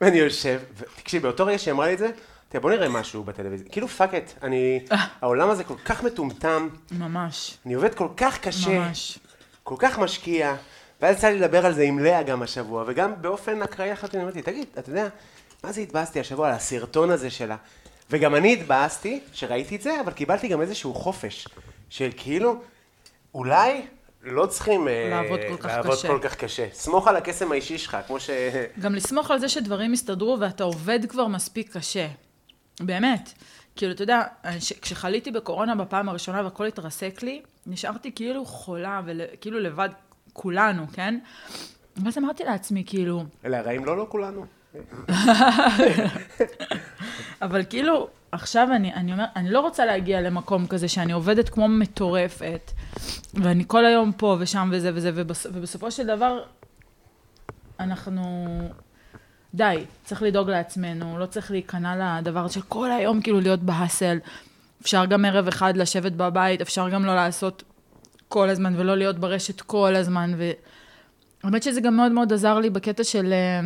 Speaker 2: ואני יושב, ו- תקשיב, באותו רגע שהיא אמרה לי את זה, תראה, בוא נראה משהו בטלוויזיה. כאילו, פאק את, אני, העולם הזה כל כך מטומטם,
Speaker 3: ממש,
Speaker 2: אני עובד כל כך קשה.
Speaker 3: ממש.
Speaker 2: כל כך משקיע, ואז יצא לי לדבר על זה עם לאה גם השבוע, וגם באופן אקראי לחלוטין אמרתי, תגיד, אתה יודע, מה זה התבאסתי השבוע על הסרטון הזה שלה? וגם אני התבאסתי שראיתי את זה, אבל קיבלתי גם איזשהו חופש, של כאילו, אולי לא צריכים אה,
Speaker 3: לעבוד כל כך
Speaker 2: לעבוד
Speaker 3: קשה.
Speaker 2: כל כך קשה. סמוך על הקסם האישי שלך, כמו ש...
Speaker 3: גם לסמוך על זה שדברים יסתדרו ואתה עובד כבר מספיק קשה. באמת. כאילו, אתה יודע, ש- כשחליתי בקורונה בפעם הראשונה והכל התרסק לי, נשארתי כאילו חולה וכאילו לבד, כולנו, כן? ואז אמרתי לעצמי, כאילו,
Speaker 2: אלה הרעים לא, לא כולנו.
Speaker 3: אבל כאילו, עכשיו אני, אני אומר, אני לא רוצה להגיע למקום כזה שאני עובדת כמו מטורפת, ואני כל היום פה ושם וזה וזה, ובס, ובסופו של דבר, אנחנו... די, צריך לדאוג לעצמנו, לא צריך להיכנע לדבר של כל היום כאילו להיות בהאסל. אפשר גם ערב אחד לשבת בבית, אפשר גם לא לעשות כל הזמן ולא להיות ברשת כל הזמן. ו... האמת שזה גם מאוד מאוד עזר לי בקטע של, אה,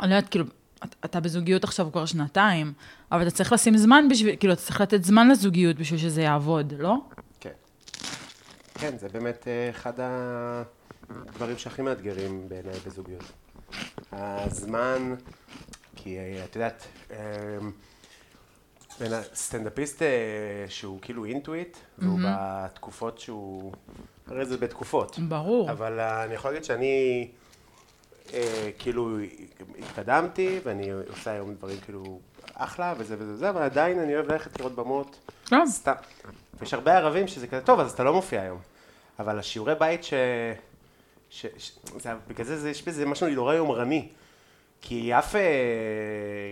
Speaker 3: אני לא יודעת, כאילו, את- אתה בזוגיות עכשיו כבר שנתיים, אבל אתה צריך לשים זמן בשביל, כאילו, אתה צריך לתת זמן לזוגיות בשביל שזה יעבוד, לא?
Speaker 2: כן. כן, זה באמת אה, אחד הדברים שהכי מאתגרים בעיניי בזוגיות. הזמן, כי אה, את יודעת, אה, בין הסטנדאפיסט אה, שהוא כאילו אינטואיט, והוא בתקופות שהוא... הרי זה בתקופות.
Speaker 3: ברור.
Speaker 2: אבל אה, אני יכול להגיד שאני אה, כאילו התקדמתי, ואני עושה היום דברים כאילו אחלה וזה וזה וזה, אבל עדיין אני אוהב ללכת לראות במות.
Speaker 3: לא.
Speaker 2: סתם. יש הרבה ערבים שזה כזה, טוב, אז אתה לא מופיע היום. אבל השיעורי בית ש... ש... ש... זה... בגלל זה, זה יש בזה משהו נורא יומרני. כי אף... אה,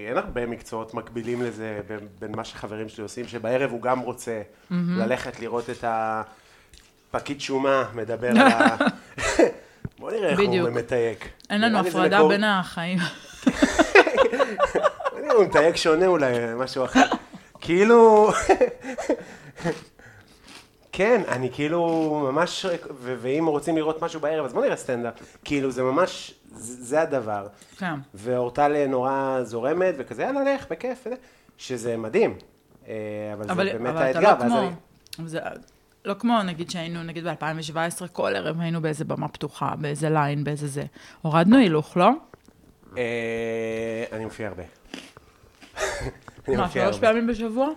Speaker 2: אין הרבה מקצועות מקבילים לזה בין, בין מה שחברים שלי עושים, שבערב הוא גם רוצה mm-hmm. ללכת לראות את הפקיד שומה מדבר על ה... בוא נראה איך הוא
Speaker 3: בדיוק.
Speaker 2: מתייק.
Speaker 3: אין לנו
Speaker 2: נראה לי זה
Speaker 3: הפרדה
Speaker 2: מקור-
Speaker 3: בין החיים.
Speaker 2: אני הוא מתייג שונה אולי, משהו אחר. כאילו... כן, אני כאילו ממש, ו- ואם רוצים לראות משהו בערב, אז בוא נראה סטנדאפ. כאילו, זה ממש, זה זה הדבר.
Speaker 3: כן.
Speaker 2: ואורטל אה, נורא זורמת, וכזה, יאללה, לך, בכיף, וזה, שזה מדהים. אה, אבל,
Speaker 3: אבל,
Speaker 2: זה באמת
Speaker 3: אבל אתה
Speaker 2: האתגר,
Speaker 3: לא
Speaker 2: ואז
Speaker 3: כמו,
Speaker 2: אני...
Speaker 3: אני... זה, לא כמו נגיד שהיינו, נגיד ב-2017, כל ערב היינו באיזה במה פתוחה, באיזה ליין, באיזה זה. הורדנו הילוך, לא?
Speaker 2: אה, אני מופיע הרבה. אני
Speaker 3: מה,
Speaker 2: מופיע
Speaker 3: שלוש
Speaker 2: הרבה.
Speaker 3: פעמים בשבוע?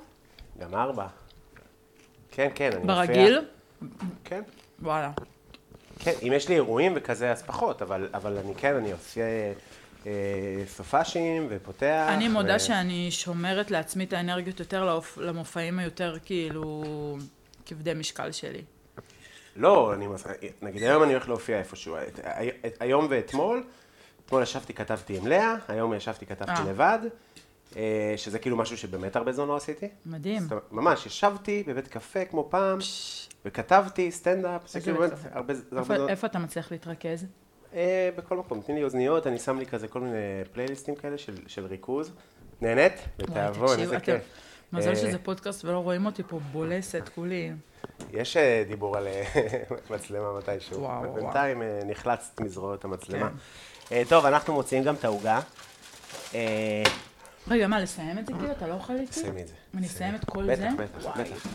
Speaker 2: גם ארבע. כן, כן, אני מופיע.
Speaker 3: ברגיל?
Speaker 2: כן.
Speaker 3: וואלה.
Speaker 2: כן, אם יש לי אירועים וכזה, אז פחות, אבל, אבל אני כן, אני עושה אה, סופאשים ופותח.
Speaker 3: אני מודה
Speaker 2: ו-
Speaker 3: שאני שומרת לעצמי את האנרגיות יותר לאופ- למופעים היותר כאילו כבדי משקל שלי.
Speaker 2: לא, אני... מס- נגיד היום אני הולך להופיע איפשהו. את- הי- את- היום ואתמול, אתמול ישבתי, כתבתי עם לאה, היום ישבתי, כתבתי
Speaker 3: אה.
Speaker 2: לבד, אה, שזה כאילו משהו שבאמת הרבה זמן לא עשיתי.
Speaker 3: מדהים.
Speaker 2: זאת אומרת, ממש, ישבתי בבית קפה כמו פעם, וכתבתי סטנדאפ, זה
Speaker 3: איזה
Speaker 2: כאילו
Speaker 3: בית
Speaker 2: באמת
Speaker 3: קפה?
Speaker 2: הרבה זה הרבה
Speaker 3: איפה,
Speaker 2: זמן.
Speaker 3: איפה אתה מצליח להתרכז?
Speaker 2: אה, בכל מקום, תני לי אוזניות, אני שם לי כזה כל מיני פלייליסטים כאלה של, של ריכוז. נהנית?
Speaker 3: וואי,
Speaker 2: בתיאבון,
Speaker 3: תקשיב,
Speaker 2: איזה
Speaker 3: אתם-
Speaker 2: כיף.
Speaker 3: מזל
Speaker 2: אה,
Speaker 3: שזה פודקאסט ולא רואים אותי פה בולסת כולי.
Speaker 2: יש אה, דיבור על אה, מצלמה מתישהו.
Speaker 3: וואו, כן. וואו.
Speaker 2: בינתיים אה, נחלצת מזרועות המצלמה. אה, טוב, אנחנו מוציאים גם את העוגה. אה,
Speaker 3: רגע, מה, לסיים את זה כאילו? אתה לא אוכל איתי?
Speaker 2: תסיימי את זה. תסיימי.
Speaker 3: אני אסיים את כל
Speaker 2: בטח,
Speaker 3: זה?
Speaker 2: בטח,
Speaker 3: וואי.
Speaker 2: בטח.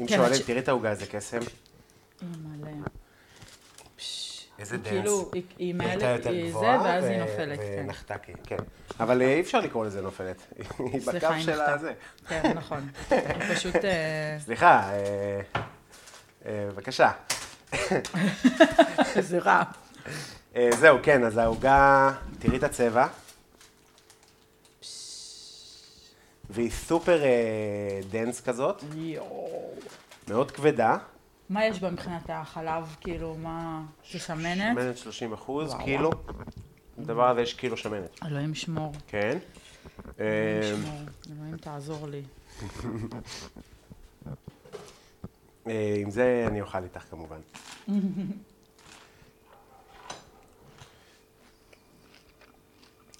Speaker 2: אם
Speaker 3: כן,
Speaker 2: שואלים,
Speaker 3: את ש-
Speaker 2: תראי את העוגה, איזה קסם.
Speaker 3: אימא'לה.
Speaker 2: איזה דנס.
Speaker 3: כאילו, היא- היא
Speaker 2: היא הייתה
Speaker 3: מעלה,
Speaker 2: יותר
Speaker 3: היא זה,
Speaker 2: גבוהה,
Speaker 3: ואז
Speaker 2: ו-
Speaker 3: היא נופלת. כן.
Speaker 2: ונחתה, כן. אבל אה, אי אפשר לקרוא לזה נופלת. היא
Speaker 3: סליחה,
Speaker 2: בקו
Speaker 3: היא
Speaker 2: של
Speaker 3: נחתה.
Speaker 2: הזה.
Speaker 3: כן, נכון. היא פשוט... אה,
Speaker 2: סליחה, אה, אה, בבקשה.
Speaker 3: זה רע.
Speaker 2: אה, זהו, כן, אז העוגה, תראי את הצבע. והיא סופר אה, דנס כזאת,
Speaker 3: יואו.
Speaker 2: מאוד כבדה.
Speaker 3: מה יש בה מבחינת החלב? כאילו, מה... זה שמנת?
Speaker 2: שמנת 30 אחוז,
Speaker 3: כן. וואו.
Speaker 2: קילו. בדבר הזה יש קילו שמנת.
Speaker 3: אלוהים שמור.
Speaker 2: כן.
Speaker 3: אלוהים
Speaker 2: אה,
Speaker 3: שמור. אלוהים תעזור לי.
Speaker 2: אה, עם זה אני אוכל איתך כמובן.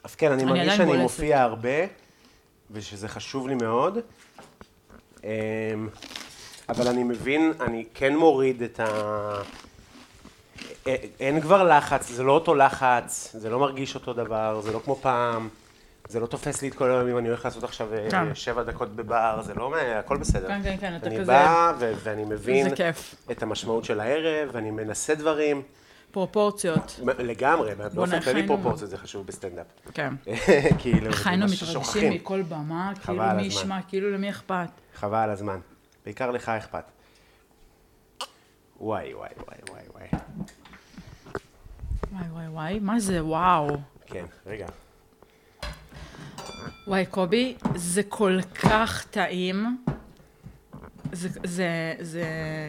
Speaker 2: אז כן, אני
Speaker 3: אני
Speaker 2: מרגיש
Speaker 3: עדיין
Speaker 2: שאני
Speaker 3: בולסת.
Speaker 2: מופיע הרבה, ושזה חשוב לי מאוד. אמ, אבל אני מבין, אני כן מוריד את ה... א- אין כבר לחץ, זה לא אותו לחץ, זה לא מרגיש אותו דבר, זה לא כמו פעם, זה לא תופס לי את כל היום אם אני הולך לעשות עכשיו אה,
Speaker 3: כן.
Speaker 2: שבע דקות בבר, זה לא, מה- הכל בסדר.
Speaker 3: כן, כן, כן, אתה
Speaker 2: אני
Speaker 3: כזה-
Speaker 2: בא ו- ואני מבין
Speaker 3: איזה כיף.
Speaker 2: את המשמעות של הערב, ואני מנסה דברים,
Speaker 3: פרופורציות.
Speaker 2: מ- לגמרי, באופן כללי
Speaker 3: חיינו.
Speaker 2: פרופורציות זה חשוב בסטנדאפ.
Speaker 3: כן.
Speaker 2: כאילו, זה
Speaker 3: חיינו
Speaker 2: מה
Speaker 3: מתרגשים
Speaker 2: ששוכחים.
Speaker 3: מכל במה, כאילו
Speaker 2: חבל על הזמן.
Speaker 3: מי ישמע, כאילו למי אכפת.
Speaker 2: חבל על הזמן. בעיקר לך אכפת. וואי, וואי, וואי, וואי, וואי.
Speaker 3: וואי וואי וואי, מה זה וואו.
Speaker 2: כן, רגע.
Speaker 3: וואי קובי, זה כל כך טעים. זה, זה, זה,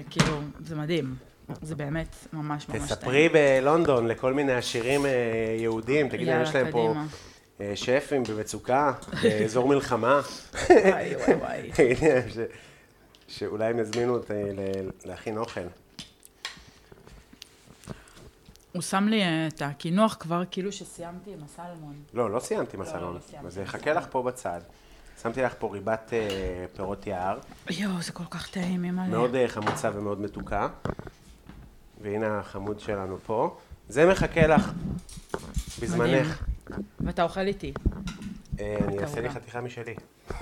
Speaker 3: כאילו, זה מדהים. זה באמת ממש ממש טעים.
Speaker 2: תספרי בלונדון לכל מיני עשירים אה, יהודים, תגידי,
Speaker 3: יאללה,
Speaker 2: יש להם פה
Speaker 3: קדימה.
Speaker 2: אה, שפים במצוקה, באזור מלחמה.
Speaker 3: וואי וואי וואי.
Speaker 2: תגידי להם ש- שאולי הם יזמינו אותי ל- להכין אוכל.
Speaker 3: הוא שם לי אה, את הקינוח כבר כאילו שסיימתי עם הסלמון.
Speaker 2: לא, לא סיימתי עם
Speaker 3: לא,
Speaker 2: הסלון.
Speaker 3: לא סיימתי
Speaker 2: אז זה
Speaker 3: עם
Speaker 2: יחכה לך פה בצד. שמתי לך פה ריבת אה, פירות יער,
Speaker 3: יואו, זה כל כך טעים, אימא'לה.
Speaker 2: מאוד אה, חמוצה ומאוד מתוקה. והנה החמוד שלנו פה. זה מחכה לך,
Speaker 3: מדהים.
Speaker 2: בזמנך.
Speaker 3: ואתה אוכל איתי.
Speaker 2: אה, אני אעשה לי
Speaker 3: כמובן.
Speaker 2: חתיכה משלי.
Speaker 3: אה.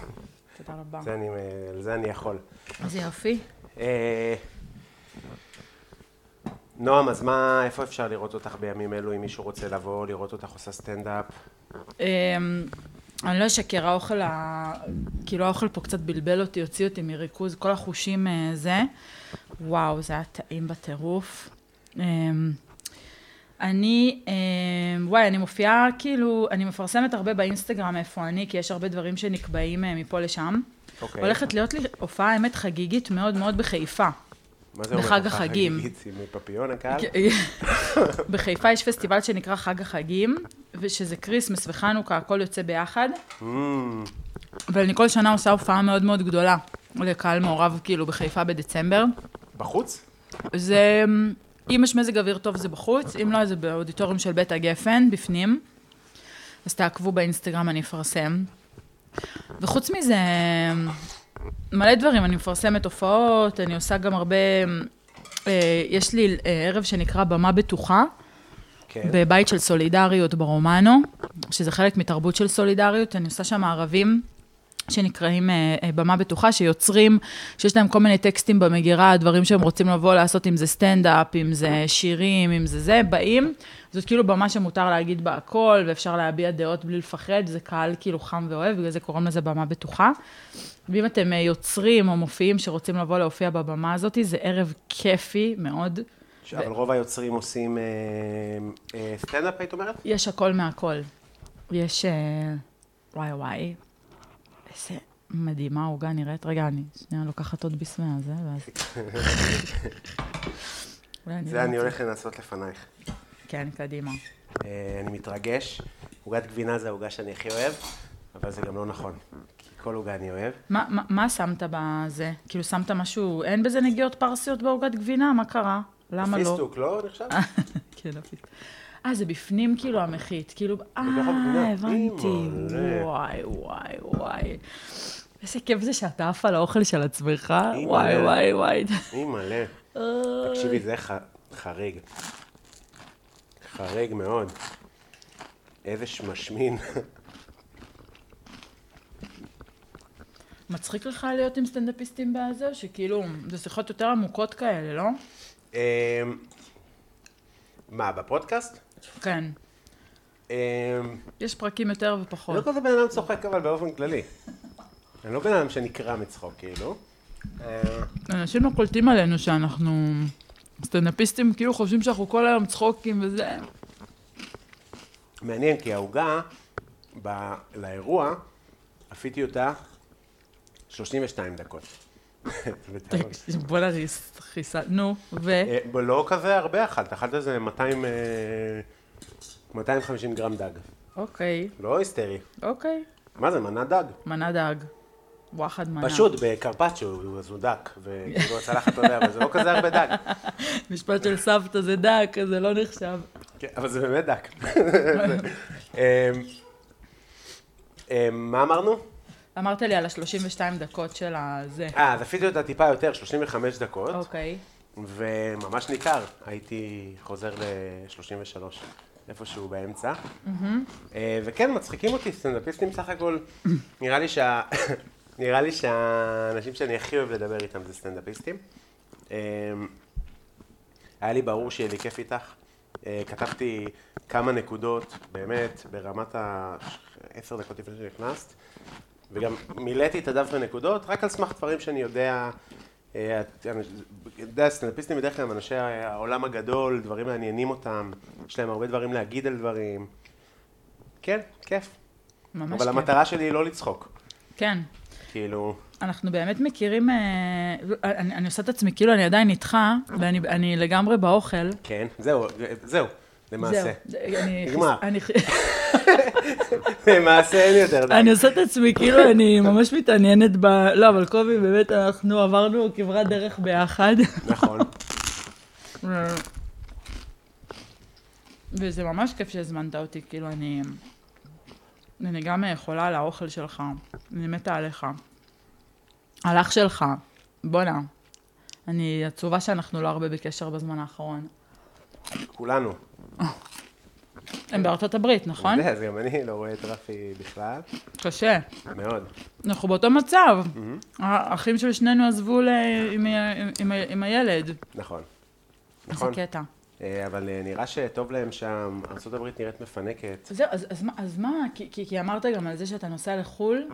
Speaker 3: תודה רבה.
Speaker 2: זה אני, אה, על זה אני יכול.
Speaker 3: איזה יופי.
Speaker 2: אה, נועם, אז מה, איפה אפשר לראות אותך בימים אלו, אם מישהו רוצה לבוא, לראות אותך עושה סטנדאפ?
Speaker 3: אמ, אני לא אשקר, האוכל, ה... כאילו האוכל פה קצת בלבל אותי, הוציא אותי מריכוז, כל החושים אה, זה. וואו, זה היה טעים בטירוף. אמ, אני, אמ, וואי, אני מופיעה, כאילו, אני מפרסמת הרבה באינסטגרם איפה אני, כי יש הרבה דברים שנקבעים אה, מפה לשם.
Speaker 2: אוקיי.
Speaker 3: הולכת להיות לי הופעה, האמת, חגיגית מאוד מאוד בחיפה.
Speaker 2: מה זה אומר?
Speaker 3: בחג
Speaker 2: הופעה
Speaker 3: החגים. כן.
Speaker 2: חגיגית עם פפיון הקהל?
Speaker 3: בחיפה יש פסטיבל שנקרא חג החגים, ושזה כריסמס וחנוכה, הכל יוצא ביחד.
Speaker 2: Mm,
Speaker 3: ואני כל שנה עושה הופעה מאוד מאוד גדולה לקהל מעורב, כאילו, בחיפה בדצמבר.
Speaker 2: בחוץ?
Speaker 3: זה, אם יש מזג אוויר טוב זה בחוץ, אם לא, אז זה באודיטוריום של בית הגפן, בפנים. אז תעקבו באינסטגרם, אני אפרסם. וחוץ מזה, מלא דברים, אני מפרסמת הופעות, אני עושה גם הרבה... אה, יש לי אה, ערב שנקרא במה בטוחה,
Speaker 2: כן.
Speaker 3: בבית של סולידריות ברומנו, שזה חלק מתרבות של סולידריות, אני עושה שם ערבים. שנקראים אה, אה, במה בטוחה, שיוצרים, שיש להם כל מיני טקסטים במגירה, דברים שהם רוצים לבוא לעשות, אם זה סטנדאפ, אם זה שירים, אם זה זה, באים. זאת כאילו במה שמותר להגיד בה הכל, ואפשר להביע דעות בלי לפחד, זה קהל כאילו חם ואוהב, בגלל זה קוראים לזה במה בטוחה. ואם אתם אה, יוצרים או מופיעים שרוצים לבוא להופיע בבמה הזאת, זה ערב כיפי מאוד.
Speaker 2: ש- אבל רוב היוצרים עושים אה, אה, סטנדאפ, היית אומרת?
Speaker 3: יש הכל מהכל. יש... אה, וואי וואי. איזה מדהימה העוגה נראית. רגע, אני שנייה לוקחת עוד ביס מהזה, ואז... אולי
Speaker 2: זה אני
Speaker 3: לא-
Speaker 2: הולך לנסות לפנייך.
Speaker 3: כן, קדימה.
Speaker 2: אה, אני מתרגש. עוגת גבינה זה העוגה שאני הכי אוהב, אבל זה גם לא נכון. כי כל עוגה אני אוהב.
Speaker 3: מה- מה מה שמת בזה? כאילו, שמת משהו... אין בזה נגיעות פרסיות בעוגת גבינה? מה קרה? למה לא?
Speaker 2: פיסטוק, לא נחשב?
Speaker 3: כן, הפיסטוק. אה, זה בפנים כאילו המחית, כאילו, אה,
Speaker 2: ככה מבינה.
Speaker 3: הבנתי,
Speaker 2: אימא'לה.
Speaker 3: וואי, וואי, וואי. איזה כיף זה שאתה עף על האוכל של עצמך, וואי,
Speaker 2: אימא'לה.
Speaker 3: וואי, וואי.
Speaker 2: אי מלא. תקשיבי, זה ח- חריג. חריג מאוד. איזה שמשמין.
Speaker 3: מצחיק לך להיות עם סטנדאפיסטים בזה, שכאילו, זה שיחות יותר עמוקות כאלה, לא?
Speaker 2: אמ, מה, בפודקאסט?
Speaker 3: כן.
Speaker 2: אמ,
Speaker 3: יש פרקים יותר
Speaker 2: לא
Speaker 3: ופחות.
Speaker 2: כזה בן אדם צוחק, אבל באופן כללי. אני לא בן אדם שנקרע מצחוק, כאילו. אה,
Speaker 3: אנשים לא קולטים עלינו שאנחנו סטנדאפיסטים, כאילו חושבים שאנחנו כל היום צחוקים וזה.
Speaker 2: מעניין, כי העוגה, ב- לאירוע, עפיתי אותה 32 דקות. בטעות.
Speaker 3: תקשיב, בוא'נה, זה חיסה. נו, ו...
Speaker 2: אה, ב- לא כזה הרבה אכלת, אכלת איזה 200, אה, 250 גרם דג.
Speaker 3: אוקיי,
Speaker 2: לא היסטרי.
Speaker 3: אוקיי.
Speaker 2: מה זה, מנה דג?
Speaker 3: מנה דג. וואחד מנה.
Speaker 2: פשוט בקרפצ'ו, הוא- אז הוא דק, וכאילו הצלחת אתה יודע, אבל זה לא כזה הרבה דג.
Speaker 3: משפט של סבתא זה דג, זה לא נחשב.
Speaker 2: כן, אבל זה באמת דק. זה- אמ, אמ, מה אמרנו?
Speaker 3: אמרת לי על ה-32 דקות של הזה.
Speaker 2: אה, אז עפיתי אותה טיפה יותר, 35 דקות,
Speaker 3: אוקיי.
Speaker 2: וממש ניכר, הייתי חוזר ל-33, איפשהו באמצע. אה, וכן, מצחיקים אותי סטנדאפיסטים סך הכל. נראה לי שה... נראה לי שהאנשים שאני הכי אוהב לדבר איתם זה סטנדאפיסטים. אמ, היה לי ברור שיהיה לי כיף איתך. אה, כתבתי כמה נקודות, באמת, ברמת ה... עשר דקות לפני שנכנסת, וגם מילאתי את הדף בנקודות, רק על סמך דברים שאני יודע, אה, את- אנ- יודע, סטנדאפיסטים בדרך כלל הם אנשי העולם הגדול, דברים מעניינים אותם, יש להם הרבה דברים להגיד על דברים. כן, כיף.
Speaker 3: ממש
Speaker 2: אבל
Speaker 3: כיף.
Speaker 2: המטרה שלי היא לא לצחוק.
Speaker 3: כן.
Speaker 2: כאילו,
Speaker 3: אנחנו באמת מכירים, אה, אני, אני עושה את עצמי, כאילו אני עדיין איתך, ואני אני לגמרי באוכל.
Speaker 2: כן, זהו, זה- זהו, למעשה.
Speaker 3: זהו, אני,
Speaker 2: נגמר.
Speaker 3: אני,
Speaker 2: למעשה אין יותר
Speaker 3: אני
Speaker 2: די.
Speaker 3: עושה את עצמי, כאילו אני ממש מתעניינת ב... לא, אבל קובי, באמת, אנחנו עברנו כברת דרך ביחד.
Speaker 2: נכון.
Speaker 3: וזה ממש כיף שהזמנת אותי, כאילו אני... אני גם אה, חולה על האוכל שלך, אני מתה עליך. על אח שלך, בואנה. אני עצובה שאנחנו לא הרבה בקשר בזמן האחרון.
Speaker 2: כולנו.
Speaker 3: הם בארצות הברית, נכון?
Speaker 2: אני יודע, אז גם אני לא רואה את רפי בכלל.
Speaker 3: קשה.
Speaker 2: מאוד.
Speaker 3: אנחנו באותו מצב. האחים של שנינו עזבו ל... עם, ה- עם, ה- עם הילד.
Speaker 2: נכון.
Speaker 3: נכון.
Speaker 2: נכון.
Speaker 3: איזה קטע.
Speaker 2: אה, אבל אה, נראה שטוב להם שם, ארה"ב נראית מפנקת.
Speaker 3: זהו, אז, אז, מה- אז מה, כי, כי, כי אמרת גם על זה שאתה נוסע לחו"ל,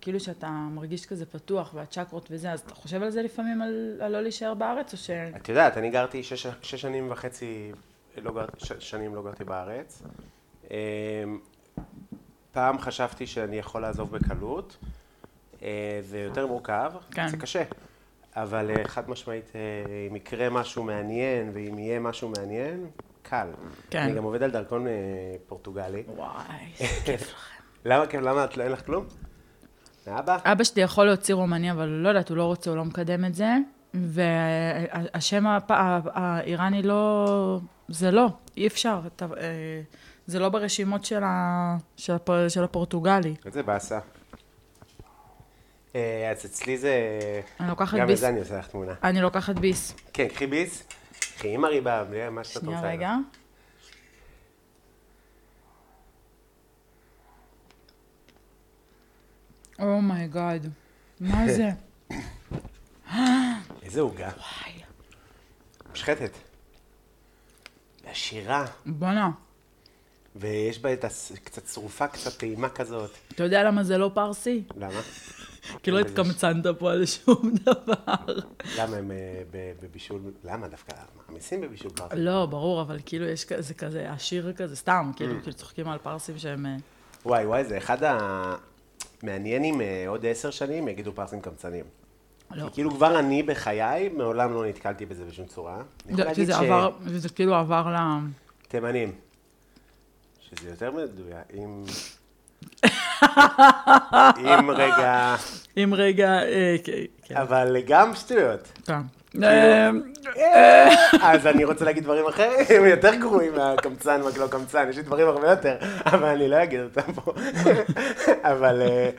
Speaker 3: כאילו שאתה מרגיש כזה פתוח והצ'קרות וזה, אז אתה חושב על זה לפעמים, על, על לא להישאר בארץ, או ש...
Speaker 2: את יודעת, אני גרתי שש, שש שנים וחצי, לא גר, ש, שנים לא גרתי בארץ. אמ, פעם חשבתי שאני יכול לעזוב בקלות, אה, זה יותר מורכב,
Speaker 3: כן.
Speaker 2: זה קשה, אבל אה, חד משמעית, אה, אם יקרה משהו מעניין ואם יהיה משהו מעניין, קל.
Speaker 3: כן.
Speaker 2: אני גם עובד על דרכון אה, פורטוגלי.
Speaker 3: וואי, איזה כיף לכם.
Speaker 2: למה, כן, למה את, לא- אין לך כלום? לאבא?
Speaker 3: אבא שלי יכול להוציא רומני, אבל לא יודעת, הוא לא רוצה, הוא לא מקדם את זה, והשם הפ... ה- האיראני לא... זה לא, אי אפשר. אתה, אה, זה לא ברשימות של, ה... של, הפ... של הפורטוגלי.
Speaker 2: איזה באסה. אה, אז אצלי זה...
Speaker 3: אני לוקחת
Speaker 2: גם
Speaker 3: ביס.
Speaker 2: לזה אני עושה לך תמונה.
Speaker 3: אני לוקחת ביס.
Speaker 2: כן, קחי ביס, קחי עם הריבה, בלי מה שאת רוצה.
Speaker 3: שנייה רגע. אומייגאד, מה זה?
Speaker 2: איזה עוגה.
Speaker 3: וואי,
Speaker 2: מושחתת. עשירה,
Speaker 3: בואנה,
Speaker 2: ויש בה את הס... קצת צרופה, קצת טעימה כזאת.
Speaker 3: אתה יודע למה זה לא פרסי?
Speaker 2: למה?
Speaker 3: כי לא התקמצנת פה על שום דבר.
Speaker 2: למה הם אה, ב- בבישול... למה דווקא? מעמיסים בבישול פרסי.
Speaker 3: לא, ברור, אבל כאילו יש כזה, כזה עשיר כזה,
Speaker 2: Mm.
Speaker 3: סתם, כאילו, כאילו צוחקים על פרסים שהם... אה,
Speaker 2: וואי, וואי, זה אחד המעניין אם אה, עוד עשר שנים יגידו פרסים קמצנים.
Speaker 3: לא.
Speaker 2: כי כאילו כבר אני בחיי, מעולם לא נתקלתי בזה בשום צורה. אני יכול
Speaker 3: זה- כי
Speaker 2: להגיד
Speaker 3: זה
Speaker 2: ש...
Speaker 3: לא, עבר, זה כאילו עבר ל...
Speaker 2: תימנים. שזה יותר מדויק, אם... אם רגע...
Speaker 3: אם רגע... אה, כן, כן,
Speaker 2: אבל גם שטויות.
Speaker 3: כן.
Speaker 2: כאילו-
Speaker 3: אה,
Speaker 2: אז אני רוצה להגיד דברים אחרים, יותר גרועים מהקמצן, מה לא קמצן, יש לי דברים הרבה יותר, אבל אני לא אגיד אותם פה. אבל אה,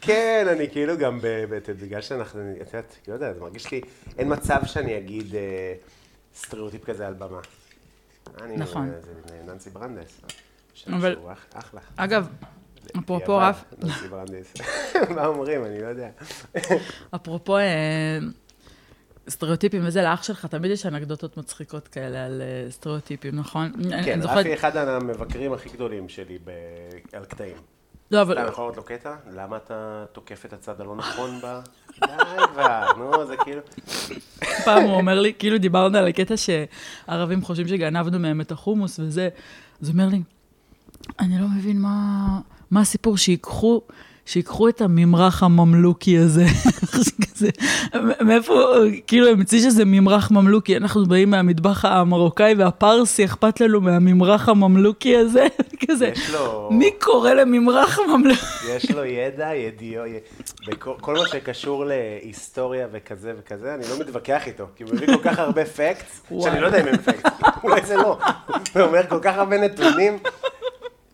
Speaker 2: כן, אני כאילו גם, ב- ב- בגלל שאנחנו, אני- את יודעת, לא יודע, זה מרגיש לי, אין מצב שאני אגיד אה, סטריאוטיפ כזה על במה. אני- לא
Speaker 3: נכון.
Speaker 2: זה ננסי ברנדס.
Speaker 3: אבל-
Speaker 2: אבל... אחלה.
Speaker 3: אגב, אפרופו
Speaker 2: יוון,
Speaker 3: רף,
Speaker 2: ננסי ברנדס. מה אומרים? אני לא יודע.
Speaker 3: אפרופו אה, סטריאוטיפים וזה, לאח שלך תמיד יש אנקדוטות מצחיקות כאלה על אה, סטריאוטיפים, נכון?
Speaker 2: כן,
Speaker 3: אני זוכרת-
Speaker 2: רפי אחד המבקרים הכי גדולים שלי ב- על קטעים.
Speaker 3: לא,
Speaker 2: אתה
Speaker 3: אבל...
Speaker 2: יכול לראות לו קטע? למה אתה תוקף את הצד הלא נכון בה? די כבר, נו, זה כאילו...
Speaker 3: פעם הוא אומר לי, כאילו דיברנו על הקטע שערבים חושבים שגנבנו מהם את החומוס וזה, אז הוא אומר לי, אני לא מבין מה, מה הסיפור שיקחו, שיקחו את הממרח הממלוכי הזה. כזה, מאיפה, כאילו, הם המציא שזה ממרח ממלוכי, אנחנו באים מהמטבח המרוקאי והפרסי, אכפת לנו מהממרח הממלוכי הזה, כזה.
Speaker 2: יש לו-
Speaker 3: מי קורא לממרח ממלוכי?
Speaker 2: יש לו ידע, ידיעו, י- בכל כל מה שקשור להיסטוריה וכזה וכזה, אני לא מתווכח איתו, כי הוא מביא כל כך הרבה פקטס, שאני
Speaker 3: וואי.
Speaker 2: לא יודע אם הם פקטס, אולי זה לא. הוא אומר כל כך הרבה נתונים,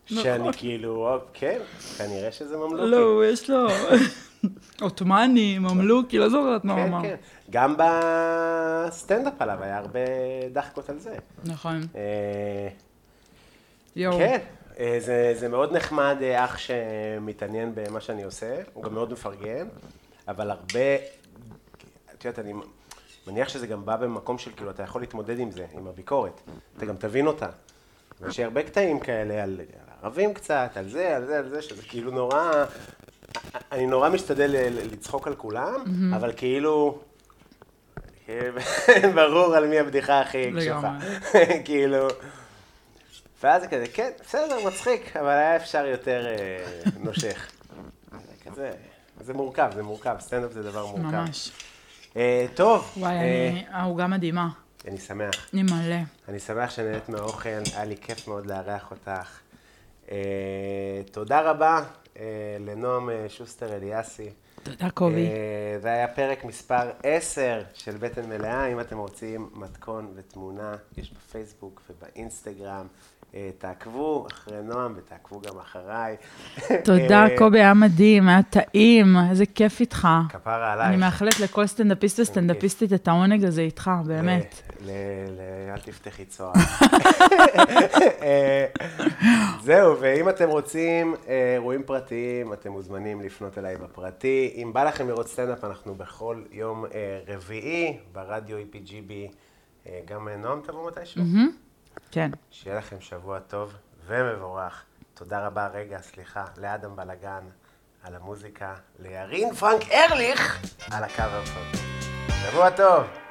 Speaker 2: שאני כאילו, "אופ, כן, כנראה שזה ממלוכי.
Speaker 3: נכון. לא, יש לו... עות'מאני, ממלוכי, לא זוכרת מה הוא
Speaker 2: כן,
Speaker 3: אמר.
Speaker 2: כן. גם בסטנדאפ עליו היה הרבה דחקות על זה.
Speaker 3: נכון.
Speaker 2: אה,
Speaker 3: יואו.
Speaker 2: כן, אה, זה, זה מאוד נחמד אה, אח שמתעניין במה שאני עושה, הוא גם מאוד מפרגן, אבל הרבה, את יודעת, אני מניח שזה גם בא במקום של כאילו, אתה יכול להתמודד עם זה, עם הביקורת, אתה גם תבין אותה. יש הרבה קטעים כאלה על, על ערבים קצת, על זה, על זה, על זה, שזה כאילו נורא, אני נורא משתדל ל- ל- לצחוק על כולם, אבל כאילו... כן, ברור על מי הבדיחה הכי קשוחה. כאילו... ואז זה כזה, כן, בסדר, מצחיק, אבל היה אפשר יותר אה, נושך. זה כזה, זה מורכב, זה מורכב, סטנדאפ זה דבר מורכב.
Speaker 3: ממש.
Speaker 2: אה, טוב,
Speaker 3: וואי,
Speaker 2: אה,
Speaker 3: אני... העוגה מדהימה.
Speaker 2: אני שמח.
Speaker 3: אני מלא.
Speaker 2: אני שמח שנהנית מהאוכל, היה לי כיף מאוד לארח אותך. אה, תודה רבה אה, לנועם אה, שוסטר אליאסי.
Speaker 3: תודה, קובי.
Speaker 2: אה, זה היה פרק מספר 10 של בטן מלאה. אם אתם רוצים מתכון ותמונה, יש בפייסבוק ובאינסטגרם. אה, תעקבו אחרי נועם ותעקבו גם אחריי.
Speaker 3: תודה,
Speaker 2: אה,
Speaker 3: קובי, היה מדהים, היה טעים, איזה כיף איתך.
Speaker 2: כפרה
Speaker 3: אני
Speaker 2: עלייך.
Speaker 3: מאחלת לכל סטנדאפיסט וסטנדאפיסטית את העונג הזה איתך, באמת.
Speaker 2: ל- ל- ל- אל תפתחי צוהר. אה, זהו, ואם אתם רוצים אה, אירועים פרטיים, אתם מוזמנים לפנות אליי בפרטי. אם בא לכם לראות סטנדאפ, אנחנו בכל יום אה, רביעי ברדיו E EPGB. אה, גם אה, נועם תבוא מתישהו.
Speaker 3: כן.
Speaker 2: שיהיה לכם שבוע טוב ומבורך. תודה רבה, רגע, סליחה, לאדם בלגן על המוזיקה, לירין פרנק ארליך על הקאבר פרק. שבוע טוב!